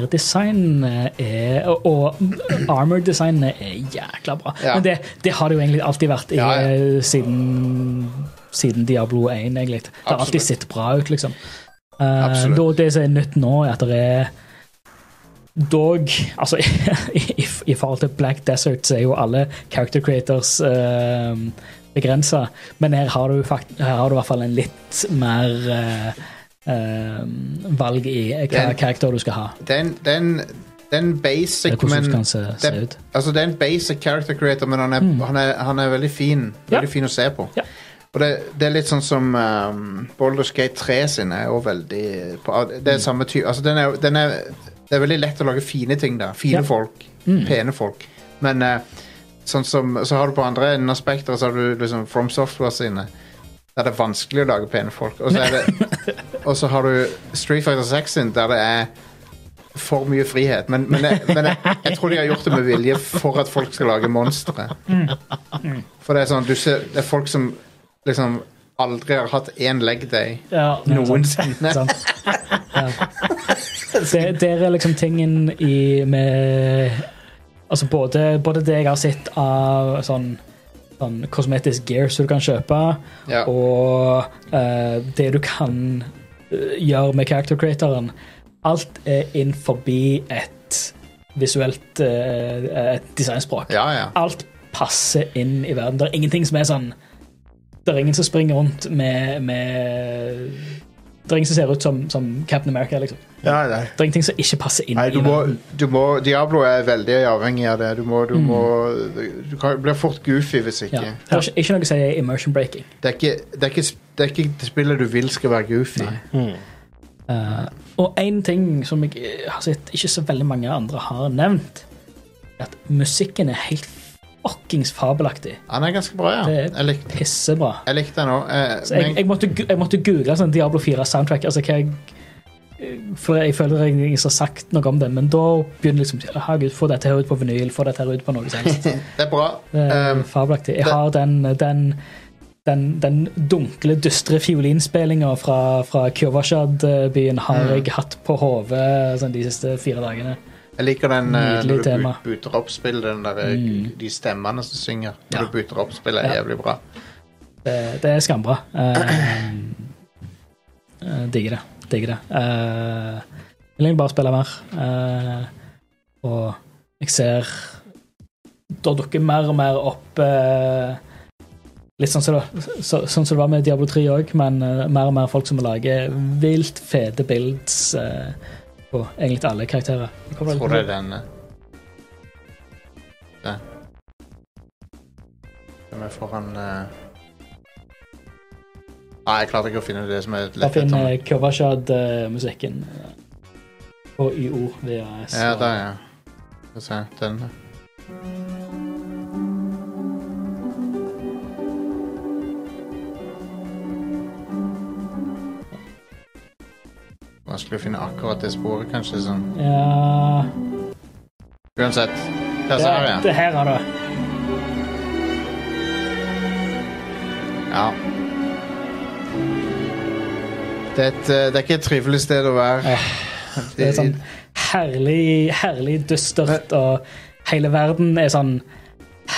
S4: Karakterdesignene er Og, og armor-designene er jækla bra.
S2: Ja.
S4: Men det, det har det jo egentlig alltid vært i,
S2: Ja, ja.
S4: eh, siden, siden Diablo 1, egentlig. Det har
S2: Absolutt.
S4: alltid sett bra ut, liksom. Eh,
S2: Absolutt.
S4: da, det som er nytt nå, er at det er Dog Altså, i, i forhold til Black Desert så er jo alle character creators uh, begrensa, men her har du, fakt her har du i hvert fall en litt mer eh, eh, valg i eh, hva
S2: Den-
S4: karakter du skal ha.
S2: Det er en- det er en det er en basic,
S4: Eller
S2: men
S4: hvordan du skal se, se
S2: det,
S4: ut. Mm.
S2: altså det er en basic character creator, men han er, han er, han er veldig fin
S4: Ja.
S2: Veldig fin å se på.
S4: Ja.
S2: Og det, det er litt sånn som um, Boulder Skate 3 sin er jo veldig på, Det er samme ty altså den er, den er, Det er veldig lett å lage fine ting der. Fine
S4: Ja.
S2: folk. Pene folk. Men eh, sånn som, så har du på andre enden av spekteret så har du liksom From Software sine. Der det er vanskelig å lage pene folk. Og så, er det, og så har du Street Fighter 6 sin, der det er for mye frihet. Men, men, jeg, men jeg, jeg tror de har gjort det med vilje for at folk skal lage monstre. For det er sånn, du ser, det er folk som liksom aldri har hatt én leg day.
S4: Ja,
S2: Noensinne.
S4: Sant. Ja. Det, der er liksom tingen i med Altså både, både det jeg har sett av sånn, sånn kosmetisk gear som du kan kjøpe,
S2: Ja.
S4: og eh, det du kan eh, gjøre med character creatoren Alt er inn forbi et visuelt eh, et designspråk.
S2: Ja, ja.
S4: Alt passer inn i verden. Det er ingenting som er sånn Det er ingen som springer rundt med, med Det er ingen som ser ut som, som Captain America, liksom.
S2: Nei, nei.
S4: Det er ingenting som ikke passer inn
S2: Nei, du
S4: i
S2: må,
S4: verden.
S2: du må, Diablo er veldig avhengig av det. Du må, du må Du kan, blir fort goofy hvis ikke.
S4: Ja. Det er ikke, ikke noe som er immersion breaking.
S2: Det, er ikke, det, er ikke sp- det er ikke det spillet du vil skal være goofy.
S4: Eh, og én ting som jeg eh, har sett ikke så veldig mange andre har nevnt, er at musikken er helt fuckings fabelaktig.
S2: Han er ganske bra, ja.
S4: Det er-
S2: Jeg likte,
S4: Pissebra.
S2: jeg likte den Eh, òg.
S4: Så jeg, jeg, måtte, gu- jeg måtte google sånn Diablo 4 soundtrack. Altså, hva jeg, eh, for jeg føler jeg ikke har sagt noe om det, men da begynner liksom «Å, Gud, Få dette her ut på vinyl, få dette her ut på noe som helst.
S2: det er bra.
S4: Det er
S2: Um,
S4: Fabelaktig. Jeg
S2: det-
S4: har den, den, den, den dunkle, dystre fiolinspillinga fra, fra Kyovashad-byen har
S2: Mm.
S4: jeg hatt på hodet sånn, de siste fire dagene.
S2: jeg liker den eh,
S4: Nydelig
S2: når du
S4: tema.
S2: bu- booter opp spillet, den der, eh, de stemmene som synger. Når
S4: Ja.
S2: du booter opp spillet, er
S4: Ja.
S2: jævlig bra.
S4: Det, det er skambra. Eh, eh, digger det. Digger det. Eh, jeg vil egentlig bare spille mer. Eh, og jeg ser Da dukker mer og mer opp eh, Litt sånn som det, så, sånn som det var med Diablo 3 òg, men eh, mer og mer folk som lager vilt fete builds eh, på egentlig alle karakterer. Det kommer
S2: Jeg tror det er den. eh. Den. Hvem er foran eh? Nei, jeg klarte ikke å finne det som er
S4: Da
S2: lett etter.
S4: finner Kovashad-musikken eh, på YO VAS.
S2: Ja, der, ja. Skal vi se. Den. vanskelig å finne akkurat det sporet, kanskje. Sånn.
S4: Ja
S2: Uansett. Der
S4: Det,
S2: ser jeg.
S4: det her er det.
S2: Ja. Det er, et, eh, det er ikke et trivelig sted å være.
S4: Eh, Det er sånn herlig, herlig dystert, og hele verden er sånn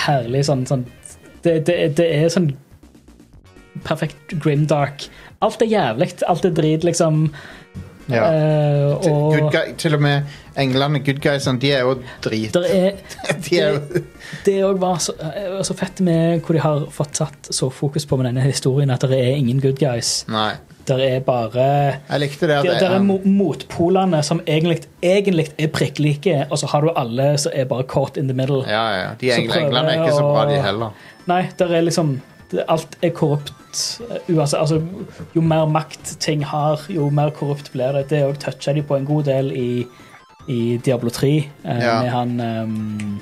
S4: herlig sånn, sånn det, det, det er sånn perfekt grimdark. Alt er jævlig, alt er drit, liksom.
S2: Ja.
S4: Eh,
S2: Til- Good
S4: og
S2: guy, til og med englene, good guysene, de er jo drit.
S4: der er
S2: De er jo
S4: Det òg var så, eh, så fett med hvor de har fått satt så fokus på med denne historien, at det er ingen good guys.
S2: Nei.
S4: Det er bare
S2: Jeg likte det. at
S4: Det,
S2: det-
S4: der er mo- motpolene som egentlig, egentlig er prikklike, og så har du alle som er bare caught in the middle.
S2: Ja, ja. ja. De
S4: Så
S2: englene,
S4: prøver
S2: englene er ikke så
S4: å-
S2: bra, de heller.
S4: Nei, der er liksom det- Alt er korrupt. eh, Uansett, altså, jo mer makt ting har, jo mer korrupt blir det. Det òg toucha de på en god del i, i Diablo 3, eh,
S2: Ja.
S4: med han ehm,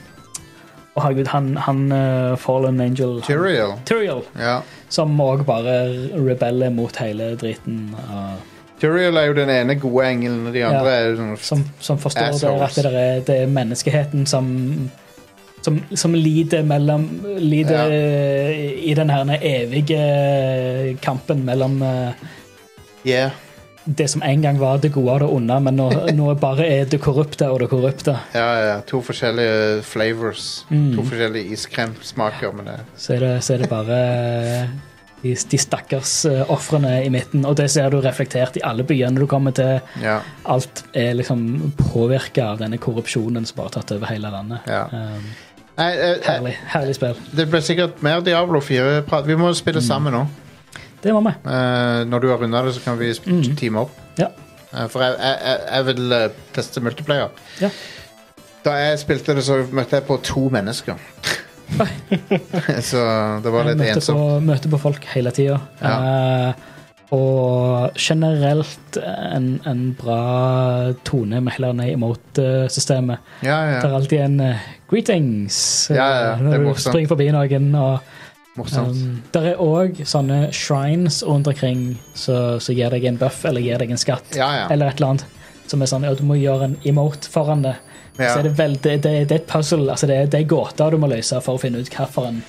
S4: Å, herregud, han, han eh, Fallen Angel han-
S2: Tyriel.
S4: Tyrael,
S2: Ja.
S4: som òg bare rebeller mot hele driten. og-
S2: Tyriel er jo den ene gode engelen, og de andre er jo sånn
S4: som, som forstår der
S2: Assholes.
S4: at det er, det er menneskeheten som som, som lider mellom lider
S2: Ja.
S4: eh, i den her evige kampen mellom eh,
S2: Yeah.
S4: det som en gang var det gode og det onde, men nå, nå bare er det korrupte og det korrupte.
S2: Ja, ja. To forskjellige flavors.
S4: Mm.
S2: To forskjellige iskremsmaker. Men det.
S4: Så er det, så er det bare eh, de, de stakkars eh, ofrene i midten, og det ser du reflektert i alle byene du kommer til.
S2: Ja,
S4: Alt er liksom påvirka av denne korrupsjonen som bare har tatt over hele landet.
S2: ja.
S4: Um,
S2: Nei, eh, eh,
S4: herlig, herlig spill.
S2: det ble sikkert mer Diablo 4-prat. Vi må spille
S4: Mm.
S2: sammen nå.
S4: Det var meg.
S2: Eh, når du har runda det, så kan vi sp-
S4: Mhm.
S2: teame opp.
S4: Ja.
S2: Eh, for jeg, jeg, jeg- jeg vil eh, teste multiplayer.
S4: Ja.
S2: Da jeg spilte det, så møtte jeg på to mennesker. så det var litt
S4: møter
S2: ensomt.
S4: på, møter på folk hele tida. og generelt en, en bra tone med hele denne emote-systemet.
S2: Ja,
S4: Det er
S2: ja.
S4: eh, alltid en eh, 'greetings' eh,
S2: Ja, ja, det er
S4: når du
S2: morsomt.
S4: springer forbi noen. og
S2: Morsomt.
S4: um, Det er òg sånne shrines rundt omkring som som gir deg en buff eller gir deg en skatt
S2: Ja, ja.
S4: eller et eller annet. Som er sånn ja, du må gjøre en emote foran det.
S2: Ja.
S4: Så er det, vel, det, det, det er et puzzle. Altså det, er- det er gåter du må løse for å finne ut hvilken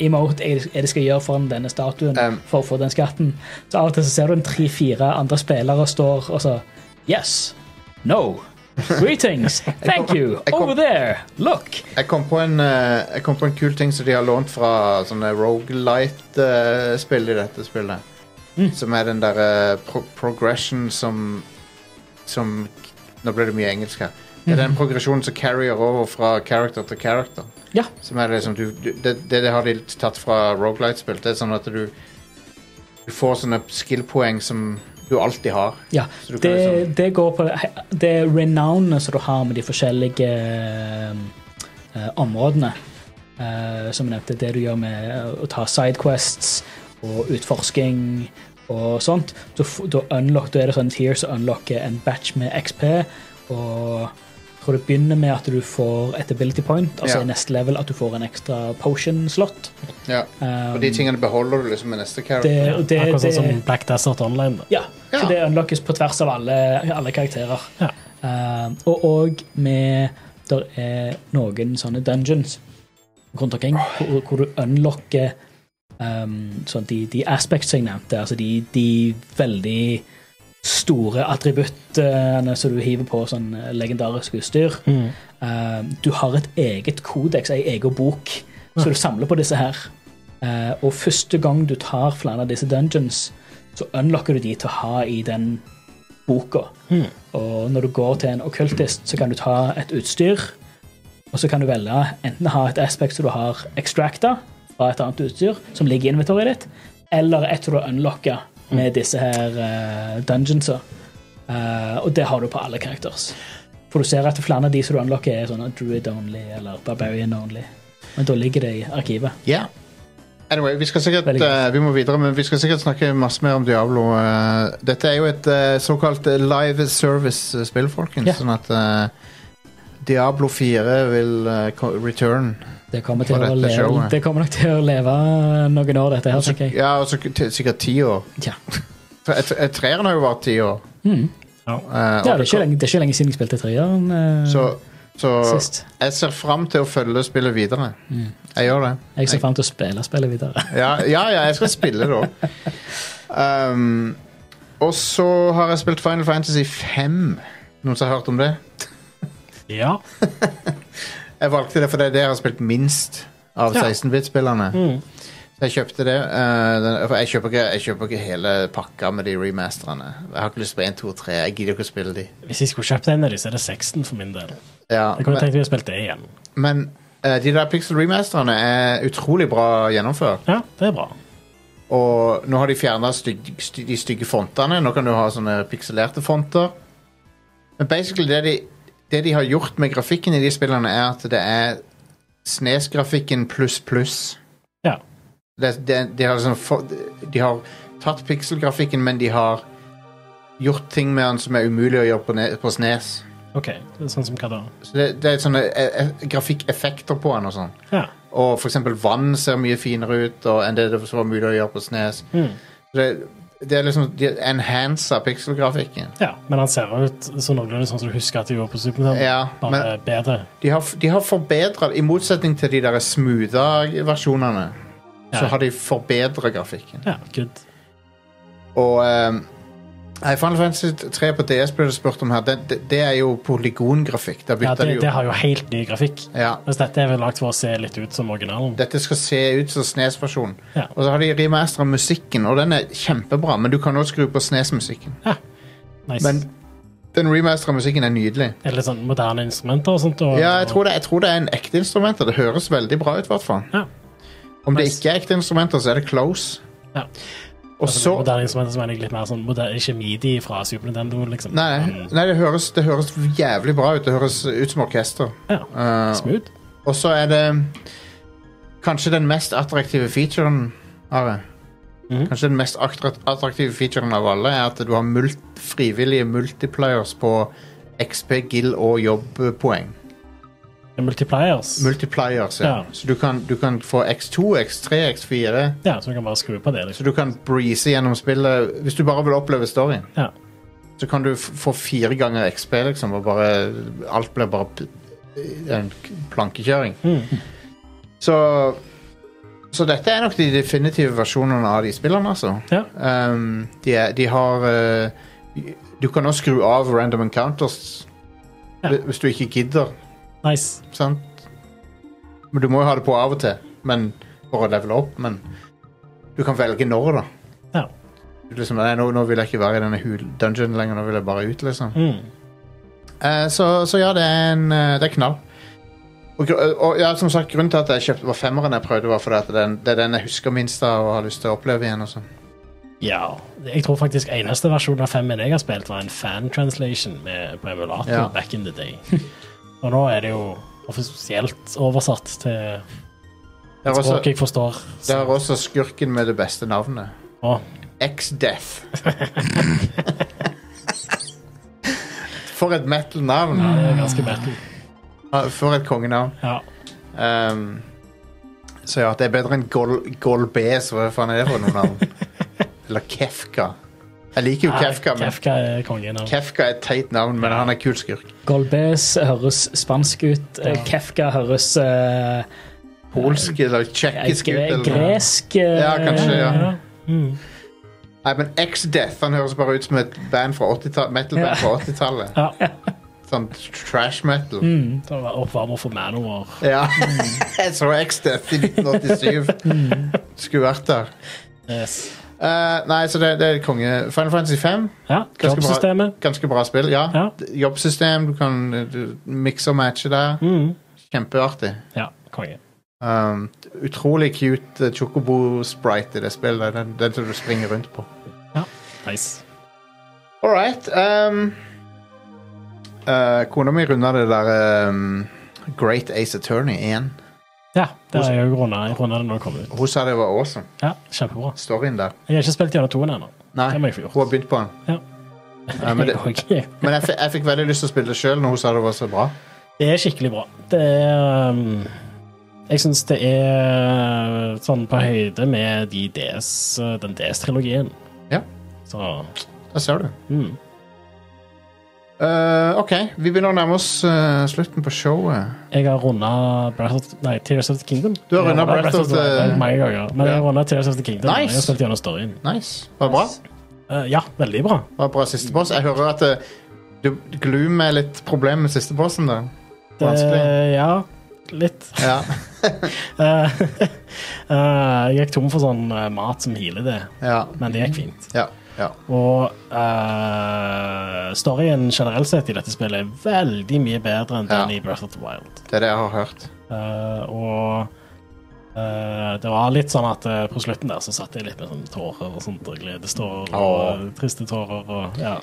S4: emote er det- er det skal gjøre foran denne statuen
S2: Um.
S4: for å få den skatten. Så Av og til så ser du en tre-fire andre spillere står og så Yes. No. Greetings. Thank you.
S2: jeg kom-
S4: Over there. Look.
S2: Jeg kom, på en, eh, jeg kom på en kul ting som de har lånt fra sånne Rogalight-spill i dette spillet.
S4: Mm.
S2: Som er den derre pro progression som Som Nå ble det mye engelsk her. Det
S4: Mhm.
S2: er den progresjonen som carrier over fra character til character.
S4: Ja.
S2: Som er liksom du, du, det, det har de tatt fra Rogalight-spill. Det er sånn at du Du får sånne skill-poeng som du alltid har.
S4: Ja,
S2: Så du kan
S4: det,
S2: liksom-
S4: det går på Det er renownet som du har med de forskjellige eh, områdene. Eh, som jeg nevnte, det du gjør med eh, å ta sidequests og utforsking og sånt. Da, f- da, unlock, da er det sånn tier som unlocker en batch med XP. Og jeg tror det begynner med at du får et ability point,
S2: Ja.
S4: altså i neste level at du får en ekstra potion-slott.
S2: Ja. Og de tingene beholder du liksom med neste
S4: Eh, Det,
S2: character.
S4: og det,
S3: Akkurat sånn
S4: det,
S3: som Black Desert Online.
S4: ja,
S2: Ja.
S4: så det unlockes på tvers av alle, alle karakterer.
S3: Ja.
S4: Eh, og og med Der er noen sånne dungeons rundt omkring hvor, hvor du unlocker um, sånn de, de aspects jeg nevnte, altså de, de veldig store attributtene som du hiver på sånn legendarisk utstyr. Eh, du har et eget kodeks, ei egen bok, så du samler på disse her. Eh, og første gang du tar flere av disse dungeons, så unlocker du de til å ha i den boka. Og når du går til en okkultist, så kan du ta et utstyr, og så kan du velge enten å ha et aspect som du har extracta fra et annet utstyr, som ligger i inventoriet ditt, eller et som du har unlocka med disse her eh, dungeonsa. Eh, og det har du på alle characters. For du ser at flere av de som du unlocker, er sånne druid only eller barbarian only. Men da ligger det i arkivet.
S2: Ja. Anyway, vi skal sikkert
S4: Veldig godt.
S2: eh, Vi må videre, men vi skal sikkert snakke masse mer om Diablo. eh. dette er jo et eh, såkalt eh, live service-spill, folkens.
S4: Ja.
S2: Sånn at eh, Diablo 4 vil eh, ko- return.
S4: Det kommer, til
S2: For
S4: å
S2: dette
S4: leve,
S2: showet. Altså,
S4: det kommer nok til å leve noen år, dette her, tenker jeg.
S2: Ja, og så k- til- sikkert ti år. eh,
S4: Ja.
S2: Tre- tre- Treeren har jo vært ti år. Eh,
S4: Ja, det, er ikke lenge, det er ikke lenge siden jeg spilte treeren. eh,
S2: Så,
S3: Mm.
S2: så
S4: Sist.
S2: jeg ser fram til å følge spillet videre.
S3: Mm.
S2: Jeg gjør det.
S4: jeg ser fram til å spille spillet videre.
S2: Ja, ja, ja jeg skal spille det òg. Um, og så har jeg spilt Final Fantasy 5. Noen som har hørt om det?
S3: Ja.
S2: Jeg valgte det fordi det er det jeg har spilt minst av
S3: Ja. Mm.
S2: 16-bit-spillerne. Så jeg kjøpte det. eh, den, for jeg kjøper, ikke, jeg kjøper ikke hele pakka med de remasterne. Jeg har ikke lyst på 1, 2 og 3. Jeg gidder ikke å spille de.
S3: Hvis jeg skulle kjøpt en av dem, så er det 16 for min del.
S2: Ja,
S3: Jeg kunne
S2: men
S3: tenkt meg å spille det igjen.
S2: men eh, de der pixel remasterne er utrolig bra gjennomført.
S3: Ja, det er bra.
S2: Og nå har de fjerna de stygge fontene. Nå kan du ha sånne pikselerte fonter. Men basically det de, det de har gjort med grafikken i de spillene, er at det er Snes-grafikken pluss pluss.
S3: Ja.
S2: det, det, de, har liksom få- de har tatt pikselgrafikken, men de har gjort ting med den som er umulig å gjøre på, ne på Snes.
S3: OK. Det er Sånn som hva da?
S2: Så det, det er sånne eh, eh, grafikkeffekter på den og sånn.
S3: Ja.
S2: Og for eksempel vann ser mye finere ut og, enn det det var mulig å gjøre på Snes.
S3: Hmm.
S2: Så det, det er liksom De enhancer pikselgrafikken.
S3: ja. Men han ser ut så noenlunde sånn som du husker at de gjorde på Super Nintendo.
S2: Ja,
S3: Bare
S2: men-
S3: bedre.
S2: De har, de har forbedra I motsetning til de der smootha versjonene,
S3: Ja.
S2: så har de forbedra grafikken.
S3: Ja, good.
S2: Og ehm, nei, Final Fantasy 3 på DS ble det spurt om her. Det, det, det er jo polygongrafikk. Da
S3: Ja,
S2: bytter
S3: det,
S2: de jo.
S3: det har jo helt ny grafikk.
S2: Ja.
S3: Mens dette er vel lagt for å se litt ut som originalen.
S2: Dette skal se ut som Snes-versjonen.
S3: Ja.
S2: Og så har de remastera musikken, og den er kjempebra, men du kan også skru på Snes-musikken.
S3: Nice.
S2: Men den remastera musikken er nydelig.
S3: er det litt sånn moderne instrumenter og sånt? Og,
S2: Ja, jeg tror det, jeg tror det er en ekte instrument, og det høres veldig bra ut, i hvert fall.
S3: Ja.
S2: Om det
S3: Nice.
S2: ikke er ekte instrumenter, så er det close.
S3: Ja.
S2: Og
S3: Altså,
S2: så
S3: moderne instrumenter som er litt mer sånn moderne, Ikke midi fra Super Nintendo, liksom.
S2: Nei,
S3: Men,
S2: nei det, høres, det høres jævlig bra ut. Det høres ut som orkester.
S3: ja.
S2: Eh,
S3: Smooth.
S2: Og så er det kanskje den mest attraktive featuren av det.
S3: Mhm.
S2: Kanskje den mest attra- attraktive featuren av alle er at du har mul frivillige multipliers på XP, Gill og jobbpoeng.
S3: Det er Multipliers.
S2: Multipliers, ja.
S3: Ja.
S2: Så du kan, du kan få X2, X3, X4.
S3: ja, så du kan bare skru på det.
S2: Så
S3: Liksom.
S2: du kan breeze gjennom spillet. Hvis du bare vil oppleve storyen,
S3: Ja.
S2: så kan du f få fire ganger XP, liksom, og bare Alt blir bare p- en k- plankekjøring. Så Så dette er nok de definitive versjonene av de spillene, altså.
S3: Ja.
S2: Um, de, er, de har eh, Du kan også skru av random encounters
S3: Ja.
S2: hvi- hvis du ikke gidder,
S3: Nice.
S2: sant? Men du må jo ha det på av og til men, for å levele opp, men du kan velge når, da.
S3: Ja.
S2: Du Liksom, nei, nå, nå vil jeg ikke være i denne hul dungeon lenger, nå vil jeg bare ut, liksom.
S3: Mm.
S2: Eh, så, så ja, det er en eh, Det er knall. Og, gr- eh, og ja, som sagt, grunnen til at jeg kjøpte var femmeren jeg prøvde, var fordi at den, det er den jeg husker minst av og har lyst til å oppleve igjen. og sånn.
S3: ja. Jeg tror faktisk eneste versjon av femmen jeg har spilt, var en fan-translation med- på emulator
S2: Ja.
S3: back in the day. og nå er det jo offisielt oversatt til
S2: Det er også,
S3: språk jeg forstår.
S2: det er også skurken med det beste navnet.
S3: Å,
S2: X-Death. For et metal-navn.
S3: det er ganske metal.
S2: Ah, For et kongenavn.
S3: Ja.
S2: Ehm, så ja, det er bedre enn Gol Golbes, hva faen er det for noe navn? Eller Kefka. Jeg liker jo Kefka, men
S3: Kefka er kongen av
S2: Kefka er et teit navn, men han er kul skurk.
S4: Golbes høres spansk ut. eh,
S3: Ja.
S4: Kefka høres eh,
S2: Polsk eller tjekkisk ut.
S4: gre
S2: eller noe.
S4: gresk eh,
S2: Ja, kanskje, ja.
S3: Mm.
S2: Nei, men X-Death han høres bare ut som et band fra 80-tallet. Metal-band
S4: Ja.
S2: fra 80-tallet.
S3: Ja.
S2: Sånn trash metal.
S4: Mm.
S3: Det var Oppvarmer for Manowar.
S2: Ja. Jeg så X-Death i 1987.
S4: Mm.
S2: Skulle vært der.
S3: Yes.
S2: Eh, nei, så det, det er konge. Final Fantasy 5.
S3: Ja,
S2: bra.
S3: jobbsystemet.
S2: Ganske bra spill, ja.
S3: Ja.
S2: Jobbsystem, du kan eh, du, mikse og matche der.
S3: Mm.
S2: Kjempeartig.
S3: Ja, konge.
S2: Um, utrolig cute eh, chocobo-sprite i det spillet. Den, den som du springer rundt på.
S3: Nice.
S2: All right. Um, eh, kona mi runda det der um, Great Ace Attorney igjen.
S3: Ja, det har jeg jo runda runda det når det kom ut.
S2: Hun sa det var awesome.
S3: Ja, Kjempebra.
S2: Storyen der.
S3: Jeg har ikke spilt gjennom toen ennå.
S2: Nei,
S3: Det må jeg få
S2: hun
S3: gjort.
S2: har begynt på den.
S3: Ja.
S2: Eh, men det,
S3: Ok.
S2: men jeg, fikk- jeg fikk veldig lyst til å spille det sjøl når hun sa det var så bra.
S3: Det er skikkelig bra. Det er um, Jeg syns det er sånn på høyde med de DS, den DS-trilogien.
S2: Ja.
S3: Så
S2: Der ser du.
S3: mm.
S2: Eh, OK, vi begynner å nærme oss eh, slutten på showet.
S3: Jeg har runda Breath of, nei, Tears of the Kingdom.
S2: Du har
S3: Jeg
S2: rundet
S3: rundet
S2: Breath of the-
S3: Wild mange ganger. Men jeg
S2: Ja.
S3: har runda Tears of the Kingdom.
S2: Nice.
S3: Jeg har spilt gjennom storyen.
S2: Nice. Var det bra?
S3: Eh, ja, veldig bra.
S2: Var det bra siste boss? Jeg hører at eh, du Gloom er litt problem med siste bossen, da. Vanskelig.
S3: Eh, ja, litt.
S2: Ja.
S3: Eh, eh, jeg gikk tom for sånn eh, mat som healer det,
S2: Ja.
S3: men det gikk fint.
S2: Ja. ja.
S3: Og eh, storyen generelt sett i dette spillet er veldig mye bedre enn den
S2: Ja.
S3: i Breath of the Wild.
S2: Det er det jeg har hørt.
S3: Eh, og eh, det var litt sånn at eh, på slutten der så satt jeg litt med sånn tårer og sånt, og gledestårer og
S2: Åh.
S3: triste tårer og ja.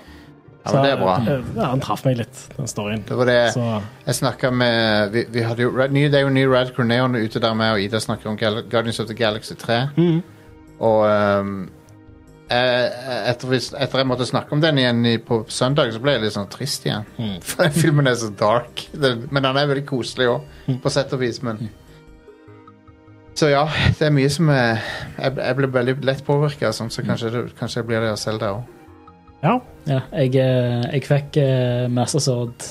S2: Ja, men det er bra.
S3: Så, eh, ja, han traff meg litt, den storyen.
S2: Det var det
S3: Så
S2: jeg snakka med vi, vi hadde jo, Red- ny, Det er jo ny Red Corneon ute der med, og Ida snakker om Gal Guardians of the Galaxy 3.
S3: Mhm.
S2: Og ehm, jeg, etter, vi, etter jeg måtte snakke om den igjen i, på søndag, så ble jeg litt sånn trist igjen. For den filmen er så dark. Den, men den er veldig koselig òg, på sett og vis. Men Så ja, det er mye som er Jeg, jeg blir veldig lett påvirka, sånn, så kanskje, det, kanskje jeg blir det selv der òg.
S3: ja.
S4: Ja, jeg, eh, jeg fikk eh, Master Sword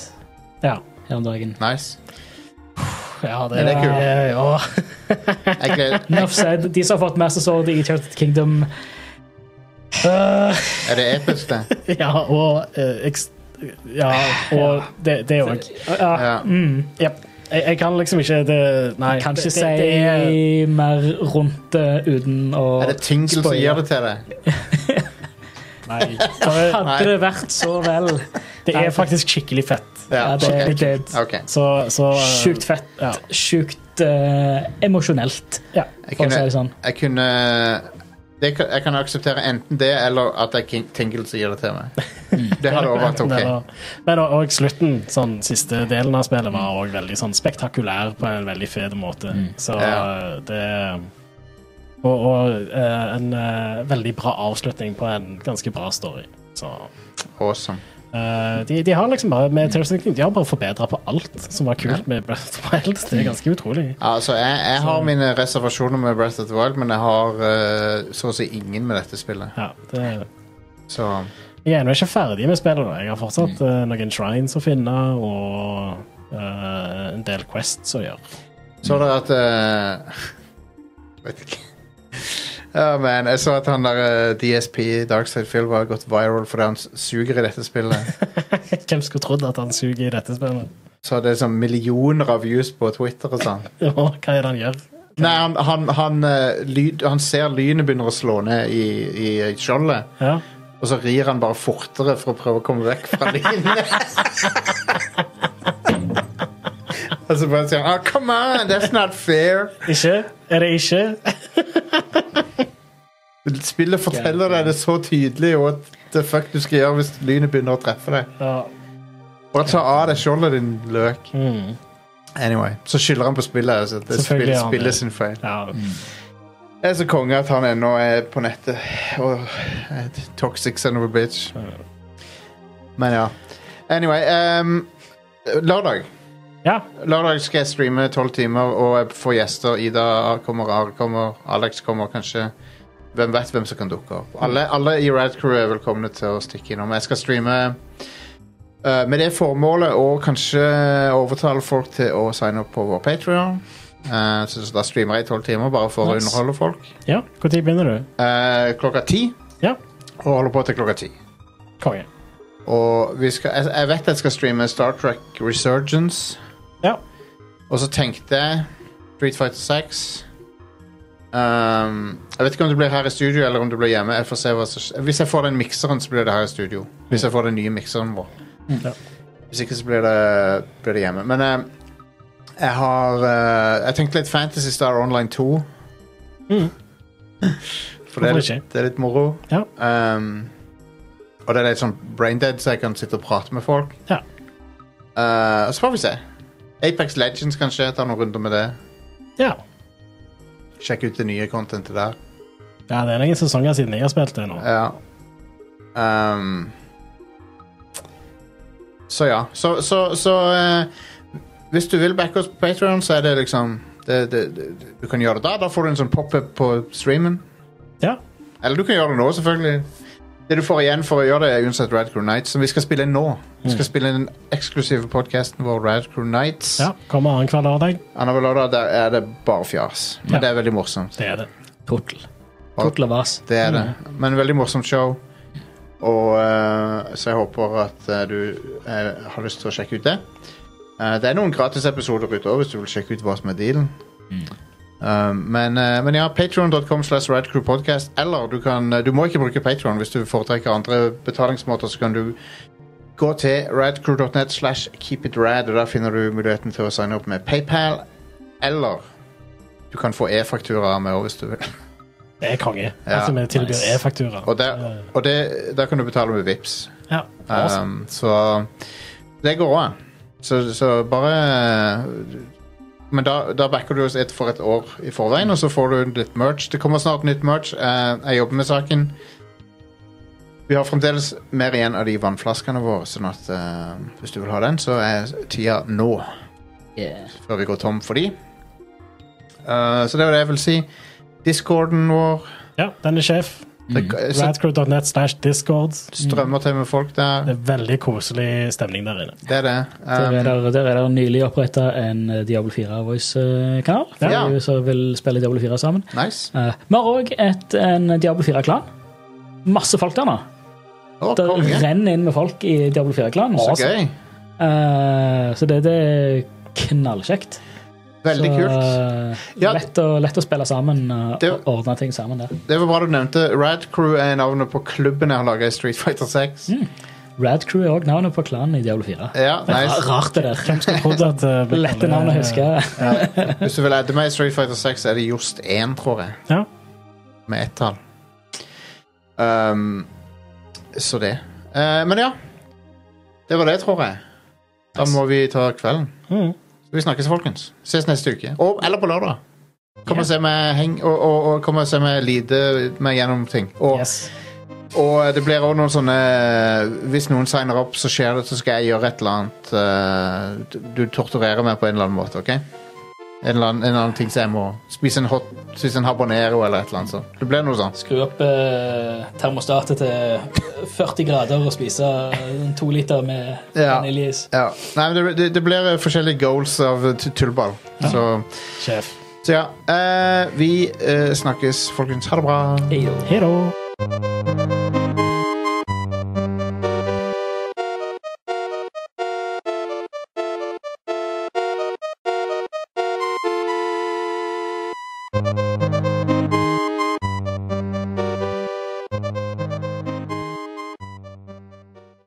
S3: Ja.
S4: her om dagen.
S2: Nice.
S3: ja,
S2: Ja, det er kult.
S3: eh, ja.
S2: Jeg gleder,
S4: Enough said. De som har fått Master Sword i Church Kingdom
S3: Eh,
S2: er det episk, det?
S3: ja, og eh, ekst- Ja, og det, det er jo
S4: ja,
S2: Ja.
S3: Jep. Jeg, jeg kan liksom ikke det, Nei.
S4: Kan ikke
S3: det,
S4: si
S3: det, det er-
S4: mer rundt det uten å
S2: Er det Tingle som
S4: spoile.
S2: gjør det til deg?
S3: Nei. For
S2: Nei.
S4: Hadde det vært så vel.
S3: det er faktisk skikkelig fett.
S2: Ja,
S4: Ja, det er
S2: ok.
S4: litt litt
S2: Ok.
S3: Så, så eh,
S4: sjukt fett.
S3: Ja.
S4: Sjukt eh, emosjonelt,
S3: ja.
S2: Jeg
S4: for å si det
S2: kunne,
S4: sånn.
S2: jeg kunne det, kan- Jeg kan akseptere enten det eller at det er King- Tingle som gir det til meg.
S4: Mm.
S2: Det hadde også vært
S3: Det
S2: ok.
S3: var- Men og, og slutten, sånn siste delen av spillet, var òg veldig sånn spektakulær på en veldig fet måte. Så
S2: Ja.
S3: eh, det Og, og eh, en eh, veldig bra avslutning på en ganske bra story. Så
S2: Awesome.
S3: eh, de, de har liksom bare med Tears of the Kingdom, De har bare forbedra på alt som var kult med Breath of the Wild. Det er ganske utrolig.
S2: Altså, jeg, jeg har mine reservasjoner med Breath of the Wild, men jeg har eh, så å si ingen med dette spillet.
S3: Ja, det,
S2: Så
S3: jeg er ennå ikke ferdig med spillet. da. Jeg har fortsatt eh, noen shrines å finne og eh, en del quests å gjøre.
S2: så dere at eh, Vet ikke. Ja, men Jeg så at han der eh, DSP, Darkside Phil, var gått viral fordi han s- suger i dette spillet.
S3: Hvem skulle trodd at han suger i dette spillet?
S2: Så det er sånn millioner av views på Twitter og sånn.
S3: Ja, hva er det han gjør?
S2: Nei, han, han, han, eh, lyd, han ser lynet begynner å slå ned i, i skjoldet,
S3: Ja.
S2: og så rir han bare fortere for å prøve å komme vekk fra lynet. og så bare sier han oh, 'come on, that's not fair'.
S3: Ikke? Er det ikke?
S2: Spillet forteller deg det så tydelig what the fuck du skal gjøre hvis lynet begynner å treffe deg.
S3: Ja.
S2: Bare ta av deg skjoldet, din løk.
S3: Mm.
S2: Anyway, Så skylder han på spillet. Altså. Det er
S3: Selvfølgelig
S2: spill,
S3: gjør han det.
S2: spillet sin feil.
S3: ja.
S2: Mm. Jeg er så konge at han ennå er på nettet. Og er et toxic son of a bitch. Men ja. Anyway ehm, Lørdag
S3: ja.
S2: Lørdag skal jeg streame tolv timer, og jeg får gjester. Ida kommer, Are kommer, Alex kommer kanskje. Hvem vet hvem som kan dukke opp. Alle, alle i Rad Crew er velkomne til å stikke innom. Jeg skal streame eh, med det formålet å kanskje overtale folk til å signe opp på vår Patrion. så, så da streamer jeg i tolv timer, bare for
S4: Nice.
S2: å underholde folk.
S3: ja. Hvor tid begynner du?
S2: Eh, klokka ti.
S3: Ja.
S2: Og holder på til klokka ti.
S3: Konge.
S2: Og vi skal, jeg, jeg vet jeg skal streame Star Trek Resurgence.
S3: Ja.
S2: Og så tenkte jeg Street Fighter 6. Um, jeg vet ikke om det blir her i studio eller om det blir hjemme. Jeg får se hva som skjer. Hvis jeg får den mikseren, så blir det her i studio. Hvis jeg får den nye mikseren vår.
S3: Ja.
S2: Hvis ikke, så blir det, blir det hjemme. Men eh, jeg har eh, Jeg tenkte litt Fantasy Star Online 2.
S3: Mhm.
S2: For det er,
S3: Hvorfor
S2: litt,
S3: ikke?
S2: det er litt moro.
S3: Ja.
S2: Um, og det er litt sånn braindead, så jeg kan sitte og prate med folk.
S3: Ja.
S2: Eh, og så får vi se. Apex Legends, kanskje. Ta noen runder med det.
S3: ja.
S2: Sjekk ut det nye contentet der.
S3: Ja, det er noen sesonger siden jeg har spilt det nå.
S2: Ja. Ehm, så ja. Så, så, så eh, Hvis du vil backe oss på Patreon så er det liksom det, det, det, Du kan gjøre det da. Da får du en sånn pop-up på streamen.
S3: Ja.
S2: Eller du kan gjøre det nå, selvfølgelig. Det du får igjen for å gjøre det, er uansett Radcrew Nights, som vi skal spille nå. Vi
S3: Mm.
S2: skal spille den eksklusive podkasten vår, Radcrew Nights.
S3: Ja, Kommer annenhver lørdag.
S2: Annenhver lørdag der er det bare fjas. Men
S3: Ja.
S2: det er veldig morsomt.
S3: Det er det.
S4: Total. Total av oss.
S2: Det er det. Men veldig morsomt show. Og eh, Så jeg håper at eh, du eh, har lyst til å sjekke ut det. Eh, det er noen gratisepisoder utover hvis du vil sjekke ut hva som er dealen. Eh, men, eh, men ja, patreon.com slash radcrewpodcast. Eller du kan eh, Du må ikke bruke Patreon hvis du foretrekker andre betalingsmåter. Så kan du gå til radcrew.net slash keepitrad, og der finner du muligheten til å signe opp med PayPal. Eller du kan få e-fakturaer med òg, hvis du vil.
S3: Det er konge.
S2: Ja,
S3: altså, vi tilbyr
S4: nice.
S3: e-faktura.
S2: Og der, og det, der kan du betale med VIPs
S3: Ja, awesome.
S2: um, Så det går an. Så, så bare Men da, da backer du oss et for et år i forveien, og så får du litt merch. Det kommer snart nytt merch. Eh, jeg jobber med saken. Vi har fremdeles mer igjen av de vannflaskene våre, sånn at eh, hvis du vil ha den, så er tida nå
S4: Yeah.
S2: før vi går tom for de. Eh, så det var det jeg vil si. Discorden vår
S3: ja, den er sjef.
S2: det, så
S3: Radcrew.net slash discord.
S2: strømmer til med folk der.
S3: Det er veldig koselig stemning der inne.
S2: Det er det.
S4: Der
S2: Um,
S4: er der, der er der nylig oppretta en eh, Diablo 4-voice-kanal. for
S2: Ja.
S4: de som vil spille Diablo 4 sammen.
S2: nice.
S4: Eh, Vi har òg en Diablo 4-klan. Masse folk der nå.
S2: Å,
S4: Det
S2: konge.
S4: renner inn med folk i Diablo 4-klanen.
S2: Så gøy.
S4: Eh, så det, det er knallkjekt.
S2: Veldig
S4: så,
S2: kult.
S4: eh,
S2: Ja.
S4: Lett, å, lett å spille sammen eh,
S2: Det-
S4: og ordne ting sammen der.
S2: Det var bra du nevnte. Rad Crew er navnet på klubben jeg har laga i Street Fighter 6.
S4: Rad Crew er òg navnet på klanen i Diablo 4.
S2: Ja, nice.
S4: Rart det der.
S3: Hvem skulle trodd at eh, vi
S4: Lette
S3: kaller-
S4: navn å huske.
S2: Hvis du vil adde meg i Street Fighter 6, er det Jost 1, tror jeg.
S3: Ja.
S2: Med ett tall. Um, så det. Eh, men ja. Det var det, tror jeg. Da må vi ta kvelden.
S3: Mm.
S2: Vi snakkes, folkens. Ses neste uke. Og, eller på lørdag. Kom og se meg heng, og, og, og kom og se meg lide meg gjennom ting. Og
S3: Yes.
S2: Og det blir også noen sånne Hvis noen signer opp, så skjer det, så skal jeg gjøre et eller annet eh, du- Du torturerer meg på en eller annen måte, OK? En eller annen, en eller annen ting som jeg må Spise en hot Spise en habanero eller et eller annet sånt. Det blir noe sånt.
S4: Skru opp eh, termostatet til 40 grader og spise to liter med
S2: Ja. Ja. Nei, men det, det, det blir eh, forskjellige goals av t- tullball. Så,
S3: Sjef.
S2: så ja. eh, vi eh, snakkes, folkens. Ha det bra.
S3: Hei da.